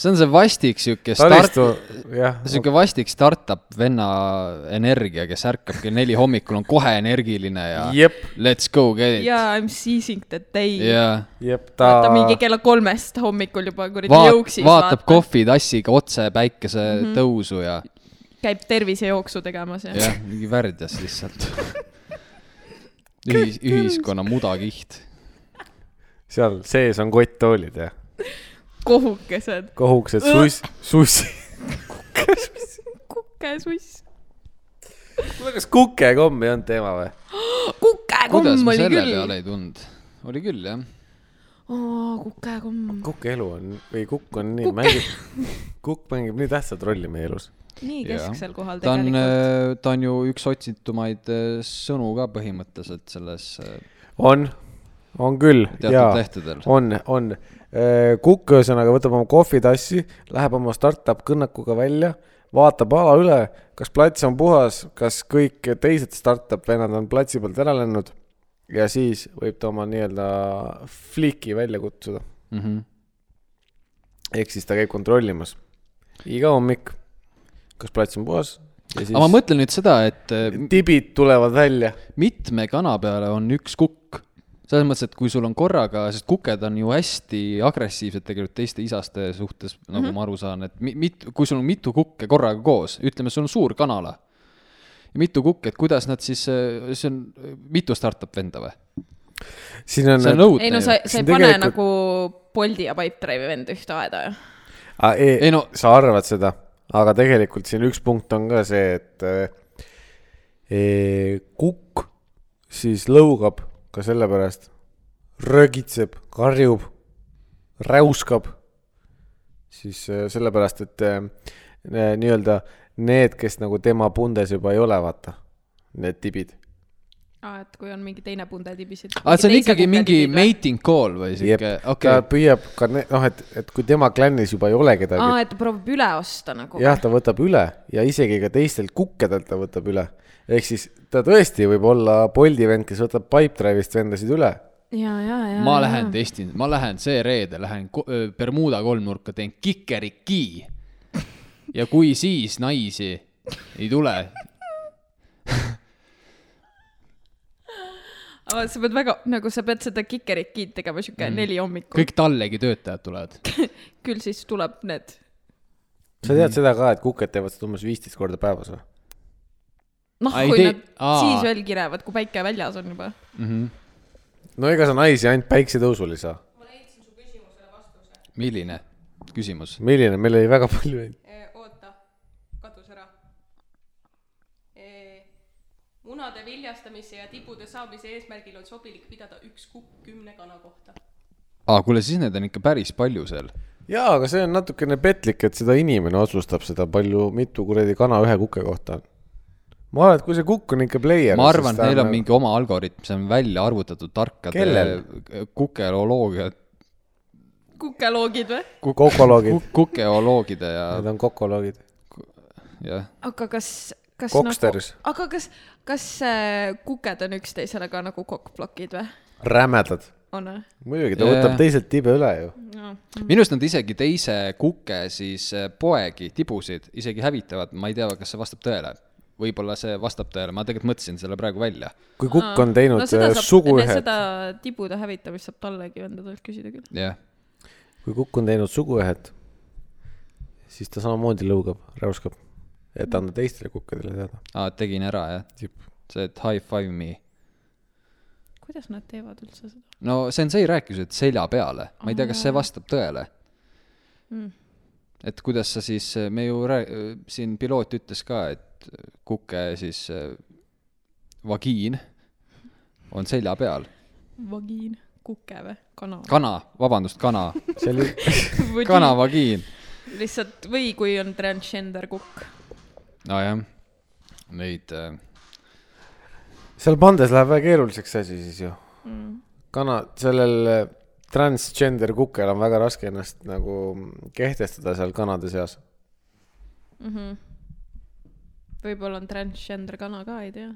Speaker 1: see on see vastik sihuke start ,
Speaker 2: taristu , jah .
Speaker 1: sihuke vastik startup venna energia , kes ärkab kell neli hommikul , on kohe energiline ja
Speaker 2: jep ,
Speaker 1: let's go get it .
Speaker 3: jaa , I m seizing the day yeah. .
Speaker 1: ja
Speaker 2: jep ,
Speaker 3: vaata mingi
Speaker 2: ta ,
Speaker 3: kella kolmest hommikul juba kuradi
Speaker 1: vaat- ,
Speaker 3: jõuksis Mhm.
Speaker 1: vaatab . kohvitassiga otse päikesetõusu ja ,
Speaker 3: käib tervisejooksu tegemas ja, ja. .
Speaker 1: jah , mingi värdjas lihtsalt . Ühis, ühiskonna mudakiht .
Speaker 2: seal sees on kotttoolid ja
Speaker 3: kohukesed .
Speaker 2: kohukesed , suss , sussi .
Speaker 3: kukesuss .
Speaker 2: kuule , kas kukekomm ei olnud teema või ?
Speaker 1: kuidas
Speaker 3: kukekomm
Speaker 1: ma
Speaker 3: oli
Speaker 1: selle küll.
Speaker 3: küll
Speaker 1: peale . ei tulnud ? oli küll jah ,
Speaker 3: oo , kukekomm .
Speaker 2: kukeelu on , või kukk on nii , mängib , kukk mängib nii tähtsat rolli meie elus .
Speaker 3: nii
Speaker 1: Jaa.
Speaker 3: kesksel kohal
Speaker 1: ta on äh,
Speaker 3: tegelikult .,
Speaker 1: ta on ju üks otsitumaid äh, sõnu ka põhimõtteliselt selles äh,
Speaker 2: on , on küll , jaa
Speaker 1: teatud . lehtedel .
Speaker 2: on , on . kukk ühesõnaga võtab oma kohvitassi , läheb oma startup kõnnakuga välja , vaatab ala üle , kas plats on puhas , kas kõik teised startup vennad on platsi pealt ära läinud ja siis võib ta oma nii-öelda fliki välja kutsuda .
Speaker 1: Mhm.
Speaker 2: ehk siis ta käib kontrollimas iga hommik , kas plats on puhas ja
Speaker 1: aga ma
Speaker 2: siis
Speaker 1: mõtlen nüüd seda , et äh,
Speaker 2: tibid tulevad välja .
Speaker 1: mitme kana peale on üks kukk . selles mõttes , et kui sul on korraga , sest kuked on ju hästi agressiivsed tegelikult teiste isaste suhtes , nagu
Speaker 3: Mhm.
Speaker 1: mm -hmm. ma aru saan , et mi- mit- , kui sul on mitu kukke korraga koos , ütleme , sul on suur kanala . mitu kukke , et kuidas nad siis , see on mitu startup venda või ?
Speaker 2: siin on,
Speaker 1: see on
Speaker 2: on... .
Speaker 1: õudne
Speaker 3: ei no sa ,
Speaker 1: ju .
Speaker 3: sa
Speaker 2: See
Speaker 3: ei
Speaker 2: on
Speaker 3: pane
Speaker 2: tegelikult-
Speaker 3: tegelikult... nagu Boldi ja Pipedrive'i vend ühte aeda ju .
Speaker 2: Ah, ei,
Speaker 1: Ei
Speaker 2: ei
Speaker 1: no-
Speaker 2: no sa arvad seda , aga tegelikult siin üks punkt on ka see , et eh, kukk siis lõugab ka sellepärast , rögitseb , karjub , räuskab , siis eh, sellepärast , et eh, ne- nii-öelda need , kes nagu tema pundes juba ei ole , vaata , need tibid .
Speaker 3: aa , et kui on mingi teine pundetibisid .
Speaker 1: aa , Ah, see on ikkagi mingi . mating call või sihuke , okei
Speaker 2: ta . püüab ka , noh , et , et kui tema klannis juba ei ole kedagi ,
Speaker 3: aa , et ta proovib üle osta nagu .
Speaker 2: jah , ta võtab üle ja isegi ka teistelt kukkedelt ta võtab üle . ehk siis ta tõesti võib olla Boldi vend , kes võtab Pipedrive'ist vendasid üle .
Speaker 3: ja , ja , ja .
Speaker 1: ma lähen . testin , ma lähen see reede , lähen ko- öö, Bermuda kolmnurka , teen kikeriki . ja kui siis naisi ei tule ,
Speaker 3: aga sa pead väga , nagu sa pead seda kikerikid tegema sihuke mm. neli hommikul Kõik... .
Speaker 1: kõik tallegi töötajad tulevad .
Speaker 3: küll siis tuleb need ,
Speaker 2: sa
Speaker 1: Mhm.
Speaker 2: tead seda ka , et kukked teevad seda umbes viisteist korda päevas või ?
Speaker 3: noh ,
Speaker 1: Ai,
Speaker 3: kui
Speaker 1: tei-
Speaker 3: nad
Speaker 1: aa.
Speaker 3: aa. siis veel kirevad , kui päike väljas on juba .
Speaker 2: no ega sa naisi ainult päiksetõusul ei saa .
Speaker 1: milline küsimus ?
Speaker 2: milline , meil oli väga palju neid .
Speaker 4: oota , kadus ära . munade viljastamise ja tibude saamise eesmärgil on sobilik pidada üks kukk kümne kana kohta .
Speaker 1: aa , kuule , siis neid on ikka päris palju seal .
Speaker 2: jaa , aga see on natukene petlik , et seda inimene otsustab seda , palju , mitu kuradi kana ühe kukke kohta on . ma arvan , et kui see kukk on ikka player .
Speaker 1: ma arvan , et neil on mingi oma algoritm , see on välja arvutatud tarkade
Speaker 2: Kellel?
Speaker 1: kukeoloogia ,
Speaker 3: kukkeloogid või ?
Speaker 2: kokoloogid ,
Speaker 1: kukeoloogide ja ,
Speaker 2: need on kokoloogid .
Speaker 1: jah .
Speaker 3: aga kas , kas
Speaker 2: Koksters.
Speaker 3: nagu , aga kas , kas äh, kuked on üksteisele ka nagu kokkplokid või ?
Speaker 2: rämedad .
Speaker 3: on või ?
Speaker 2: muidugi , ta
Speaker 1: Jaa.
Speaker 2: võtab teiselt tibe üle ju
Speaker 1: minu arust nad isegi teise kuke siis äh, poegi , tibusid isegi hävitavad , ma ei tea , kas see vastab tõele . võib-olla see vastab tõele , ma tegelikult mõtlesin selle praegu välja .
Speaker 2: kui kukk on teinud äh, no, suguühed
Speaker 3: seda tibude hävitamist saab tallegi vendadelt küsida küll .
Speaker 1: jah ,
Speaker 2: kui kukk on teinud suguühet , siis ta samamoodi lõugab , räuskab , et anda teistele kukkedele teada .
Speaker 1: tegin ära jah . see , et high five me .
Speaker 3: kuidas nad teevad üldse seda ?
Speaker 1: no Sensei rääkis , et selja peale , ma ei tea , kas see vastab tõele mm. . et kuidas sa siis , me ju rää- , siin piloot ütles ka , et kuke siis äh, vagiin on selja peal ,
Speaker 3: vagiin , kuke või ? kana
Speaker 1: kana , vabandust , kana ,
Speaker 2: see oli ,
Speaker 3: Või
Speaker 1: kana vagiin .
Speaker 3: lihtsalt või kui on transgender kukk .
Speaker 1: nojah , neid äh,
Speaker 2: seal pandes läheb väga keeruliseks see asi siis ju mm. . kana , sellel äh, transgender kukel on väga raske ennast nagu kehtestada seal kanade seas .
Speaker 3: Mhm. võib-olla on transgender kana ka , ei tea .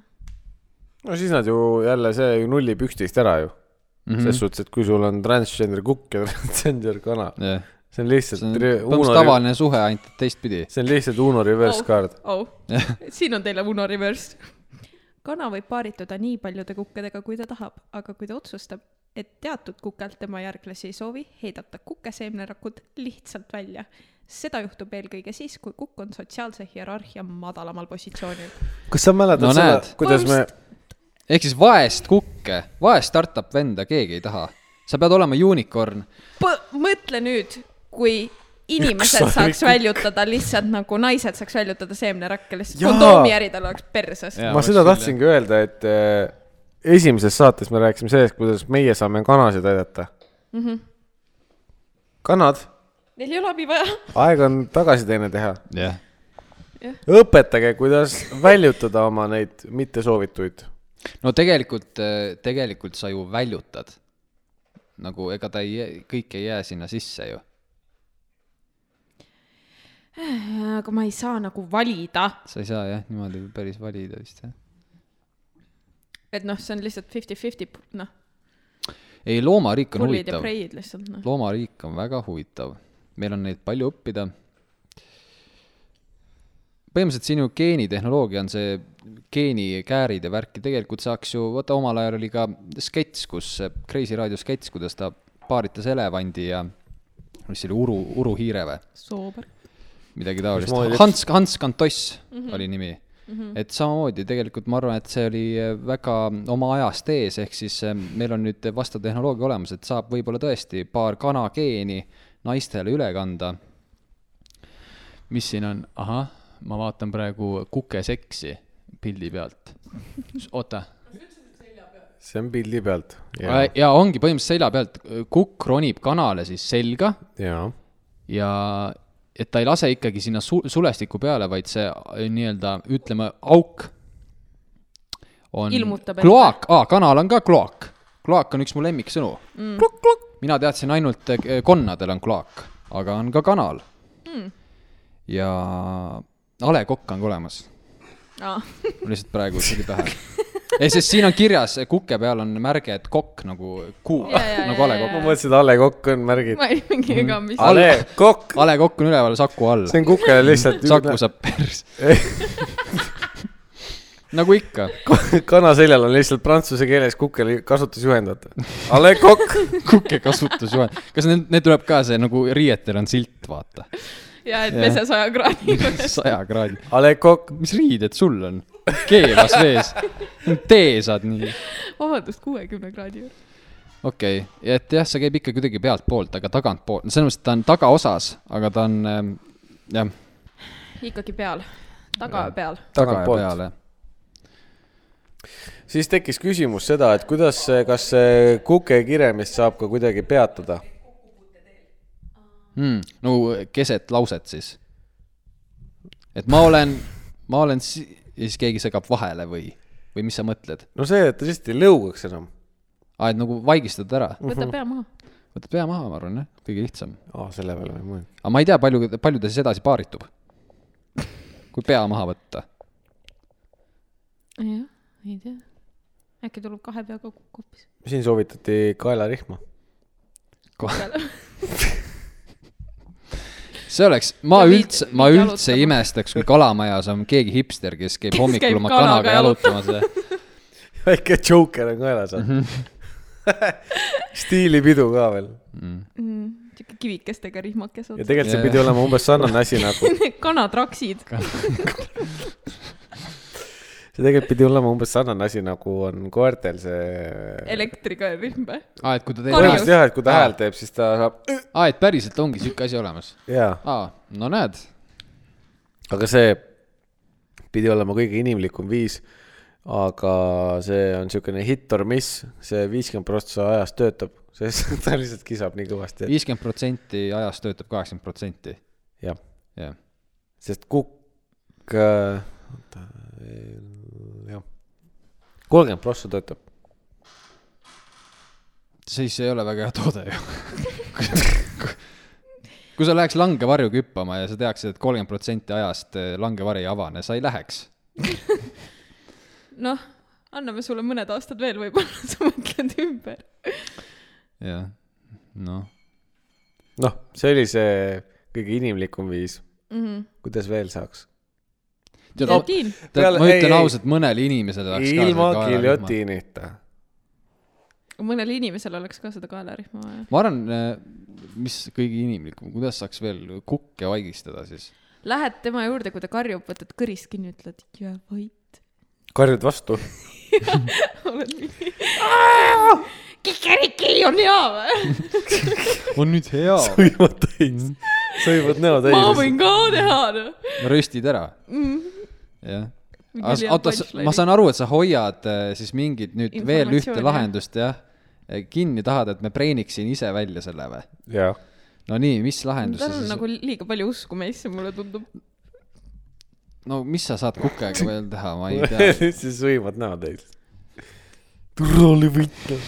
Speaker 2: no siis nad ju jälle , see ju Mhm. nullib üksteist ära ju mm -hmm. . selles suhtes , et kui sul on transgender kukk ja transgender kana ,
Speaker 1: jah ,
Speaker 2: see on lihtsalt
Speaker 1: see on
Speaker 2: tri-
Speaker 1: põhimõtteliselt
Speaker 2: Uno ,
Speaker 1: tavaline suhe , ainult et teistpidi .
Speaker 2: see on lihtsalt Uno reverse
Speaker 3: Oh.
Speaker 2: card .
Speaker 3: au oh. , siin on teile Uno reverse . kana võib paarituda nii paljude kukkedega , kui ta tahab , aga kui ta otsustab , et teatud kukelt tema järglasi ei soovi , heidab ta kukeseemnerakud lihtsalt välja . seda juhtub eelkõige siis , kui kukk on sotsiaalse hierarhia madalamal positsioonil .
Speaker 2: kas sa mäletad
Speaker 1: No
Speaker 2: no, seda
Speaker 1: näed. ,
Speaker 2: kuidas me ,
Speaker 1: ehk siis vaest kukke , vaest startup venda keegi ei taha . sa pead olema unicorn .
Speaker 3: mõtle nüüd , kui inimesed
Speaker 2: Üks
Speaker 3: saaks
Speaker 2: kukk.
Speaker 3: väljutada lihtsalt nagu naised saaks väljutada seemnerakke , lihtsalt
Speaker 2: Jaa.
Speaker 3: kondoomiäridel oleks perses .
Speaker 1: Jaa.
Speaker 2: ma
Speaker 1: oleks
Speaker 2: seda
Speaker 1: küll,
Speaker 2: tahtsingi öelda , et äh, esimeses saates me rääkisime sellest , kuidas meie saame kanasid aidata mm . -hmm. kanad ,
Speaker 3: Neil ei ole abi vaja .
Speaker 2: aeg on tagasiteene teha .
Speaker 1: jah .
Speaker 2: õpetage , kuidas väljutada oma neid mittesoovituid .
Speaker 1: no tegelikult , tegelikult sa ju väljutad . nagu ega ta ei , kõik ei jää sinna sisse ju .
Speaker 3: aga ma ei saa nagu valida
Speaker 1: sa ei saa jah , niimoodi päris valida vist jah .
Speaker 3: et noh , see on lihtsalt fifty-fifty , noh ,
Speaker 1: ei , loomariik on
Speaker 3: pullid ja
Speaker 1: huvitav .
Speaker 3: preid lihtsalt , noh .
Speaker 1: loomariik on väga huvitav , meil on neid palju õppida . põhimõtteliselt sinu geenitehnoloogia on see geenikäärid ja värki , tegelikult saaks ju , vaata omal ajal oli ka sketš , kus , Kreisi raadio sketš , kuidas ta paaritas elevandi ja mis see oli , uru , uruhiire või ?
Speaker 3: soober .
Speaker 1: midagi
Speaker 2: Mismoodi
Speaker 1: taolist .
Speaker 2: üks-
Speaker 1: Hans , Hans Kantoss mm -hmm. oli nimi mm . -hmm. et samamoodi tegelikult ma arvan , et see oli äh, väga mm, oma ajast ees , ehk siis eh, meil on nüüd vastav tehnoloogia olemas , et saab võib-olla tõesti paar kanageeni naistele üle kanda . mis siin on , ahah , ma vaatan praegu kukeseksi pildi pealt . oota
Speaker 2: see on pildi pealt .
Speaker 1: ja. , ja ongi põhimõtteliselt selja pealt , kukk ronib kanale siis selga
Speaker 2: jaa .
Speaker 1: ja et ta ei lase ikkagi sinna su sulestiku peale , vaid see äh, nii-öelda ütleme auk on
Speaker 3: Ilmutab ette.
Speaker 1: kloak , aa , kanal on ka kloak . kloak on üks mu lemmiksõnu mm. . mina teadsin ainult eh, konnadel on kloak , aga on ka kanal mm. .
Speaker 3: Hmm.
Speaker 1: ja A Le Coq on ka olemas ,
Speaker 3: aa ,
Speaker 1: mul lihtsalt praegu tuli pähe . ei , sest siin on kirjas , kuke peal on märge , et kokk nagu kuu
Speaker 3: Jaa, jaa, , jaa,
Speaker 1: nagu A Le
Speaker 2: ma
Speaker 1: Coq .
Speaker 2: mõtlesin , et A Le Kokk on märgid .
Speaker 3: ma ei mingi ega mis .
Speaker 2: A Le Kokk ,
Speaker 1: A Le Coq on üleval Saku all ,
Speaker 2: see on kukele lihtsalt
Speaker 1: Saku saab pers- . nagu ikka
Speaker 2: kana seljal on lihtsalt prantsuse keeles kukele kasutusjuhendajad . A Le Kokk .
Speaker 1: kuke kasutusjuhend , kas need , need tuleb ka see nagu riietel on silt , vaata ,
Speaker 3: ja et
Speaker 1: Jah.
Speaker 3: pese saja kraadiga .
Speaker 1: saja kraadi .
Speaker 2: A Le Kokk .
Speaker 1: mis riided sul on ? keevas vees , tee saad nii .
Speaker 3: vabandust , kuuekümne kraadi juures .
Speaker 1: okei okay. , et jah , see käib ikka kuidagi pealtpoolt , aga tagantpoolt , no selles mõttes , et ta on tagaosas , aga ta on ähm, jah ,
Speaker 3: ikkagi peal , taga
Speaker 1: Jah.
Speaker 3: peal .
Speaker 1: taga ja
Speaker 2: Tagantpoolt.
Speaker 1: peale .
Speaker 2: siis tekkis küsimus seda , et kuidas , kas see kuke kiremist saab ka kuidagi peatada ?
Speaker 1: mm, . nagu keset lauset siis . et ma olen , ma olen si- , ja siis keegi segab vahele või , või mis sa mõtled ?
Speaker 2: no see , et ta lihtsalt ei lõugaks enam .
Speaker 1: aa , et nagu vaigistad ära ,
Speaker 3: võta pea maha .
Speaker 1: võtad pea maha , ma arvan jah , kõige lihtsam
Speaker 2: aa , selle peale ma ei mõelnud .
Speaker 1: aga ma ei tea , palju , palju ta siis edasi paaritub . kui pea maha võtta .
Speaker 3: jah , ei tea . äkki tuleb kahe peaga kukk hoopis .
Speaker 2: siin soovitati kaelarihma .
Speaker 1: see oleks , ma
Speaker 3: Ja viid-
Speaker 1: üldse , ma
Speaker 3: viid
Speaker 1: üldse ei
Speaker 3: jalutama.
Speaker 1: imestaks , kui kalamajas on keegi hipster , kes käib
Speaker 3: Kes käib
Speaker 1: hommikul oma
Speaker 3: kanaga
Speaker 1: kanaga jalutamas ja
Speaker 2: väike joker on kaelas mm . -hmm. stiilipidu ka veel .
Speaker 3: sihuke Mm, kivikestega rihmakes
Speaker 2: ja
Speaker 3: otsa .
Speaker 2: tegelikult see pidi olema umbes sarnane asi nagu ,
Speaker 3: kanatraksid .
Speaker 2: see tegelikult pidi olema umbes sarnane asi nagu on koertel see .
Speaker 3: elektriga rihm või ?
Speaker 1: aa , et kui ta
Speaker 3: Karjus.
Speaker 1: teeb ,
Speaker 2: jah , et kui ta häält teeb , siis ta saab ,
Speaker 1: aa , et päriselt ongi sihuke asi olemas .
Speaker 2: jaa .
Speaker 1: aa , no näed ,
Speaker 2: aga see pidi olema kõige inimlikum viis . aga see on siukene hit or miss , see viiskümmend prossa ajast töötab , sest ta lihtsalt kisab nii kõvasti ,
Speaker 1: viiskümmend protsenti ajast töötab kaheksakümmend protsenti ,
Speaker 2: et jah ,
Speaker 1: jah .
Speaker 2: sest kukk , oota , jah , kolmkümmend prossa töötab .
Speaker 1: siis ei ole väga hea toode ju kui sa läheks langevarju küppama ja sa teaksid et, et kolmkümmend protsenti ajast eh, langevari ei avane , sa ei läheks
Speaker 3: noh , anname sulle mõned aastad veel , võib-olla sa mõtled ümber .
Speaker 1: jah , noh .
Speaker 2: noh , see oli see kõige inimlikum viis ,
Speaker 3: mm . -hmm.
Speaker 2: kuidas veel saaks .
Speaker 1: tead , ma
Speaker 3: Delfiin ,
Speaker 1: tead,
Speaker 2: Peale-
Speaker 1: ma
Speaker 2: ei,
Speaker 1: ütlen
Speaker 2: ei.
Speaker 1: ausalt , mõnel inimesel läks ka
Speaker 2: ilma
Speaker 1: see kaelarühm .
Speaker 2: giljotiinita .
Speaker 3: mõnel inimesel oleks ka seda kaelarihma vaja .
Speaker 1: ma arvan , mis kõige inimlikum , kuidas saaks veel kukke vaigistada siis ?
Speaker 3: Lähed tema juurde , kui ta karjub , võtad kõrist kinni , ütled jää vait .
Speaker 2: karjud vastu .
Speaker 3: oled nii . kikeriki on hea või ?
Speaker 1: on nüüd hea ,
Speaker 2: sõimad täis , sõimad näo
Speaker 3: Mm. ma
Speaker 2: täis .
Speaker 3: võin ka teha noh .
Speaker 1: röstid ära . jah .
Speaker 3: Minul ei
Speaker 1: oota
Speaker 3: olnud , punchline'i.
Speaker 1: ma saan aru , et sa hoiad eh, siis mingit nüüd veel ühte
Speaker 3: Informatsiooni,
Speaker 1: lahendust jah , kinni tahad , et me preeniksin ise välja selle või ?
Speaker 2: jah ,
Speaker 1: no nii , mis lahendus sa
Speaker 3: tal on
Speaker 1: siis ,
Speaker 3: nagu liiga palju usku meisse , mulle tundub .
Speaker 1: no mis sa saad kukega veel teha , ma ei tea .
Speaker 2: siis sõimad näo täis . turvali võitleja .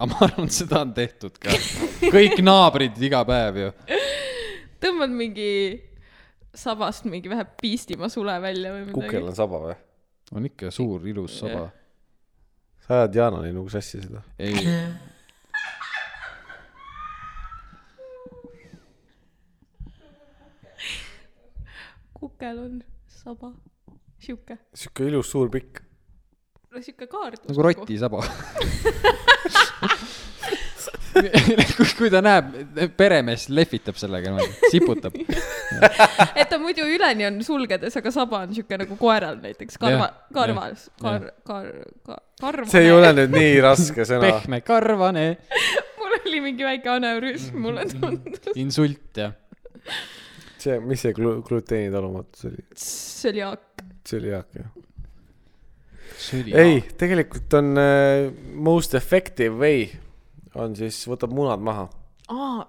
Speaker 1: aga ma arvan , et seda on tehtud ka . kõik naabrid iga päev ju .
Speaker 3: tõmbad mingi sabast mingi vähe piistima sule välja või midagi
Speaker 2: kukel . on saba või ?
Speaker 1: on ikka suur ilus saba .
Speaker 2: sa ajad Jaanani nagu sassi seda .
Speaker 1: ei .
Speaker 3: kukel on saba , sihuke ,
Speaker 2: sihuke ilus suur pikk .
Speaker 3: no sihuke kaart .
Speaker 1: nagu . rotisaba . kui , kui ta näeb , peremees lehvitab sellega niimoodi , siputab .
Speaker 3: et ta muidu üleni on sulgedes , aga saba on sihuke nagu koeral näiteks , karva
Speaker 1: Jah, ,
Speaker 3: karvas ,
Speaker 1: jah,
Speaker 3: kar- , kar- , kar- , karv .
Speaker 2: see ei ole . nüüd nii raske sõna .
Speaker 1: pehme karvane
Speaker 3: mul oli mingi väike anevrism , mulle tundus .
Speaker 1: insult ja .
Speaker 2: see , mis see glu- , gluteenitalumatus oli ?
Speaker 3: see oli haak .
Speaker 2: see oli jaak jah ? ei , tegelikult on äh, most effective way on siis , võtab munad maha .
Speaker 3: aa ,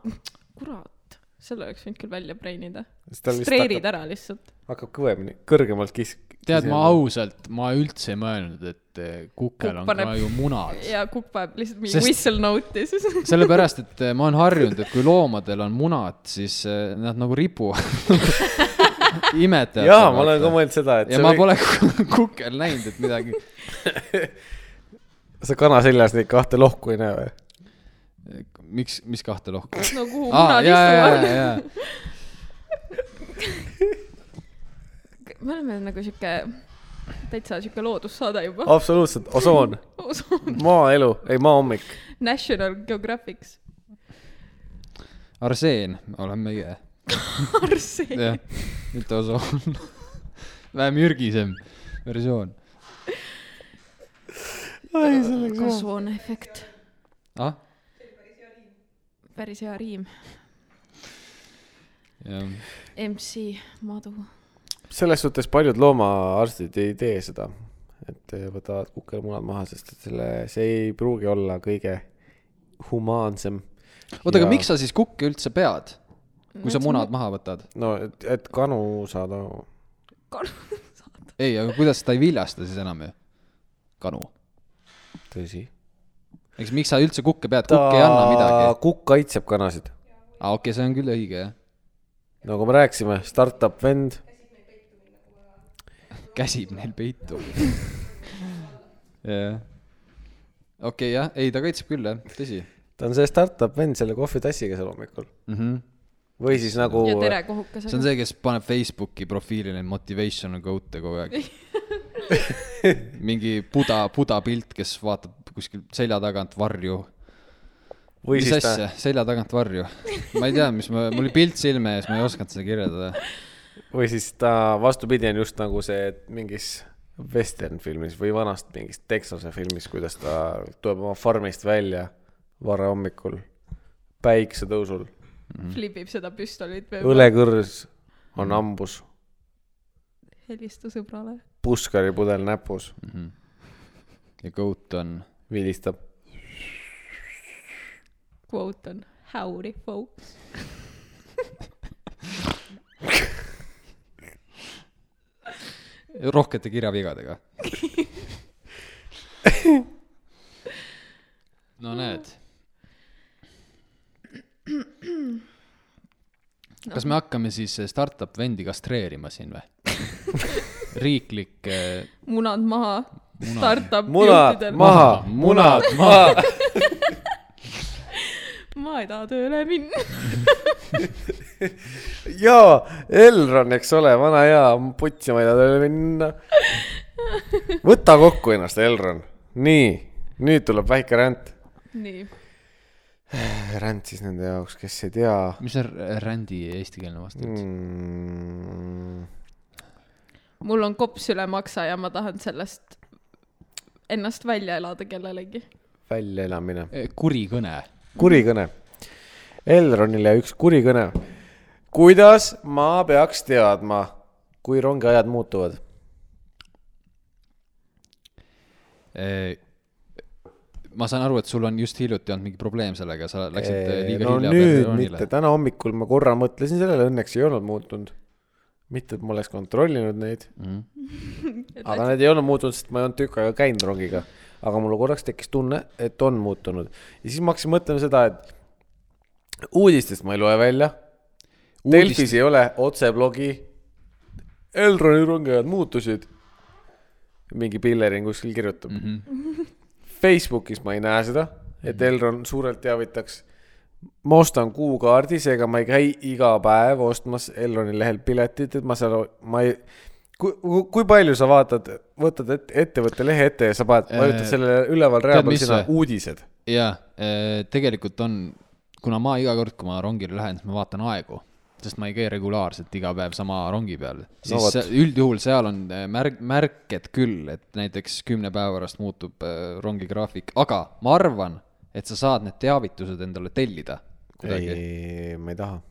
Speaker 3: kurat , selle oleks võinud küll välja preinida .
Speaker 2: siis tal vist
Speaker 3: streerid
Speaker 2: hakkab,
Speaker 3: ära lihtsalt .
Speaker 2: hakkab kõvemini , kõrgemalt kis- .
Speaker 1: tead , ma . ausalt , ma üldse ei mõelnud , et eh, kukel
Speaker 3: Kukk
Speaker 1: on
Speaker 3: paneb-
Speaker 1: ka ju munad .
Speaker 3: ja kukk paneb lihtsalt mingi
Speaker 1: Sest-
Speaker 3: Sest... whistle note'i siis .
Speaker 1: sellepärast , et eh, ma olen harjunud , et kui loomadel on munad , siis eh, nad nagu ripuvad . imetavad .
Speaker 2: jaa , ma olen ka . mõelnud seda , et
Speaker 1: ja
Speaker 2: see
Speaker 1: ma
Speaker 2: või-
Speaker 1: pole kukel näinud , et midagi ,
Speaker 2: sa kana seljas neid kahte lohku ei näe või ?
Speaker 1: miks , mis kahte lohku ?
Speaker 3: no kuhu
Speaker 1: aa ,
Speaker 3: munad
Speaker 1: ja , ja ,
Speaker 3: istuvad .
Speaker 1: ja ,
Speaker 3: me oleme nagu sihuke , täitsa sihuke loodussaade juba .
Speaker 2: absoluutselt , osoon ,
Speaker 1: Oh.
Speaker 2: maaelu , ei maahommik .
Speaker 3: National Geographics .
Speaker 1: ja , Arseen olen meie ,
Speaker 3: Arseen .
Speaker 1: jah , mitte osoon . vähem mürgisem versioon .
Speaker 3: kasvuhooneefekt .
Speaker 1: ah ,
Speaker 3: päris hea riim .
Speaker 1: jah
Speaker 3: MC Madu .
Speaker 2: selles suhtes paljud loomaarstid ei tee seda , et eh, võtavad kukelmunad maha , sest et selle , see ei pruugi olla kõige humaansem .
Speaker 1: oota , aga miks sa siis kukke üldse pead , kui sa munad maha võtad ?
Speaker 2: no , et , et kanu saada .
Speaker 1: ei , aga kuidas ta ei viljasta siis enam ju ? kanu .
Speaker 2: tõsi .
Speaker 1: eks miks sa üldse kukke pead , kukk ei anna midagi ..
Speaker 2: kukk kaitseb kanasid .
Speaker 1: aa , okei okay, , see on küll õige jah .
Speaker 2: nagu me rääkisime , startup vend ,
Speaker 1: käsib neil peitu . jah . okei jah , ei ta kaitseb küll jah , tõsi
Speaker 2: ta on see startup vend selle kohvitassiga seal hommikul .
Speaker 1: mm . -hmm.
Speaker 2: või siis nagu
Speaker 3: ja tere , kohukas .
Speaker 1: Oh. see on see , kes paneb Facebooki profiilile motivational quote'e kogu aeg . mingi buda , buda pilt , kes vaatab kuskil selja tagant varju
Speaker 2: või
Speaker 1: mis
Speaker 2: siis
Speaker 1: asja , selja tagant varju . ma ei tea , mis ma , mul oli pilt silme ees , ma ei osanud seda kirjeldada .
Speaker 2: ta , või siis ta vastupidi on just nagu see et mingis western filmis või vanast mingist Texase filmis , kuidas ta tuleb oma farmist välja varahommikul päiksetõusul ,
Speaker 1: Mhm.
Speaker 3: flipib seda püstolit või ?
Speaker 2: õlekõrs on hambus ,
Speaker 3: helista sõbrale .
Speaker 2: puskaripudel näpus ,
Speaker 1: Mhm. ja goat on ,
Speaker 2: vilistab .
Speaker 3: Quote on howdy folks .
Speaker 1: rohkete kirjavigadega . no näed . kas me hakkame siis eh, startup vendi kastreerima siin või ? riiklik eh,
Speaker 3: munad maha . Startup
Speaker 2: munad
Speaker 3: juhtidel .
Speaker 2: maha , munad maha .
Speaker 3: ma ma ei taha tööle minna .
Speaker 2: jaa , Elron , eks ole , vana hea , putsi ma ei taha tööle minna . võta kokku ennast , Elron . nii , nüüd tuleb väike ränd .
Speaker 3: nii ,
Speaker 2: ränd siis nende jaoks , kes ei tea
Speaker 1: mis on r- rändi eestikeelne vaste üldse
Speaker 2: mm, .
Speaker 3: mul on kops üle maksa ja ma tahan sellest ennast välja elada kellelegi .
Speaker 2: väljaelamine ,
Speaker 1: mm. ? kurikõne .
Speaker 2: kurikõne . Elronile üks kurikõne . kuidas ma peaks teadma , kui rongiajad muutuvad ?
Speaker 1: Eh, ma saan aru , et sul on just hiljuti olnud mingi probleem sellega , sa läksid eh,
Speaker 2: Ei,
Speaker 1: liiga
Speaker 2: no
Speaker 1: hilja
Speaker 2: nüüd mitte , täna hommikul ma korra mõtlesin sellele , õnneks ei olnud muutunud . mitte , et ma oleks kontrollinud neid ,
Speaker 1: Mm.
Speaker 2: aga need ei olnud muutunud , sest ma ei olnud tükk aega käinud rongiga . aga mul korraks tekkis tunne , et on muutunud ja siis ma hakkasin mõtlema seda , et uudistest ma ei loe välja . Delfis ei ole otseblogi . Elroni rongijad muutusid . mingi Pillerin kuskil kirjutab mm . -hmm. Facebookis ma ei näe seda , et
Speaker 1: Mhm.
Speaker 2: Elron suurelt teavitaks . ma ostan kuukaardi , seega ma ei käi iga päev ostmas Elroni lehel piletit , et ma seal , ma ei . kui , kui palju sa vaatad , võtad et, ettevõtte lehe ette ja sa paned ,
Speaker 1: Äh,
Speaker 2: vajutad selle üleval rea
Speaker 1: tead,
Speaker 2: peal
Speaker 1: mis
Speaker 2: sinna
Speaker 1: see-
Speaker 2: uudised .
Speaker 1: jaa , tegelikult on , kuna ma iga kord , kui ma rongile lähen , siis ma vaatan aegu , sest ma ei käi regulaarselt iga päev sama rongi peal . siis
Speaker 2: vot.
Speaker 1: no, üldjuhul seal on äh, märg , märked küll , et näiteks kümne päeva pärast muutub äh, rongi graafik , aga ma arvan , et sa saad need teavitused endale tellida kuidagi .
Speaker 2: ei , ma ei taha .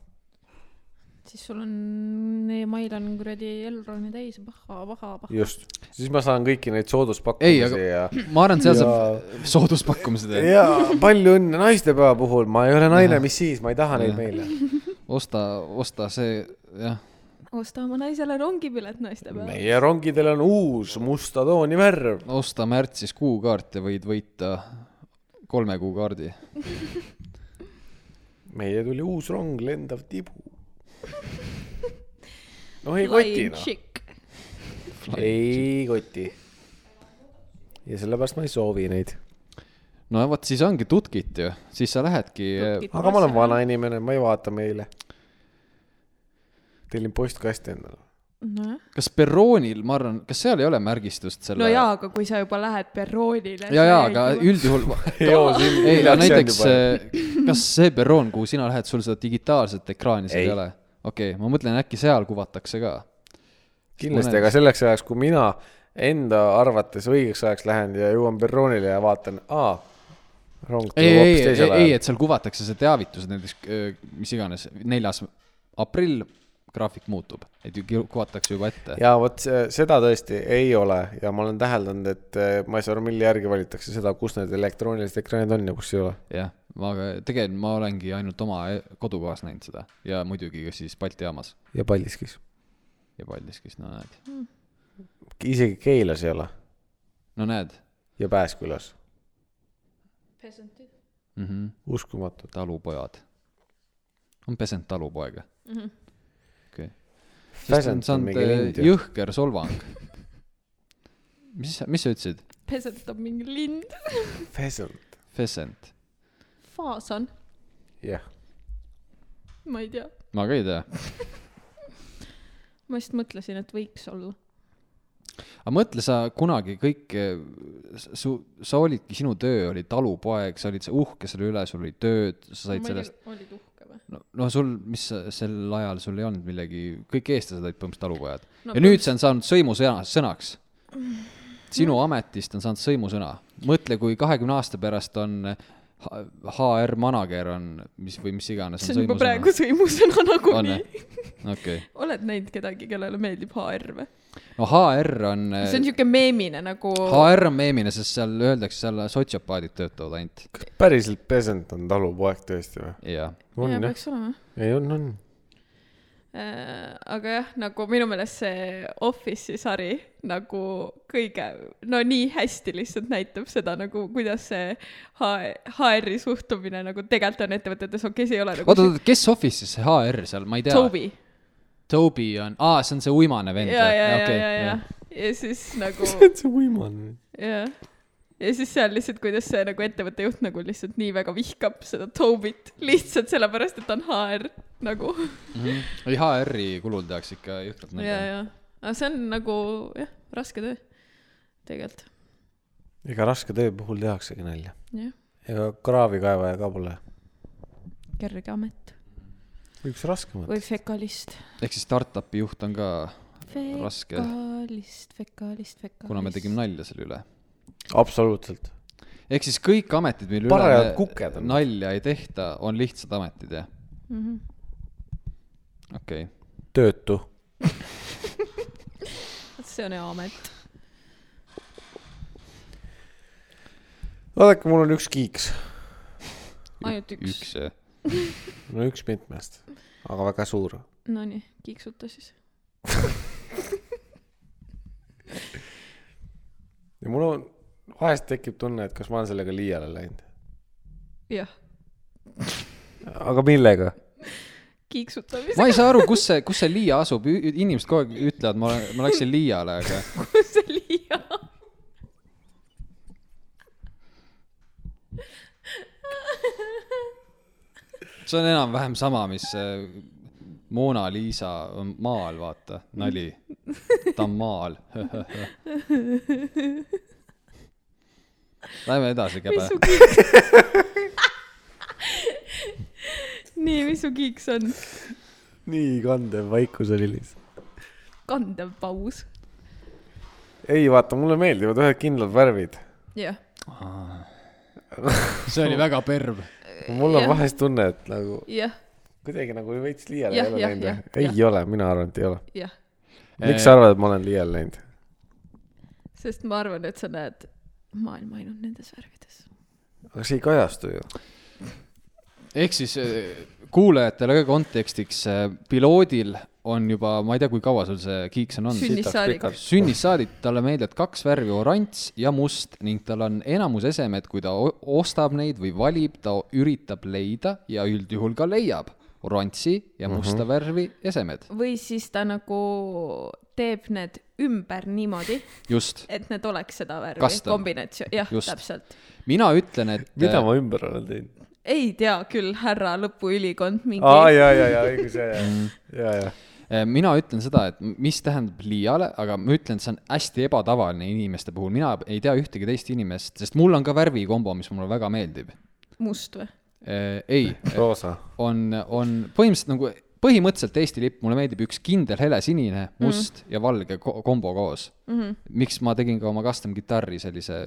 Speaker 3: siis sul on e , email on kuradi Elroni täis , paha , paha , paha .
Speaker 2: just , siis ma saan kõiki neid
Speaker 1: ei ,
Speaker 2: sooduspakkumisi
Speaker 1: aga
Speaker 2: ja
Speaker 1: ma arvan , et seal
Speaker 2: Ja-
Speaker 1: saab sooduspakkumise teha .
Speaker 2: ja palju õnne naistepäeva puhul , ma ei ole naine , mis siis , ma ei taha neid meile .
Speaker 1: osta , osta see , jah ,
Speaker 3: osta oma naisele rongipilet naistepäeval .
Speaker 2: meie rongidel on uus musta tooni värv .
Speaker 1: osta märtsis kuukaart ja võid võita kolme kuu kaardi .
Speaker 2: meie tuli uus rong , lendav tibu . noh , ei koti noh ,
Speaker 3: chick .
Speaker 2: ei koti . ja sellepärast ma ei soovi neid .
Speaker 1: no ja vot siis ongi tutkit ju , siis sa lähedki .
Speaker 3: Tutkit.
Speaker 2: aga ma olen vana inimene , ma ei vaata meile . tellin postkasti endale .
Speaker 3: nojah .
Speaker 1: eh, kas perroonil , ma arvan , kas seal ei ole märgistust selle ?
Speaker 3: no jaa , aga kui sa juba lähed perroonile .
Speaker 1: ja , ja , aga . üldjuhul . ei , aga näiteks , äh, kas see perroon , kuhu sina lähed , sul seda digitaalset ekraani seal
Speaker 2: Ei.
Speaker 1: ei ole ? okei okay, , ma mõtlen , äkki seal kuvatakse ka .
Speaker 2: kindlasti , aga selleks ajaks , kui mina enda arvates õigeks ajaks lähen ja jõuan perroonile ja vaatan , aa , rong
Speaker 1: ei ,
Speaker 2: tuleb
Speaker 1: ei ,
Speaker 2: hoopis
Speaker 1: ei ,
Speaker 2: teisel
Speaker 1: ei ,
Speaker 2: ajal .
Speaker 1: et seal kuvatakse see teavitus näiteks , mis iganes , neljas aprill , graafik muutub , et ju ki- kuvatakse juba ette .
Speaker 2: ja vot see- seda tõesti ei ole ja ma olen täheldanud , et eh, ma ei saa aru , mille järgi valitakse seda , kus need elektroonilised ekraanid on ja kus ei ole .
Speaker 1: jah , ma aga tegelikult ma olengi ainult oma e- kodukohas näinud seda ja muidugi ka siis Balti jaamas
Speaker 2: ja Paldiskis .
Speaker 1: ja Paldiskis , no näed ,
Speaker 2: isegi Keilas ei ole
Speaker 1: no näed
Speaker 2: ja Pääskülas ,
Speaker 4: pesentid .
Speaker 1: mm -hmm. ,
Speaker 2: uskumatu .
Speaker 1: talupojad . on pesend talupoega mm ?
Speaker 3: Mhm.
Speaker 1: -hmm. okei okay. .
Speaker 2: Pheasant
Speaker 1: see
Speaker 2: on
Speaker 1: on
Speaker 2: mingi
Speaker 1: saanud
Speaker 2: lind
Speaker 1: eh,
Speaker 2: ju .
Speaker 1: jõhker solvang . mis , mis sa ütlesid ?
Speaker 3: pesent on mingi lind .
Speaker 2: Pheasant ,
Speaker 1: Pheasant ,
Speaker 3: faasan ,
Speaker 2: jah .
Speaker 3: ma ei tea .
Speaker 1: ma ka ei tea
Speaker 3: ma just mõtlesin , et võiks olla .
Speaker 1: aga mõtle sa kunagi kõik , su , sa olidki , sinu töö oli talupoeg , sa olid see uhke selle üle , sul oli tööd , sa said sellest ,.
Speaker 3: olid uhke või ?
Speaker 1: no, no sul , mis sa- sel ajal sul ei olnud millegi , kõik eestlased olid põhimõtteliselt talupojad no, .
Speaker 3: No
Speaker 1: ja nüüd see on saanud sõimusõna , sõnaks . sinu ametist on saanud sõimusõna . mõtle , kui kahekümne aasta pärast on H- HR manager on , mis või mis iganes .
Speaker 3: see on juba praegu . sõimusõna
Speaker 1: on
Speaker 3: nagunii .
Speaker 1: jah ? okei ,
Speaker 3: oled näinud kedagi , kellele meeldib HR või ?
Speaker 1: no HR on ,
Speaker 3: see on siuke meemine nagu .
Speaker 1: HR on meemine , sest seal öeldakse , seal sotsiopaadid töötavad ainult
Speaker 2: kas päriselt Pheasant on talupoeg tõesti või ?
Speaker 1: ja
Speaker 2: on jah ,
Speaker 3: peaks olema .
Speaker 2: ei on , on .
Speaker 3: Äh, aga jah , nagu minu meelest see Office'i sari nagu kõige , no nii hästi lihtsalt näitab seda nagu , kuidas see HR HR-i suhtumine nagu tegelikult on ettevõtetes , okei , see ei ole nagu
Speaker 1: oota , oota , kes Office'is see HR seal , ma ei tea .
Speaker 3: Toby .
Speaker 1: Toby on , aa , see on see uimane vend .
Speaker 3: ja , ja , ja , ja , ja , ja siis nagu
Speaker 2: see on see uimane .
Speaker 3: jah , ja siis seal lihtsalt , kuidas see nagu ettevõtte juht nagu lihtsalt nii väga vihkab seda Tobit lihtsalt sellepärast , et ta on HR nagu .
Speaker 1: ei , HR-i kulul tehakse ikka jõhkralt
Speaker 3: ja ,
Speaker 1: nalja .
Speaker 3: ja , aga see on nagu jah , raske töö tegelikult ,
Speaker 2: ega raske töö puhul tehaksegi nalja .
Speaker 3: jah ,
Speaker 2: ega kraavikaevaja ka pole
Speaker 3: kerge amet
Speaker 2: üks raskemaid .
Speaker 3: või fekalist .
Speaker 1: ehk siis startup'i juht on ka , Raske.
Speaker 3: fekalist , fekalist , fekalist .
Speaker 1: kuna me tegime nalja selle üle .
Speaker 2: absoluutselt .
Speaker 1: ehk siis kõik ametid , mille
Speaker 2: Parajad
Speaker 1: üle
Speaker 2: kuked
Speaker 1: me
Speaker 2: on.
Speaker 1: nalja ei tehta , on lihtsad ametid , jah ?
Speaker 3: Mhm.
Speaker 1: okei okay. ,
Speaker 2: töötu .
Speaker 3: see on hea amet .
Speaker 2: vaadake , mul on üks kiiks .
Speaker 3: ainult üks, üks. .
Speaker 1: üks jah.
Speaker 2: no üks mitmest , aga väga suur .
Speaker 3: Nonii , kiiksuta siis .
Speaker 2: ja mul on , vahest tekib tunne , et kas ma olen sellega liiale läinud .
Speaker 3: jah ,
Speaker 2: aga millega ?
Speaker 3: kiiksutamise
Speaker 1: ma ei saa aru , kus see , kus see Liia asub , inimesed kogu aeg ütlevad , ma , ma läksin Liiale , aga
Speaker 3: kus see liia on .
Speaker 1: see on enam-vähem sama , mis äh, Mona Lisa on maal , vaata , nali . ta on maal . Lähme edasi ,
Speaker 3: mis
Speaker 1: käbe
Speaker 3: su . kiiks ? nii , mis su kiiks on ?
Speaker 2: nii kandev vaikus oli lihtsalt .
Speaker 3: kandev paus .
Speaker 2: ei vaata , mulle meeldivad ühed kindlad värvid .
Speaker 3: jah ,
Speaker 1: see oli väga perv .
Speaker 2: mul on
Speaker 3: Jah.
Speaker 2: vahest tunne , et nagu
Speaker 3: jah ,
Speaker 2: kuidagi nagu veits liiale
Speaker 3: Jah,
Speaker 2: ei ole
Speaker 3: jah,
Speaker 2: läinud
Speaker 3: jah, .
Speaker 2: ei
Speaker 3: jah.
Speaker 2: ole , mina arvan , et ei ole .
Speaker 3: jah ,
Speaker 1: Eh,
Speaker 2: miks sa arvad , et ma olen liiale läinud ?
Speaker 3: sest ma arvan , et sa näed maailma ainult nendes värvides .
Speaker 2: aga see ei kajastu ju .
Speaker 1: ehk siis eh, kuulajatele ka kontekstiks , piloodil on juba , ma ei tea , kui kaua sul see kiiks on olnud .
Speaker 3: sünnist saadik .
Speaker 1: sünnist saadik talle meeldivad kaks värvi , oranž ja must ning tal on enamus esemed , kui ta o- ostab neid või valib , ta üritab leida ja üldjuhul ka leiab oranži ja
Speaker 2: Mhm.
Speaker 1: musta mm -hmm. värvi esemed .
Speaker 3: või siis ta nagu teeb need ümber niimoodi ,
Speaker 1: just ,
Speaker 3: et need oleks seda värvi
Speaker 1: Custom.
Speaker 3: kombinatsioon , jah ,
Speaker 1: Just.
Speaker 3: täpselt .
Speaker 1: mina ütlen , et eh,
Speaker 2: mida ma ümber olen teinud ?
Speaker 3: ei tea küll , härra lõpuülikond
Speaker 2: aa ,
Speaker 3: mingi .
Speaker 2: ja , ja , ja õigus , ja , ja , ja , ja .
Speaker 1: eh, mina ütlen seda , et m- mis tähendab liiale , aga ma ütlen , et see on hästi ebatavaline inimeste puhul , mina ei tea ühtegi teist inimest , sest mul on ka värvikombo , mis mulle väga meeldib .
Speaker 3: must või ?
Speaker 1: Äh, ei ,
Speaker 2: roosa .
Speaker 1: on , on põhimõtteliselt nagu , põhimõtteliselt Eesti lipp , mulle meeldib üks kindel helesinine , must mm. ja valge ko kombo koos mm . -hmm. miks ma tegin ka oma custom kitarri sellise ,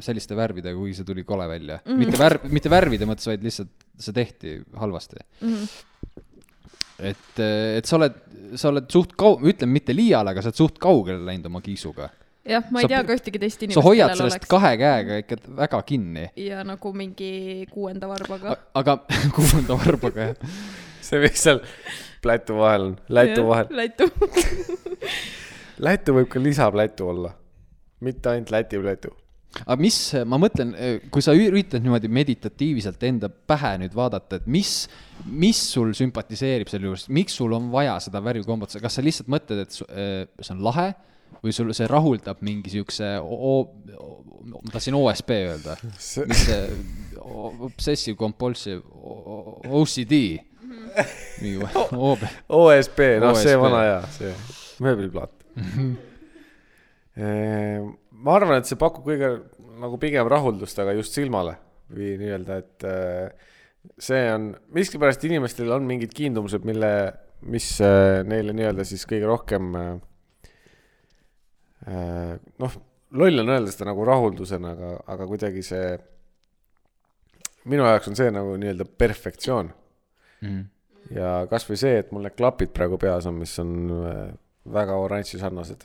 Speaker 1: selliste värvidega , kuigi see tuli kole välja mm . -hmm. mitte värv , mitte värvide mõttes , vaid lihtsalt see tehti halvasti mm . -hmm. et , et sa oled , sa oled suht kau- , ütlen mitte liiale , aga sa oled suht kaugele läinud oma kiisuga .
Speaker 3: jah , ma
Speaker 1: Sa
Speaker 3: ei tea
Speaker 1: pu-
Speaker 3: ka ühtegi teist inimest ,
Speaker 1: sa hoiad sellest oleks. kahe käega ikka väga kinni ,
Speaker 3: ja nagu mingi kuuenda varbaga .
Speaker 1: aga kuulda varbaga jah .
Speaker 2: see , mis seal plätu vahel on , lätu vahel .
Speaker 3: Lätu .
Speaker 2: Lätu võib ka lisaplätu olla , mitte ainult Läti plätu .
Speaker 1: aga mis , ma mõtlen , kui sa üritad niimoodi meditatiivselt enda pähe nüüd vaadata , et mis , mis sul sümpatiseerib selle juures , miks sul on vaja seda värvikombot , kas sa lihtsalt mõtled , et su- eh, see on lahe või sul see rahuldab mingi siukse , ma tahtsin OSB öelda ,
Speaker 2: See-
Speaker 1: mis see o- obsessive compulsive o- o- OCD . mingi OB ,
Speaker 2: OSB , noh , see
Speaker 1: OSB.
Speaker 2: vana hea , see mööbliplaat . Ehm, ma arvan , et see pakub kõige nagu pigem rahuldust , aga just silmale või nii-öelda , et eh, see on , miskipärast inimestel on mingid kiindumused , mille , mis eh, neile nii-öelda siis kõige rohkem eh, eh, noh , loll on öelda seda nagu rahuldusena , aga , aga kuidagi see minu jaoks on see nagu nii-öelda perfektsioon
Speaker 1: Mhm.
Speaker 2: ja kasvõi see , et mul need klapid praegu peas on , mis on äh, väga oranži sarnased .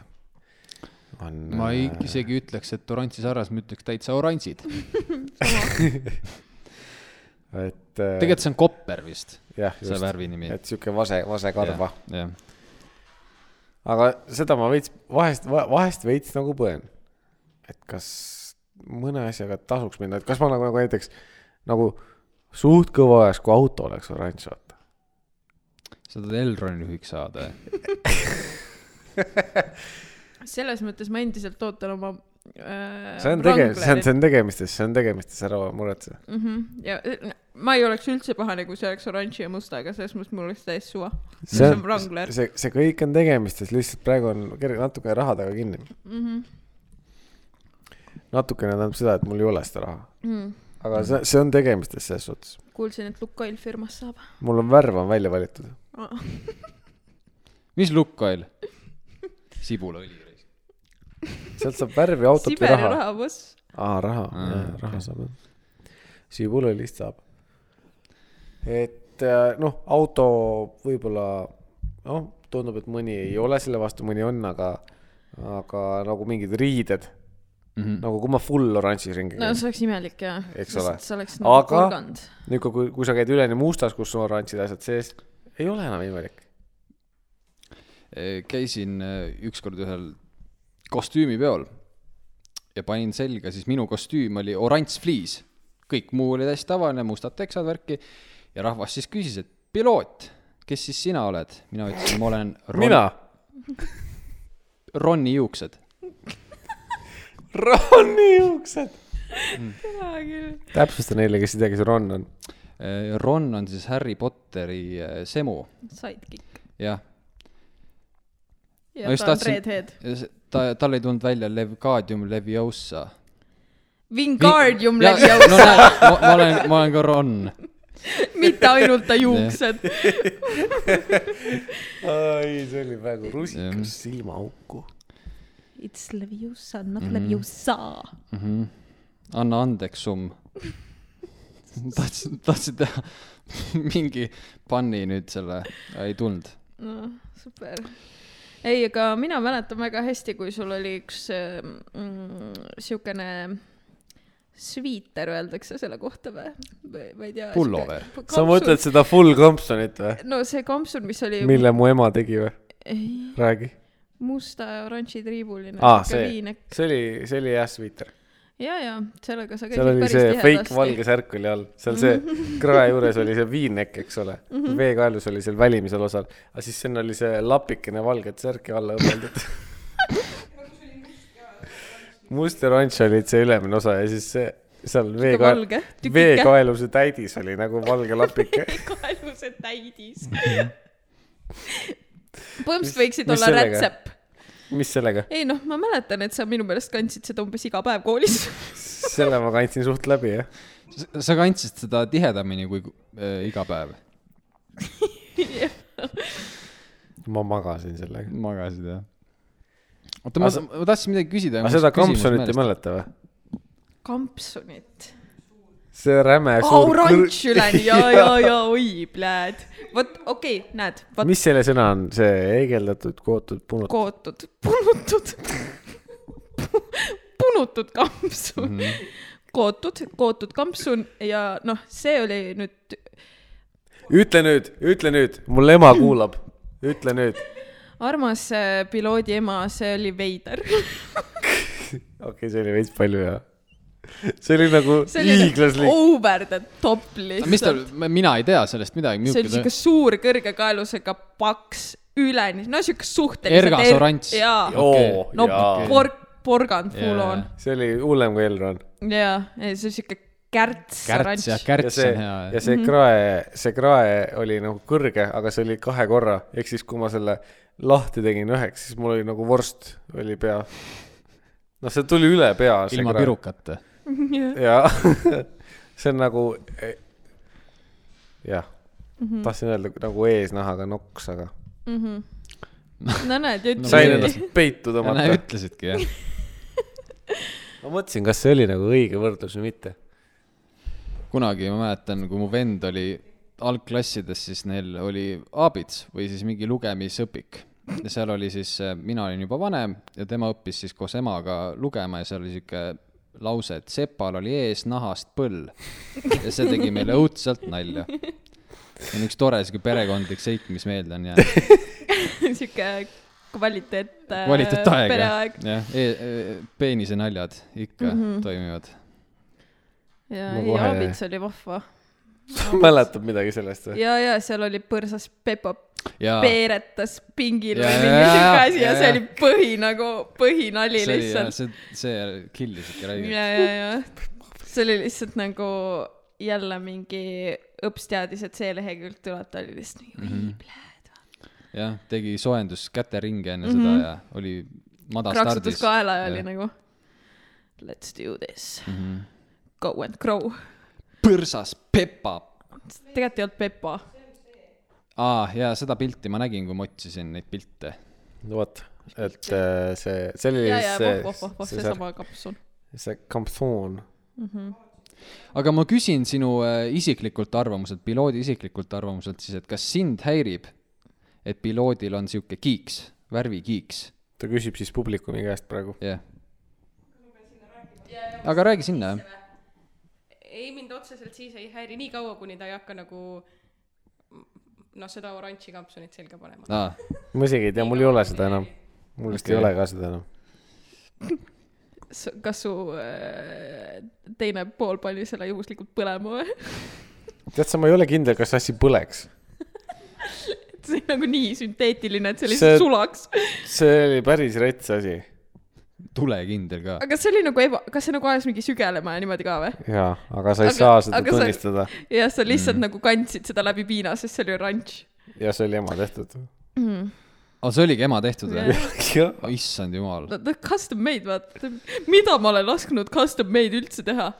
Speaker 2: on . äh,
Speaker 1: ma ei, . isegi ütleks , et oranži sarjas , ma ütleks täitsa oranžid ,
Speaker 2: et äh,
Speaker 1: tegelikult see on kopper vist ,
Speaker 2: jah ,
Speaker 1: see
Speaker 2: just ,
Speaker 1: värvi nimi .
Speaker 2: et sihuke vase , vasekarva ,
Speaker 1: jah
Speaker 2: aga seda ma veits vahest , vahest veits nagu põen . et kas mõne asjaga tasuks minna , et kas ma nagu , nagu näiteks nagu suht kõva ajas , kui auto oleks oranž , vaata .
Speaker 1: sa tahad Elroni juhiks saada ?
Speaker 3: selles mõttes ma endiselt ootan oma äh,
Speaker 2: see on tege- , see on , see on tegemistes , see on tegemistes , ära muretse .
Speaker 3: on . Mhm. ja n- ma ei oleks üldse pahane , kui see oleks oranži ja mustaga , selles mõttes mul oleks täiesti suva . see on Wrangler .
Speaker 2: see , see kõik on tegemistes , lihtsalt praegu on kerge natuke raha taga kinni .
Speaker 3: Mhm.
Speaker 2: natukene tähendab seda , et mul ei ole seda raha ,
Speaker 3: Mm.
Speaker 2: aga see , see on tegemistes selles suhtes .
Speaker 3: kuulsin , et Lukoil firmas saab .
Speaker 2: mul on värv on välja valitud .
Speaker 1: mis Lukoil ? sibulaõli .
Speaker 2: sealt saab värvi , autot või
Speaker 3: Siberi
Speaker 2: raha .
Speaker 3: rahavoss .
Speaker 2: aa , raha
Speaker 1: Aa, ,
Speaker 2: raha saab jah . sibulõlist saab . et äh, noh , auto võib-olla , noh , tundub , et mõni ei ole selle vastu , mõni on , aga , aga nagu mingid riided ,
Speaker 1: Mhm.
Speaker 2: nagu kui ma full oranžis ringi
Speaker 3: no
Speaker 2: käin no, .
Speaker 3: see oleks imelik jah .
Speaker 2: Eks ole.
Speaker 3: see oleks nagu
Speaker 2: Aga-
Speaker 3: kolgand .
Speaker 2: nüüd , kui , kui sa käid üleni mustas , kus on oranžid asjad sees , ei ole enam imelik .
Speaker 1: käisin eh, ükskord ühel kostüümipeol ja panin selga , siis minu kostüüm oli oranž fliis , kõik muu oli täiesti tavaline , mustad teksad , värki ja rahvas siis küsis , et piloot , kes siis sina oled ? mina ütlesin , ma olen Ron,
Speaker 2: mina ?
Speaker 1: Ronni juuksed .
Speaker 2: Ronni juuksed .
Speaker 3: hea küll .
Speaker 2: täpsusta neile , kes ei tea , kes Ron on .
Speaker 1: E, Ron on siis Harry Potteri eh, semu ,
Speaker 3: Sidekick .
Speaker 1: jah .
Speaker 3: ja
Speaker 1: Ma just
Speaker 3: ta on
Speaker 1: tahtsin-
Speaker 3: redhead .
Speaker 1: ta , tal ei tulnud välja Levgadium Leviosa .
Speaker 3: Vingardium
Speaker 1: Ja-
Speaker 3: läbi
Speaker 1: no
Speaker 3: ausa ,
Speaker 1: näed , ma olen , ma olen ka Ron .
Speaker 3: mitte ainult ta juuksed .
Speaker 2: ai , see oli praegu rusikas silmaauku .
Speaker 3: It's Leviosa , not
Speaker 1: Mhm.
Speaker 3: Leviosa .
Speaker 1: anna andeks , summ . tahtsin , tahtsin teha mingi panni nüüd selle , ei tulnud .
Speaker 3: noh , super . ei , aga mina mäletan väga hästi , kui sul oli üks äh, mm, siukene sviiter , öeldakse selle kohta või , või ma ei tea .
Speaker 1: Pullover. .
Speaker 2: sa mõtled ? seda full Compsonit või ?
Speaker 3: no see kampsun , mis oli .
Speaker 2: mille mu ema tegi või ?
Speaker 3: ei ,
Speaker 2: räägi .
Speaker 3: musta ja oranži triibuline .
Speaker 2: Aa, see.
Speaker 3: viinek .
Speaker 2: see oli , see oli jah , sviiter .
Speaker 3: ja , ja sellega sa
Speaker 2: seal
Speaker 3: käisid
Speaker 2: oli
Speaker 3: päris
Speaker 2: see fake valge
Speaker 3: tihedasti .
Speaker 2: särk oli all , seal see krae juures oli see viinek , eks ole .
Speaker 3: Mhm.
Speaker 2: veekaelus oli seal välimisel osal , aga siis sinna oli see lapikene valget särki alla õmmeldud . must ja oranž olid see ülemine osa ja siis see seal veekael ,
Speaker 3: valge tükike.
Speaker 2: veekaeluse täidis oli nagu valge lapike .
Speaker 3: kaeluse täidis . põhimõtteliselt võiksid
Speaker 2: Mhm. mis
Speaker 3: olla
Speaker 2: sellega?
Speaker 3: rätsep .
Speaker 2: mis sellega ?
Speaker 3: ei noh , ma mäletan , et sa minu meelest kandsid seda umbes iga päev koolis
Speaker 2: selle ma kandsin suht läbi jah .
Speaker 1: sa kandsid seda tihedamini kui äh, iga päev .
Speaker 2: ma magasin sellega .
Speaker 1: magasid jah ? oota , ma , ma tahtsin midagi küsida .
Speaker 2: aga seda kampsunit ei mäleta või ?
Speaker 3: kampsunit .
Speaker 2: see räme
Speaker 3: aa , oranž üleni ja , ja , ja oi , pläd . vot , okei okay, , näed , vot
Speaker 2: mis selle sõna on , see heegeldatud , kootud , punud Ko ?
Speaker 3: kootud , punutud , punutud kampsun mm ,
Speaker 2: Mhm.
Speaker 3: -hmm. kootud , kootud kampsun ja noh , see oli nüüd ,
Speaker 2: ütle nüüd , ütle nüüd , mul ema kuulab , ütle nüüd .
Speaker 3: armas äh, piloodi ema , see oli veider .
Speaker 2: okei okay, , see oli veits palju ja . see oli nagu
Speaker 3: see oli nagu
Speaker 2: hiiglaslik .
Speaker 3: over the top
Speaker 1: mis tal
Speaker 3: lihtsalt .,
Speaker 1: mina ei tea sellest midagi .
Speaker 3: see oli siuke suur kõrge kaelusega paks üleni , no siuke suhteliselt .
Speaker 1: Ergas oranž.
Speaker 3: jaa ,
Speaker 2: oo ,
Speaker 3: oh, no
Speaker 2: jaa .
Speaker 3: pork , porgand full
Speaker 1: Jaa.
Speaker 3: on .
Speaker 2: see oli hullem kui Elron .
Speaker 3: jaa , see on siuke kärts .
Speaker 1: kärts jah ,
Speaker 2: ja
Speaker 1: kärts
Speaker 2: see ,
Speaker 1: on hea
Speaker 2: ja .
Speaker 3: Mhm.
Speaker 2: see krae , see krae oli nagu kõrge , aga see oli kahe korra , ehk siis kui ma selle lahti tegin üheks , siis mul oli nagu vorst oli pea . noh , see tuli üle pea .
Speaker 1: ilma . pirukata .
Speaker 3: kärts .
Speaker 2: jaa , see on nagu , jah ,
Speaker 3: Mhm.
Speaker 2: tahtsin öelda nagu eesnahaga noks , aga
Speaker 3: no näed , ja
Speaker 1: No
Speaker 2: sain
Speaker 1: see-
Speaker 3: ütlesid .
Speaker 2: ennast peitu
Speaker 1: näe ,
Speaker 2: tõmmata .
Speaker 1: ütlesidki jah .
Speaker 2: ma mõtlesin , kas see oli nagu õige võrdlus või mitte .
Speaker 1: kunagi ma mäletan , kui mu vend oli algklassides , siis neil oli abits või siis mingi lugemisõpik . ja seal oli siis , mina olin juba vanem ja tema õppis siis koos emaga lugema ja seal oli sihuke lause , et sepal oli ees nahast põll . ja see tegi meile õudselt nalja . see on üks tore sihuke perekondlik seik , mis meelde on jäänud .
Speaker 3: siuke kvaliteet .
Speaker 1: kvaliteetaeg
Speaker 3: Äh, pereaeg . Mhm.
Speaker 1: jah , peenise naljad ikka mm -hmm. toimivad .
Speaker 3: ja
Speaker 2: Ma
Speaker 3: ei ,
Speaker 2: kohe-
Speaker 3: Aabits oli vahva .
Speaker 2: mäletab midagi sellest või ?
Speaker 3: ja , ja seal oli põrsas Pepo
Speaker 1: jaa ,
Speaker 3: peeretas pingil või
Speaker 1: Jaa,
Speaker 3: mingi
Speaker 1: jaa,
Speaker 3: siuke
Speaker 1: jaa,
Speaker 3: asi ja
Speaker 1: jaa,
Speaker 3: see
Speaker 1: jaa.
Speaker 3: oli põhi nagu , põhinali
Speaker 1: see oli jah ,
Speaker 3: lihtsalt .
Speaker 1: see , see killis ikka
Speaker 3: ja ,
Speaker 1: räigelt .
Speaker 3: ja , ja see oli lihtsalt nagu jälle mingi õps teadis , et see lehekülg tuleb , ta oli lihtsalt mingi mm
Speaker 1: Mhm.
Speaker 3: -hmm.
Speaker 1: jah , tegi soojendus käteringi enne seda ja oli madal
Speaker 3: raksutas
Speaker 1: stardis .
Speaker 3: Mhm. kaela ja oli
Speaker 1: Jah. Mhm.
Speaker 3: nagu let's do this mm . -hmm. Go and grow .
Speaker 1: põrsas Pepa .
Speaker 3: tegelikult ei olnud Pepo .
Speaker 1: aa , jaa , seda pilti ma nägin , kui ma otsisin neid pilte .
Speaker 2: no vot , et äh, see , see oli
Speaker 3: ja , ja , voh , voh , voh , voh ,
Speaker 2: see ,
Speaker 3: seesama kapsun .
Speaker 2: see kampsoon .
Speaker 1: aga ma küsin sinu äh, isiklikult arvamuselt , piloodi isiklikult arvamuselt siis , et kas sind häirib , et piloodil on sihuke kiiks , värvikiiks ,
Speaker 2: ta küsib siis publikumi käest praegu .
Speaker 1: jah yeah. ? aga räägi sinna , jah .
Speaker 4: ei mind otseselt siis ei häiri nii kaua , kuni ta ei hakka nagu noh , seda oranži kampsunit selga panema .
Speaker 1: aa ,
Speaker 2: ma isegi ei tea , mul ei ole seda enam . mul vist ei
Speaker 1: Okei.
Speaker 2: ole ka seda enam .
Speaker 3: kas su äh, teine pool pani selle juhuslikult põlema või ?
Speaker 2: tead sa , ma ei ole kindel , kas asi põleks .
Speaker 3: see oli nagu nii sünteetiline , et see
Speaker 2: See-
Speaker 3: lihtsalt sulaks .
Speaker 2: see oli päris rets asi .
Speaker 1: tulekindel ka .
Speaker 3: aga kas see oli nagu eba , kas see nagu ajas mingi sügelema ja niimoodi ka või ?
Speaker 2: jaa , aga sa ei
Speaker 3: Aga-
Speaker 2: aga, saa seda
Speaker 3: aga sa-
Speaker 2: tunnistada sa... .
Speaker 3: ja sa lihtsalt mm. nagu kandsid seda läbi piina , sest see oli oranž .
Speaker 2: ja see oli ema tehtud .
Speaker 1: aa , see oligi ema tehtud või
Speaker 3: Jah.
Speaker 1: yeah. ?
Speaker 2: jah .
Speaker 1: issand jumal .
Speaker 3: ta on custom made , vaata . mida ma olen lasknud custom made üldse teha ?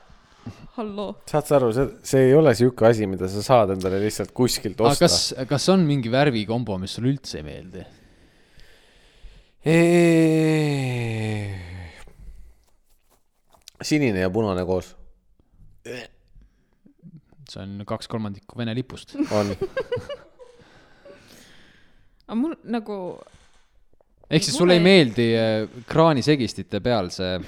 Speaker 3: halloo .
Speaker 2: saad sa aru , see , see ei ole sihuke asi , mida sa saad endale lihtsalt kuskilt
Speaker 1: aga
Speaker 2: osta .
Speaker 1: kas , kas on mingi värvikombo , mis sulle üldse ei meeldi ?
Speaker 2: sinine ja punane koos
Speaker 1: see on kaks kolmandikku Vene lipust .
Speaker 2: on .
Speaker 3: aga mul nagu ,
Speaker 1: ehk siis
Speaker 3: Mulle
Speaker 1: sulle ei
Speaker 3: ei-
Speaker 1: meeldi äh, kraanisegistite peal see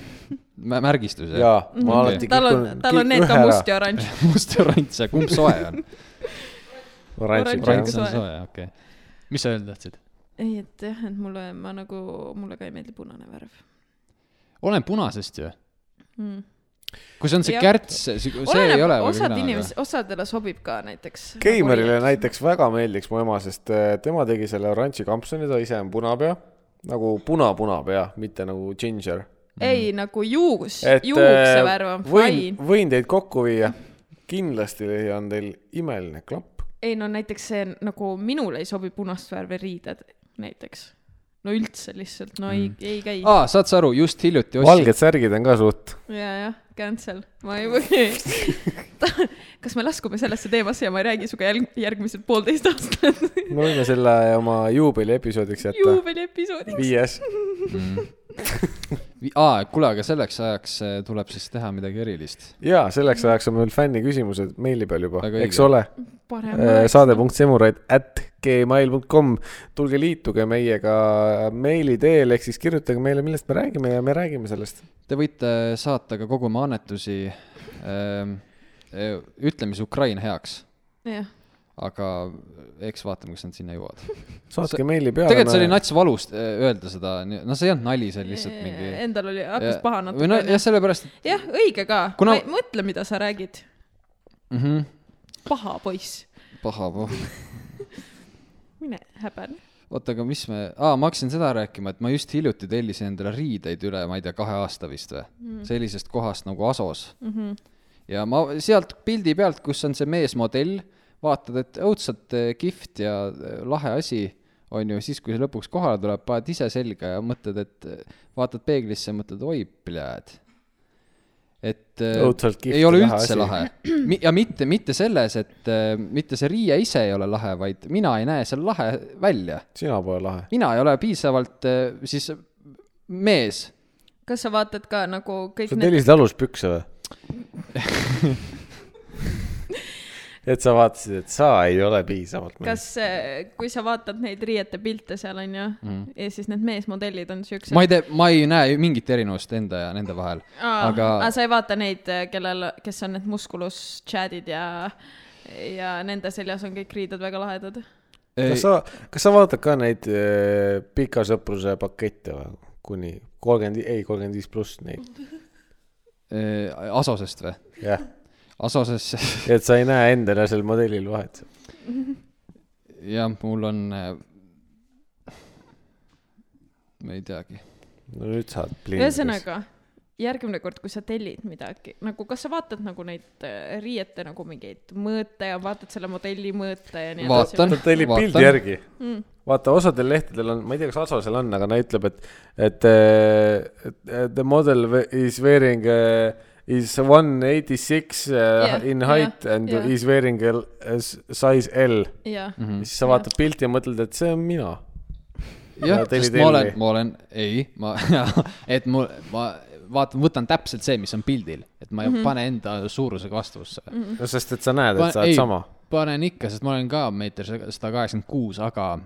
Speaker 1: mä- märgistus , jah ?
Speaker 2: jaa , ma alati
Speaker 3: tal on , tal on need ka must ja oranž .
Speaker 1: must ja oranž ja kumb soe on ?
Speaker 3: Oranž
Speaker 2: oranž
Speaker 1: oranž
Speaker 3: on
Speaker 1: on
Speaker 3: soe.
Speaker 1: soe , okei okay. . mis sa öelda tahtsid ?
Speaker 3: ei , et jah , et mulle , ma nagu , mulle ka ei meeldi punane värv
Speaker 1: olen punasest ju .
Speaker 3: mm. .
Speaker 1: kui see on see
Speaker 3: Jah.
Speaker 1: kärts , see Oleneb, ei ole väga
Speaker 3: osad
Speaker 1: kena,
Speaker 3: inimesed , osadele sobib ka näiteks . nagu
Speaker 2: Keimerile . näiteks väga meeldiks mu ema , sest äh, tema tegi selle oranži kampsuni , ta ise on punapea , nagu puna-punapea , mitte nagu ginger .
Speaker 3: ei , nagu juus ,
Speaker 2: et
Speaker 3: juukse
Speaker 2: äh,
Speaker 3: värv on
Speaker 2: võin
Speaker 3: fine .,
Speaker 2: võin teid kokku viia . kindlasti on teil imeline klapp .
Speaker 3: ei no näiteks see nagu minule ei sobi punast värvi riided näiteks . no üldse lihtsalt , no
Speaker 1: Mm.
Speaker 3: ei , ei käi
Speaker 1: aga- .
Speaker 2: Ah.
Speaker 1: aa , saad sa aru , just hiljuti ostsin ,
Speaker 2: valged särgid on ka suht .
Speaker 3: ja , jah , cancel , ma ei või . kas me laskume sellesse teemasse ja ma ei räägi sinuga jälg- , järgmised poolteist aastat
Speaker 2: me võime selle oma juubeli episoodiks jätta .
Speaker 3: juubeli episoodiks ?
Speaker 2: viies .
Speaker 1: Mm. aa , kuule , aga selleks ajaks äh, tuleb siis teha midagi erilist .
Speaker 2: ja selleks ajaks on meil fänniküsimused meili peal juba
Speaker 1: Väga , õige.
Speaker 2: eks ole . Äh,
Speaker 3: parem
Speaker 2: saade.semuraid at gmail.com , tulge liituge meiega meili teel , ehk siis kirjutage meile , millest me räägime ja me räägime sellest .
Speaker 1: Te võite äh, saata ka kogu oma annetusi ähm, äh, , ütleme siis Ukraina heaks ,
Speaker 3: jah ,
Speaker 1: aga eh, eks vaatame , kas nad sinna jõuavad .
Speaker 2: saatke
Speaker 1: See-
Speaker 2: meili peale .
Speaker 1: tegelikult see oli nats valus äh, öelda seda , no see ei olnud nali , see oli lihtsalt mingi .
Speaker 3: Äh, endal oli , hakkas paha
Speaker 1: või no
Speaker 3: natuke .
Speaker 1: jah , sellepärast , et
Speaker 3: jah , õige ka
Speaker 1: Kuna-
Speaker 3: Kuna... . mõtle , mida sa räägid .
Speaker 1: mm -hmm,
Speaker 3: paha poiss ,
Speaker 1: paha puh.
Speaker 3: mine häbene .
Speaker 1: oota , aga mis me , aa , ma hakkasin seda rääkima , et ma just hiljuti tellisin endale riideid üle , ma ei tea , kahe aasta vist või mm. , sellisest kohast nagu Asos mm . -hmm. ja ma sealt pildi pealt , kus on see meesmodell , vaatad , et õudselt eh, kihvt ja eh, lahe asi , on ju , siis kui see lõpuks kohale tuleb , paned ise selga ja mõtled , et eh, vaatad peeglisse , mõtled , oi , pljääd . et eh,
Speaker 2: Õudselt kihvt
Speaker 1: ei ole
Speaker 2: ja lahe
Speaker 1: üldse
Speaker 2: asi.
Speaker 1: lahe . ja mitte , mitte selles , et eh, mitte see riie ise ei ole lahe , vaid mina ei näe seal lahe välja
Speaker 2: sina pole lahe .
Speaker 1: mina ei ole piisavalt äh, siis mees .
Speaker 3: kas sa vaatad ka nagu kõik
Speaker 2: sa
Speaker 3: need ,
Speaker 2: tellisid aluspükse või ? et sa vaatasid , et sa ei ole piisavalt mees .
Speaker 3: kas , kui sa vaatad neid riiete pilte seal onju mm. ja siis need meesmodellid on siuksed .
Speaker 1: ma ei tea , ma ei näe mingit erinevust enda ja nende vahel .
Speaker 3: Aa, aga
Speaker 1: aga
Speaker 3: sa ei vaata neid , kellel , kes on need muskulus chat'id ja , ja nende seljas on kõik riided väga lahedad .
Speaker 1: ei,
Speaker 2: kas sa , kas sa vaatad ka neid eh, pika sõpruse pakette või ? kuni kolmkümmend , ei kolmkümmend viis pluss neid ,
Speaker 1: äh, Asosest või ?
Speaker 2: jah .
Speaker 5: Asosesse
Speaker 2: et sa ei näe endale sel modelil vahet .
Speaker 5: jah , mul on .
Speaker 1: äh,
Speaker 5: ma ei teagi .
Speaker 2: no nüüd saad .
Speaker 3: ühesõnaga , järgmine kord , kui sa tellid midagi , nagu kas sa vaatad nagu neid äh, riiete nagu mingeid mõõte ja vaatad selle modelli mõõte ja nii
Speaker 5: vaatan .
Speaker 2: ta tellib pildi . järgi mm. . vaata , osadel lehtedel on , ma ei tea , kas Asosel on , aga näitleb , et , et eh, et the model we- is wearing eh, is one eighty six äh,
Speaker 3: Jah,
Speaker 2: in height
Speaker 3: jah,
Speaker 2: yeah, and
Speaker 3: jah.
Speaker 2: yeah. is wearing a a s- size L .
Speaker 3: jah ,
Speaker 5: Mhm.
Speaker 2: siis sa vaatad pilti ja mõtled , et see on mina . Ja ,
Speaker 5: jah
Speaker 2: tellid
Speaker 5: sest ma olen
Speaker 2: Elli. ,
Speaker 5: ma olen , ei , ma , et mul , ma vaatan , võtan täpselt see , mis on pildil , et ma ei mm
Speaker 2: Mhm.
Speaker 5: -hmm. pane enda suurusega vastavusse mm . -hmm.
Speaker 2: no sest , et sa näed ,
Speaker 5: Ma-
Speaker 2: et sa oled
Speaker 5: ei.
Speaker 2: sama .
Speaker 5: panen ikka , sest ma olen ka meeter sada kaheksakümmend kuus , aga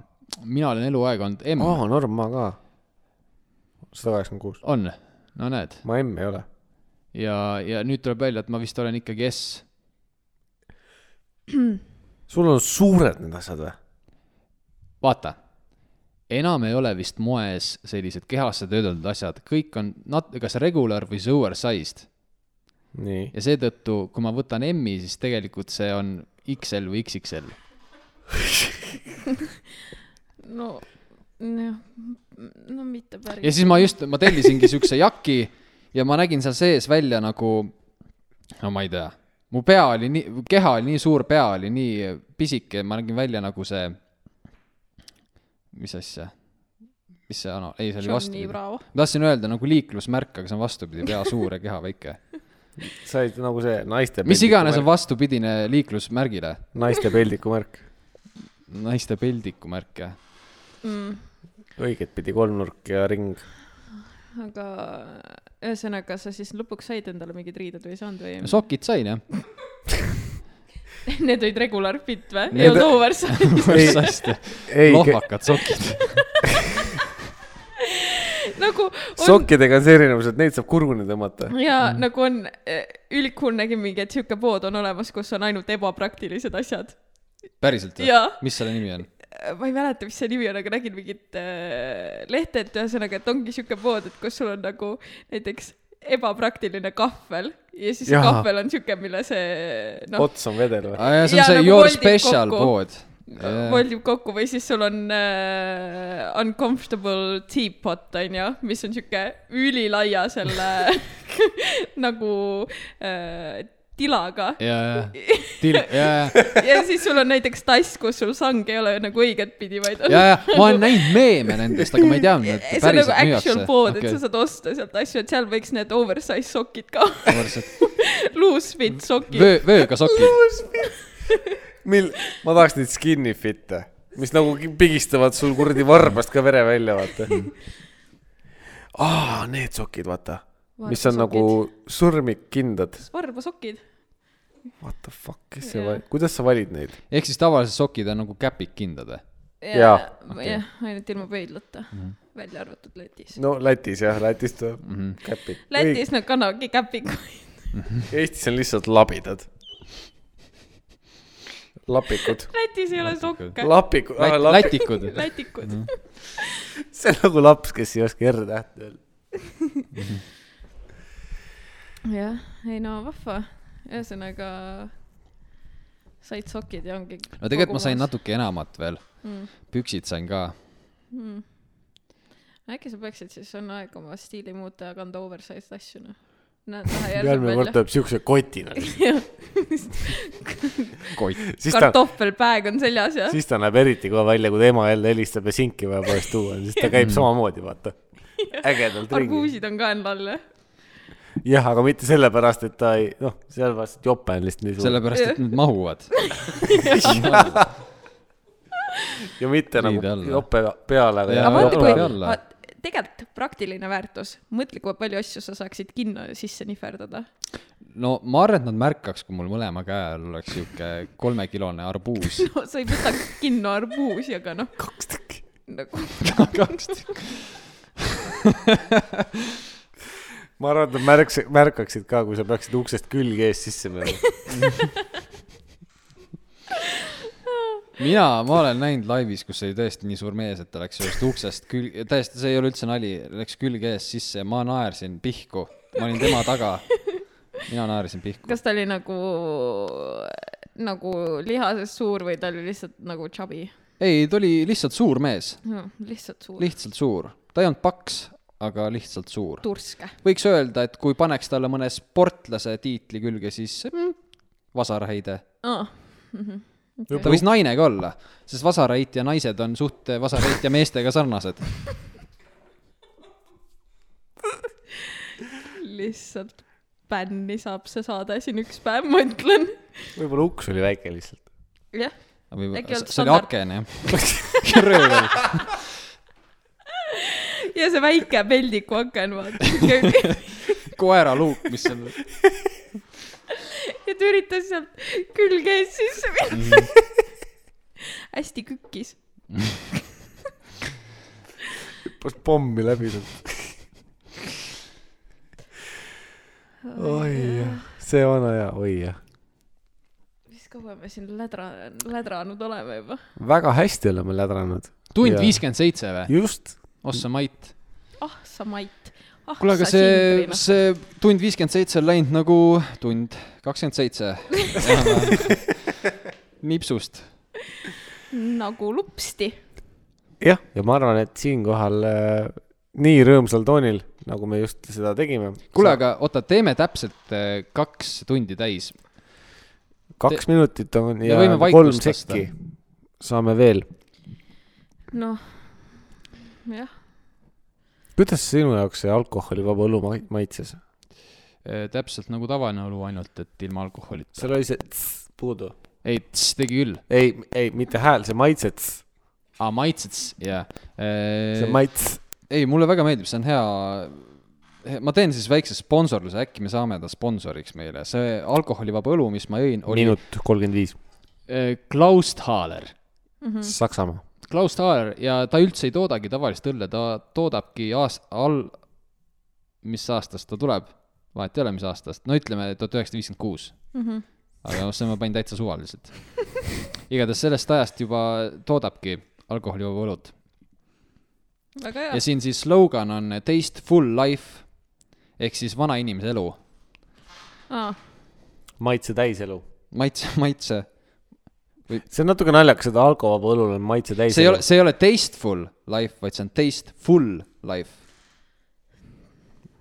Speaker 5: mina olen eluaeg olnud M oh. ,
Speaker 2: aa , Ah, norm , ma ka . sada kaheksakümmend kuus .
Speaker 5: on , no näed .
Speaker 2: ma M ei ole .
Speaker 5: ja , ja nüüd tuleb välja , et ma vist olen ikkagi S .
Speaker 2: sul on suured need asjad või ?
Speaker 5: vaata , enam ei ole vist moes sellised kehasse töödeldud asjad , kõik on nat- , kas regular või oversized
Speaker 2: nii .
Speaker 5: ja seetõttu , kui ma võtan M-i , siis tegelikult see on XL või XXL .
Speaker 3: no , jah , no mitte päris
Speaker 5: ja . siis ma just , ma tellisingi siukse jaki ja ma nägin seal sees välja nagu , no ma ei tea , mu pea oli nii , keha oli nii suur , pea oli nii pisike , ma nägin välja nagu see , mis asja , mis see ana- , ei , see oli
Speaker 3: Johnny
Speaker 5: vastupidi .
Speaker 3: Bravo .
Speaker 5: ma tahtsin öelda nagu liiklusmärk , aga see on vastupidi , pea suur ja keha väike .
Speaker 2: said nagu see naiste .
Speaker 5: mis iganes on . vastupidine liiklusmärgile ,
Speaker 2: naiste peldiku märk .
Speaker 5: naiste peldiku märk jah .
Speaker 3: Mm.
Speaker 2: õiget pidi kolmnurk ja ring .
Speaker 3: aga ühesõnaga , sa siis lõpuks said endale mingid riided või ei saanud või ?
Speaker 5: sokid sain jah .
Speaker 3: Need olid regular fit või ?
Speaker 5: Need-
Speaker 3: ei olnud oversize .
Speaker 2: ei ,
Speaker 5: lohvakad sokid .
Speaker 3: nagu on
Speaker 2: sokkidega on see erinevus , et neid saab kurguni tõmmata .
Speaker 3: ja nagu on , ülikool nägi mingi , et sihuke pood on olemas , kus on ainult ebapraktilised asjad .
Speaker 5: päriselt või
Speaker 3: Jaa. ?
Speaker 5: mis selle nimi on ?
Speaker 3: ma ei mäleta , mis see nimi on , aga nägin mingit äh, lehte , et ühesõnaga , et ongi sihuke pood , et kus sul on nagu näiteks ebapraktiline kahvel ja siis
Speaker 2: Jaa.
Speaker 3: Jaa. kahvel on sihuke , mille see noh ,
Speaker 2: ots on vedel või ?
Speaker 5: aa jaa , Ah, see on
Speaker 3: Jaa,
Speaker 5: see
Speaker 3: nagu
Speaker 5: Your
Speaker 3: voldib
Speaker 5: Special
Speaker 3: kokku.
Speaker 5: pood .
Speaker 3: voldib kokku või siis sul on äh, uncomfortable teapot onju , mis on siuke ülilaia selle nagu äh, tilaga
Speaker 5: ja , ja , tilk , ja , ja ,
Speaker 3: ja siis sul on näiteks tass , kus sul sang ei ole nagu õiget pidi , vaid on
Speaker 5: ja , ja ma olen näinud meeme nendest , aga ma ei teadnud , et
Speaker 3: see on nagu
Speaker 5: päriselt
Speaker 3: actual pood , et sa
Speaker 5: müüakse .
Speaker 3: saad osta sealt asju , et seal võiks need oversize sokid ka ,
Speaker 5: okei ,
Speaker 3: loose fit sokid .
Speaker 5: vöö , vööga sokid .
Speaker 2: mil , ma tahaks neid skinny fit'e , mis nagu ki- pigistavad sul kuradi varbast ka vere välja , vaata . aa , need sokid , vaata . mis on nagu sõrmikkindad .
Speaker 3: varbasokid .
Speaker 2: What the fuck , kes see
Speaker 3: Jaa.
Speaker 2: valib , kuidas sa valid neid ?
Speaker 5: ehk siis tavaliselt sokid on nagu käpikkindad või ?
Speaker 2: Jaa,
Speaker 3: jah ,
Speaker 5: okei.
Speaker 3: ainult ilma pöidlata , välja arvatud Lätis .
Speaker 2: no Lätis jah , Lätis tuleb mm -hmm. käpid .
Speaker 3: Lätis nad kannavadki käpikuid .
Speaker 2: Eestis on lihtsalt labidad . lapikud .
Speaker 3: Lätis ei ole sokke .
Speaker 2: lapikud , ah lapikud .
Speaker 5: lätikud .
Speaker 3: Lätikud .
Speaker 2: see on nagu laps , kes ei oska R-tähte öelda .
Speaker 5: Mhm.
Speaker 3: jah , ei no vahva . ühesõnaga said sokid ja ongi .
Speaker 5: no tegelikult ma sain . natuke enamat veel .
Speaker 3: Mm.
Speaker 5: püksid sain ka .
Speaker 3: äkki sa peaksid siis , on aeg oma stiili muuta ja kanda oversized asju , noh . näed ,
Speaker 2: järgmine kord
Speaker 3: järgmine
Speaker 2: tuleb siukse kotina ,
Speaker 3: kord .
Speaker 5: kott .
Speaker 2: siis ta ,
Speaker 3: kartohvelpäev on seljas ja .
Speaker 2: siis ta näeb eriti kõva välja , kui ta ema jälle helistab ja sinki vaja poest tuua , siis ta käib samamoodi , vaata . ägedalt ringi .
Speaker 3: arbuusid on ka enda all , jah .
Speaker 2: jah , aga mitte sellepärast , et ta ei , noh , sellepärast , et jope on lihtsalt nii suur
Speaker 5: sellepärast , et nad mahuvad .
Speaker 2: ja mitte
Speaker 5: riide
Speaker 2: nagu
Speaker 5: alla.
Speaker 2: jope peale ,
Speaker 5: Jaa,
Speaker 2: aga
Speaker 3: aga
Speaker 5: Aga
Speaker 2: jope
Speaker 3: vaata ,
Speaker 5: jope
Speaker 3: kui
Speaker 2: peale .
Speaker 5: alla. ,
Speaker 3: tegelikult praktiline väärtus , mõtle , kui palju asju sa saaksid kinno sisse nihverdada .
Speaker 5: no ma arvan , et nad märkaks , kui mul mõlema käe all oleks sihuke kolmekilone arbuus .
Speaker 3: no sa ei võta kinno arbuusi , aga noh ,
Speaker 2: kaks tükki .
Speaker 3: nagu
Speaker 5: kaks tükki .
Speaker 2: ma arvan , et nad märks , märkaksid ka , kui sa peaksid uksest külge ees sisse minema .
Speaker 5: mina , ma olen näinud laivis , kus oli tõesti nii suur mees , et ta läks ühest uksest külg , täiesti , see ei ole üldse nali , läks külge ees sisse ja ma naersin pihku . ma olin tema taga . mina naersin pihku .
Speaker 3: kas ta oli nagu , nagu lihases suur või ta oli lihtsalt nagu chubby
Speaker 5: ei , ta oli lihtsalt suur mees ,
Speaker 3: no, ? lihtsalt suur Liht .
Speaker 5: lihtsalt suur . ta ei olnud paks , aga lihtsalt suur .
Speaker 3: turske .
Speaker 5: võiks öelda , et kui paneks talle mõne sportlase tiitli külge , siis mm, vasarheide .
Speaker 3: aa ,
Speaker 5: ta võis naine ka olla , sest vasarheit ja naised on suht vasarheit ja meestega sarnased .
Speaker 3: lihtsalt bänni saab see saade siin üks päev , ma ütlen .
Speaker 2: võib-olla uks oli väike lihtsalt .
Speaker 3: jah , Äkki ei olnud
Speaker 5: see oli
Speaker 3: standard?
Speaker 5: aken jah . röövel .
Speaker 3: ja see väike peldiku aken , vaata .
Speaker 5: koera luuk , mis on ,
Speaker 3: ja ta üritas sealt külge ees sisse minna .
Speaker 5: Mhm.
Speaker 3: hästi kükkis .
Speaker 2: hüppas pommi läbi sealt . oi jah , see vana hea , oi jah .
Speaker 3: mis kaua me siin lädra , lädranud oleme juba ?
Speaker 2: väga hästi oleme lädranud .
Speaker 5: tund
Speaker 2: Jaa.
Speaker 5: viiskümmend seitse või ?
Speaker 2: just ,
Speaker 5: ossa mait .
Speaker 3: ah sa Mait , ah
Speaker 5: kuule , aga
Speaker 3: sa
Speaker 5: see ,
Speaker 3: Sindrina .
Speaker 5: see tund viiskümmend seitse on läinud nagu tund kakskümmend seitse . nipsust .
Speaker 3: nagu lupsti .
Speaker 2: jah , ja ma arvan , et siinkohal äh, nii rõõmsal toonil , nagu me just seda tegime .
Speaker 5: kuule , aga oota , teeme täpselt eh, kaks tundi täis .
Speaker 2: kaks minutit on
Speaker 5: me
Speaker 2: ja
Speaker 5: võime
Speaker 2: kolm
Speaker 5: vaikust lasta.
Speaker 2: sekki saame veel .
Speaker 3: noh , jah ,
Speaker 2: kuidas sinu jaoks see alkoholivaba õlu ma- maitses ?
Speaker 5: täpselt nagu tavaline õlu , ainult et ilma alkoholita .
Speaker 2: seal oli see tss puudu .
Speaker 5: ei , tegi küll .
Speaker 2: ei , ei , mitte hääl , see maitse tss ,
Speaker 5: aa , maitsed , jaa .
Speaker 2: see maits .
Speaker 5: ei , mulle väga meeldib , see on hea . ma teen siis väikse sponsorluse , äkki me saame ta sponsoriks meile . see alkoholivaba õlu , mis ma jõin , oli
Speaker 2: minut kolmkümmend viis ,
Speaker 5: eh, Klausthaler Hmm.
Speaker 2: Saksamaa .
Speaker 5: Klaus Taaler ja ta üldse ei toodagi tavalist õlle , ta toodabki aas- , all , mis aastast ta tuleb , vahet ei ole , mis aastast , no ütleme tuhat üheksasada viiskümmend kuus . aga noh , see ma panin täitsa suvaliselt . igatahes sellest ajast juba toodabki alkoholivaba õlut .
Speaker 3: väga hea
Speaker 5: ja . siin siis slogan on taste full life ehk siis vana inimese elu .
Speaker 3: aa ,
Speaker 2: maitse täiselu .
Speaker 5: maitse , maitse ,
Speaker 2: see on natuke naljakas , et alkovaba õlul on maitse täiselu .
Speaker 5: see ei ole , see ei ole tasteful life , vaid see on taste full life .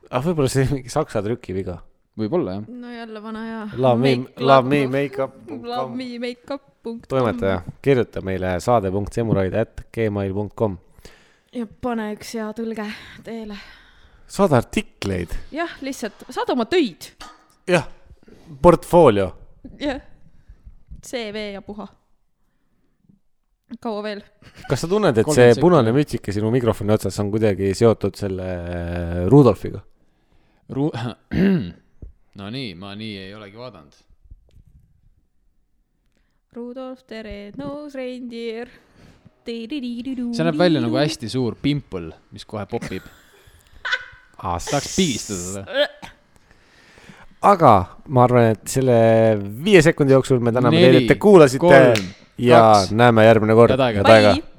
Speaker 2: ah , võib-olla see on mingi saksa trükiviga .
Speaker 5: võib-olla jah .
Speaker 3: no jälle vana hea .
Speaker 2: Love me , love me , make up .
Speaker 3: Love me makeup punkt .
Speaker 2: toimetaja , kirjuta meile saade.semuraid at gmail punkt kom .
Speaker 3: ja pane üks hea tõlge teele .
Speaker 2: saada artikleid .
Speaker 3: jah , lihtsalt saada oma töid .
Speaker 2: jah , portfoolio .
Speaker 3: jah . CV ja puha . kaua veel ?
Speaker 2: kas sa tunned , et see
Speaker 5: Kolmkümmend
Speaker 2: punane
Speaker 5: sekundit.
Speaker 2: mütsike sinu mikrofoni otsas on kuidagi seotud selle äh, Rudolfiga ?
Speaker 5: Ru- , no nii , ma nii ei olegi vaadanud .
Speaker 3: Rudolf the Red-Nosed Reindeer .
Speaker 5: see
Speaker 3: see
Speaker 5: näeb välja nagu . hästi suur pimpel , mis kohe popib . tahaks
Speaker 2: aga
Speaker 5: pigistada seda .
Speaker 2: ma arvan , et selle viie sekundi jooksul me täname teid ,
Speaker 5: Neli,
Speaker 2: et te kuulasite
Speaker 5: kolm,
Speaker 2: ja
Speaker 5: kaks.
Speaker 2: näeme järgmine kord .
Speaker 5: Head aega.
Speaker 3: Bye .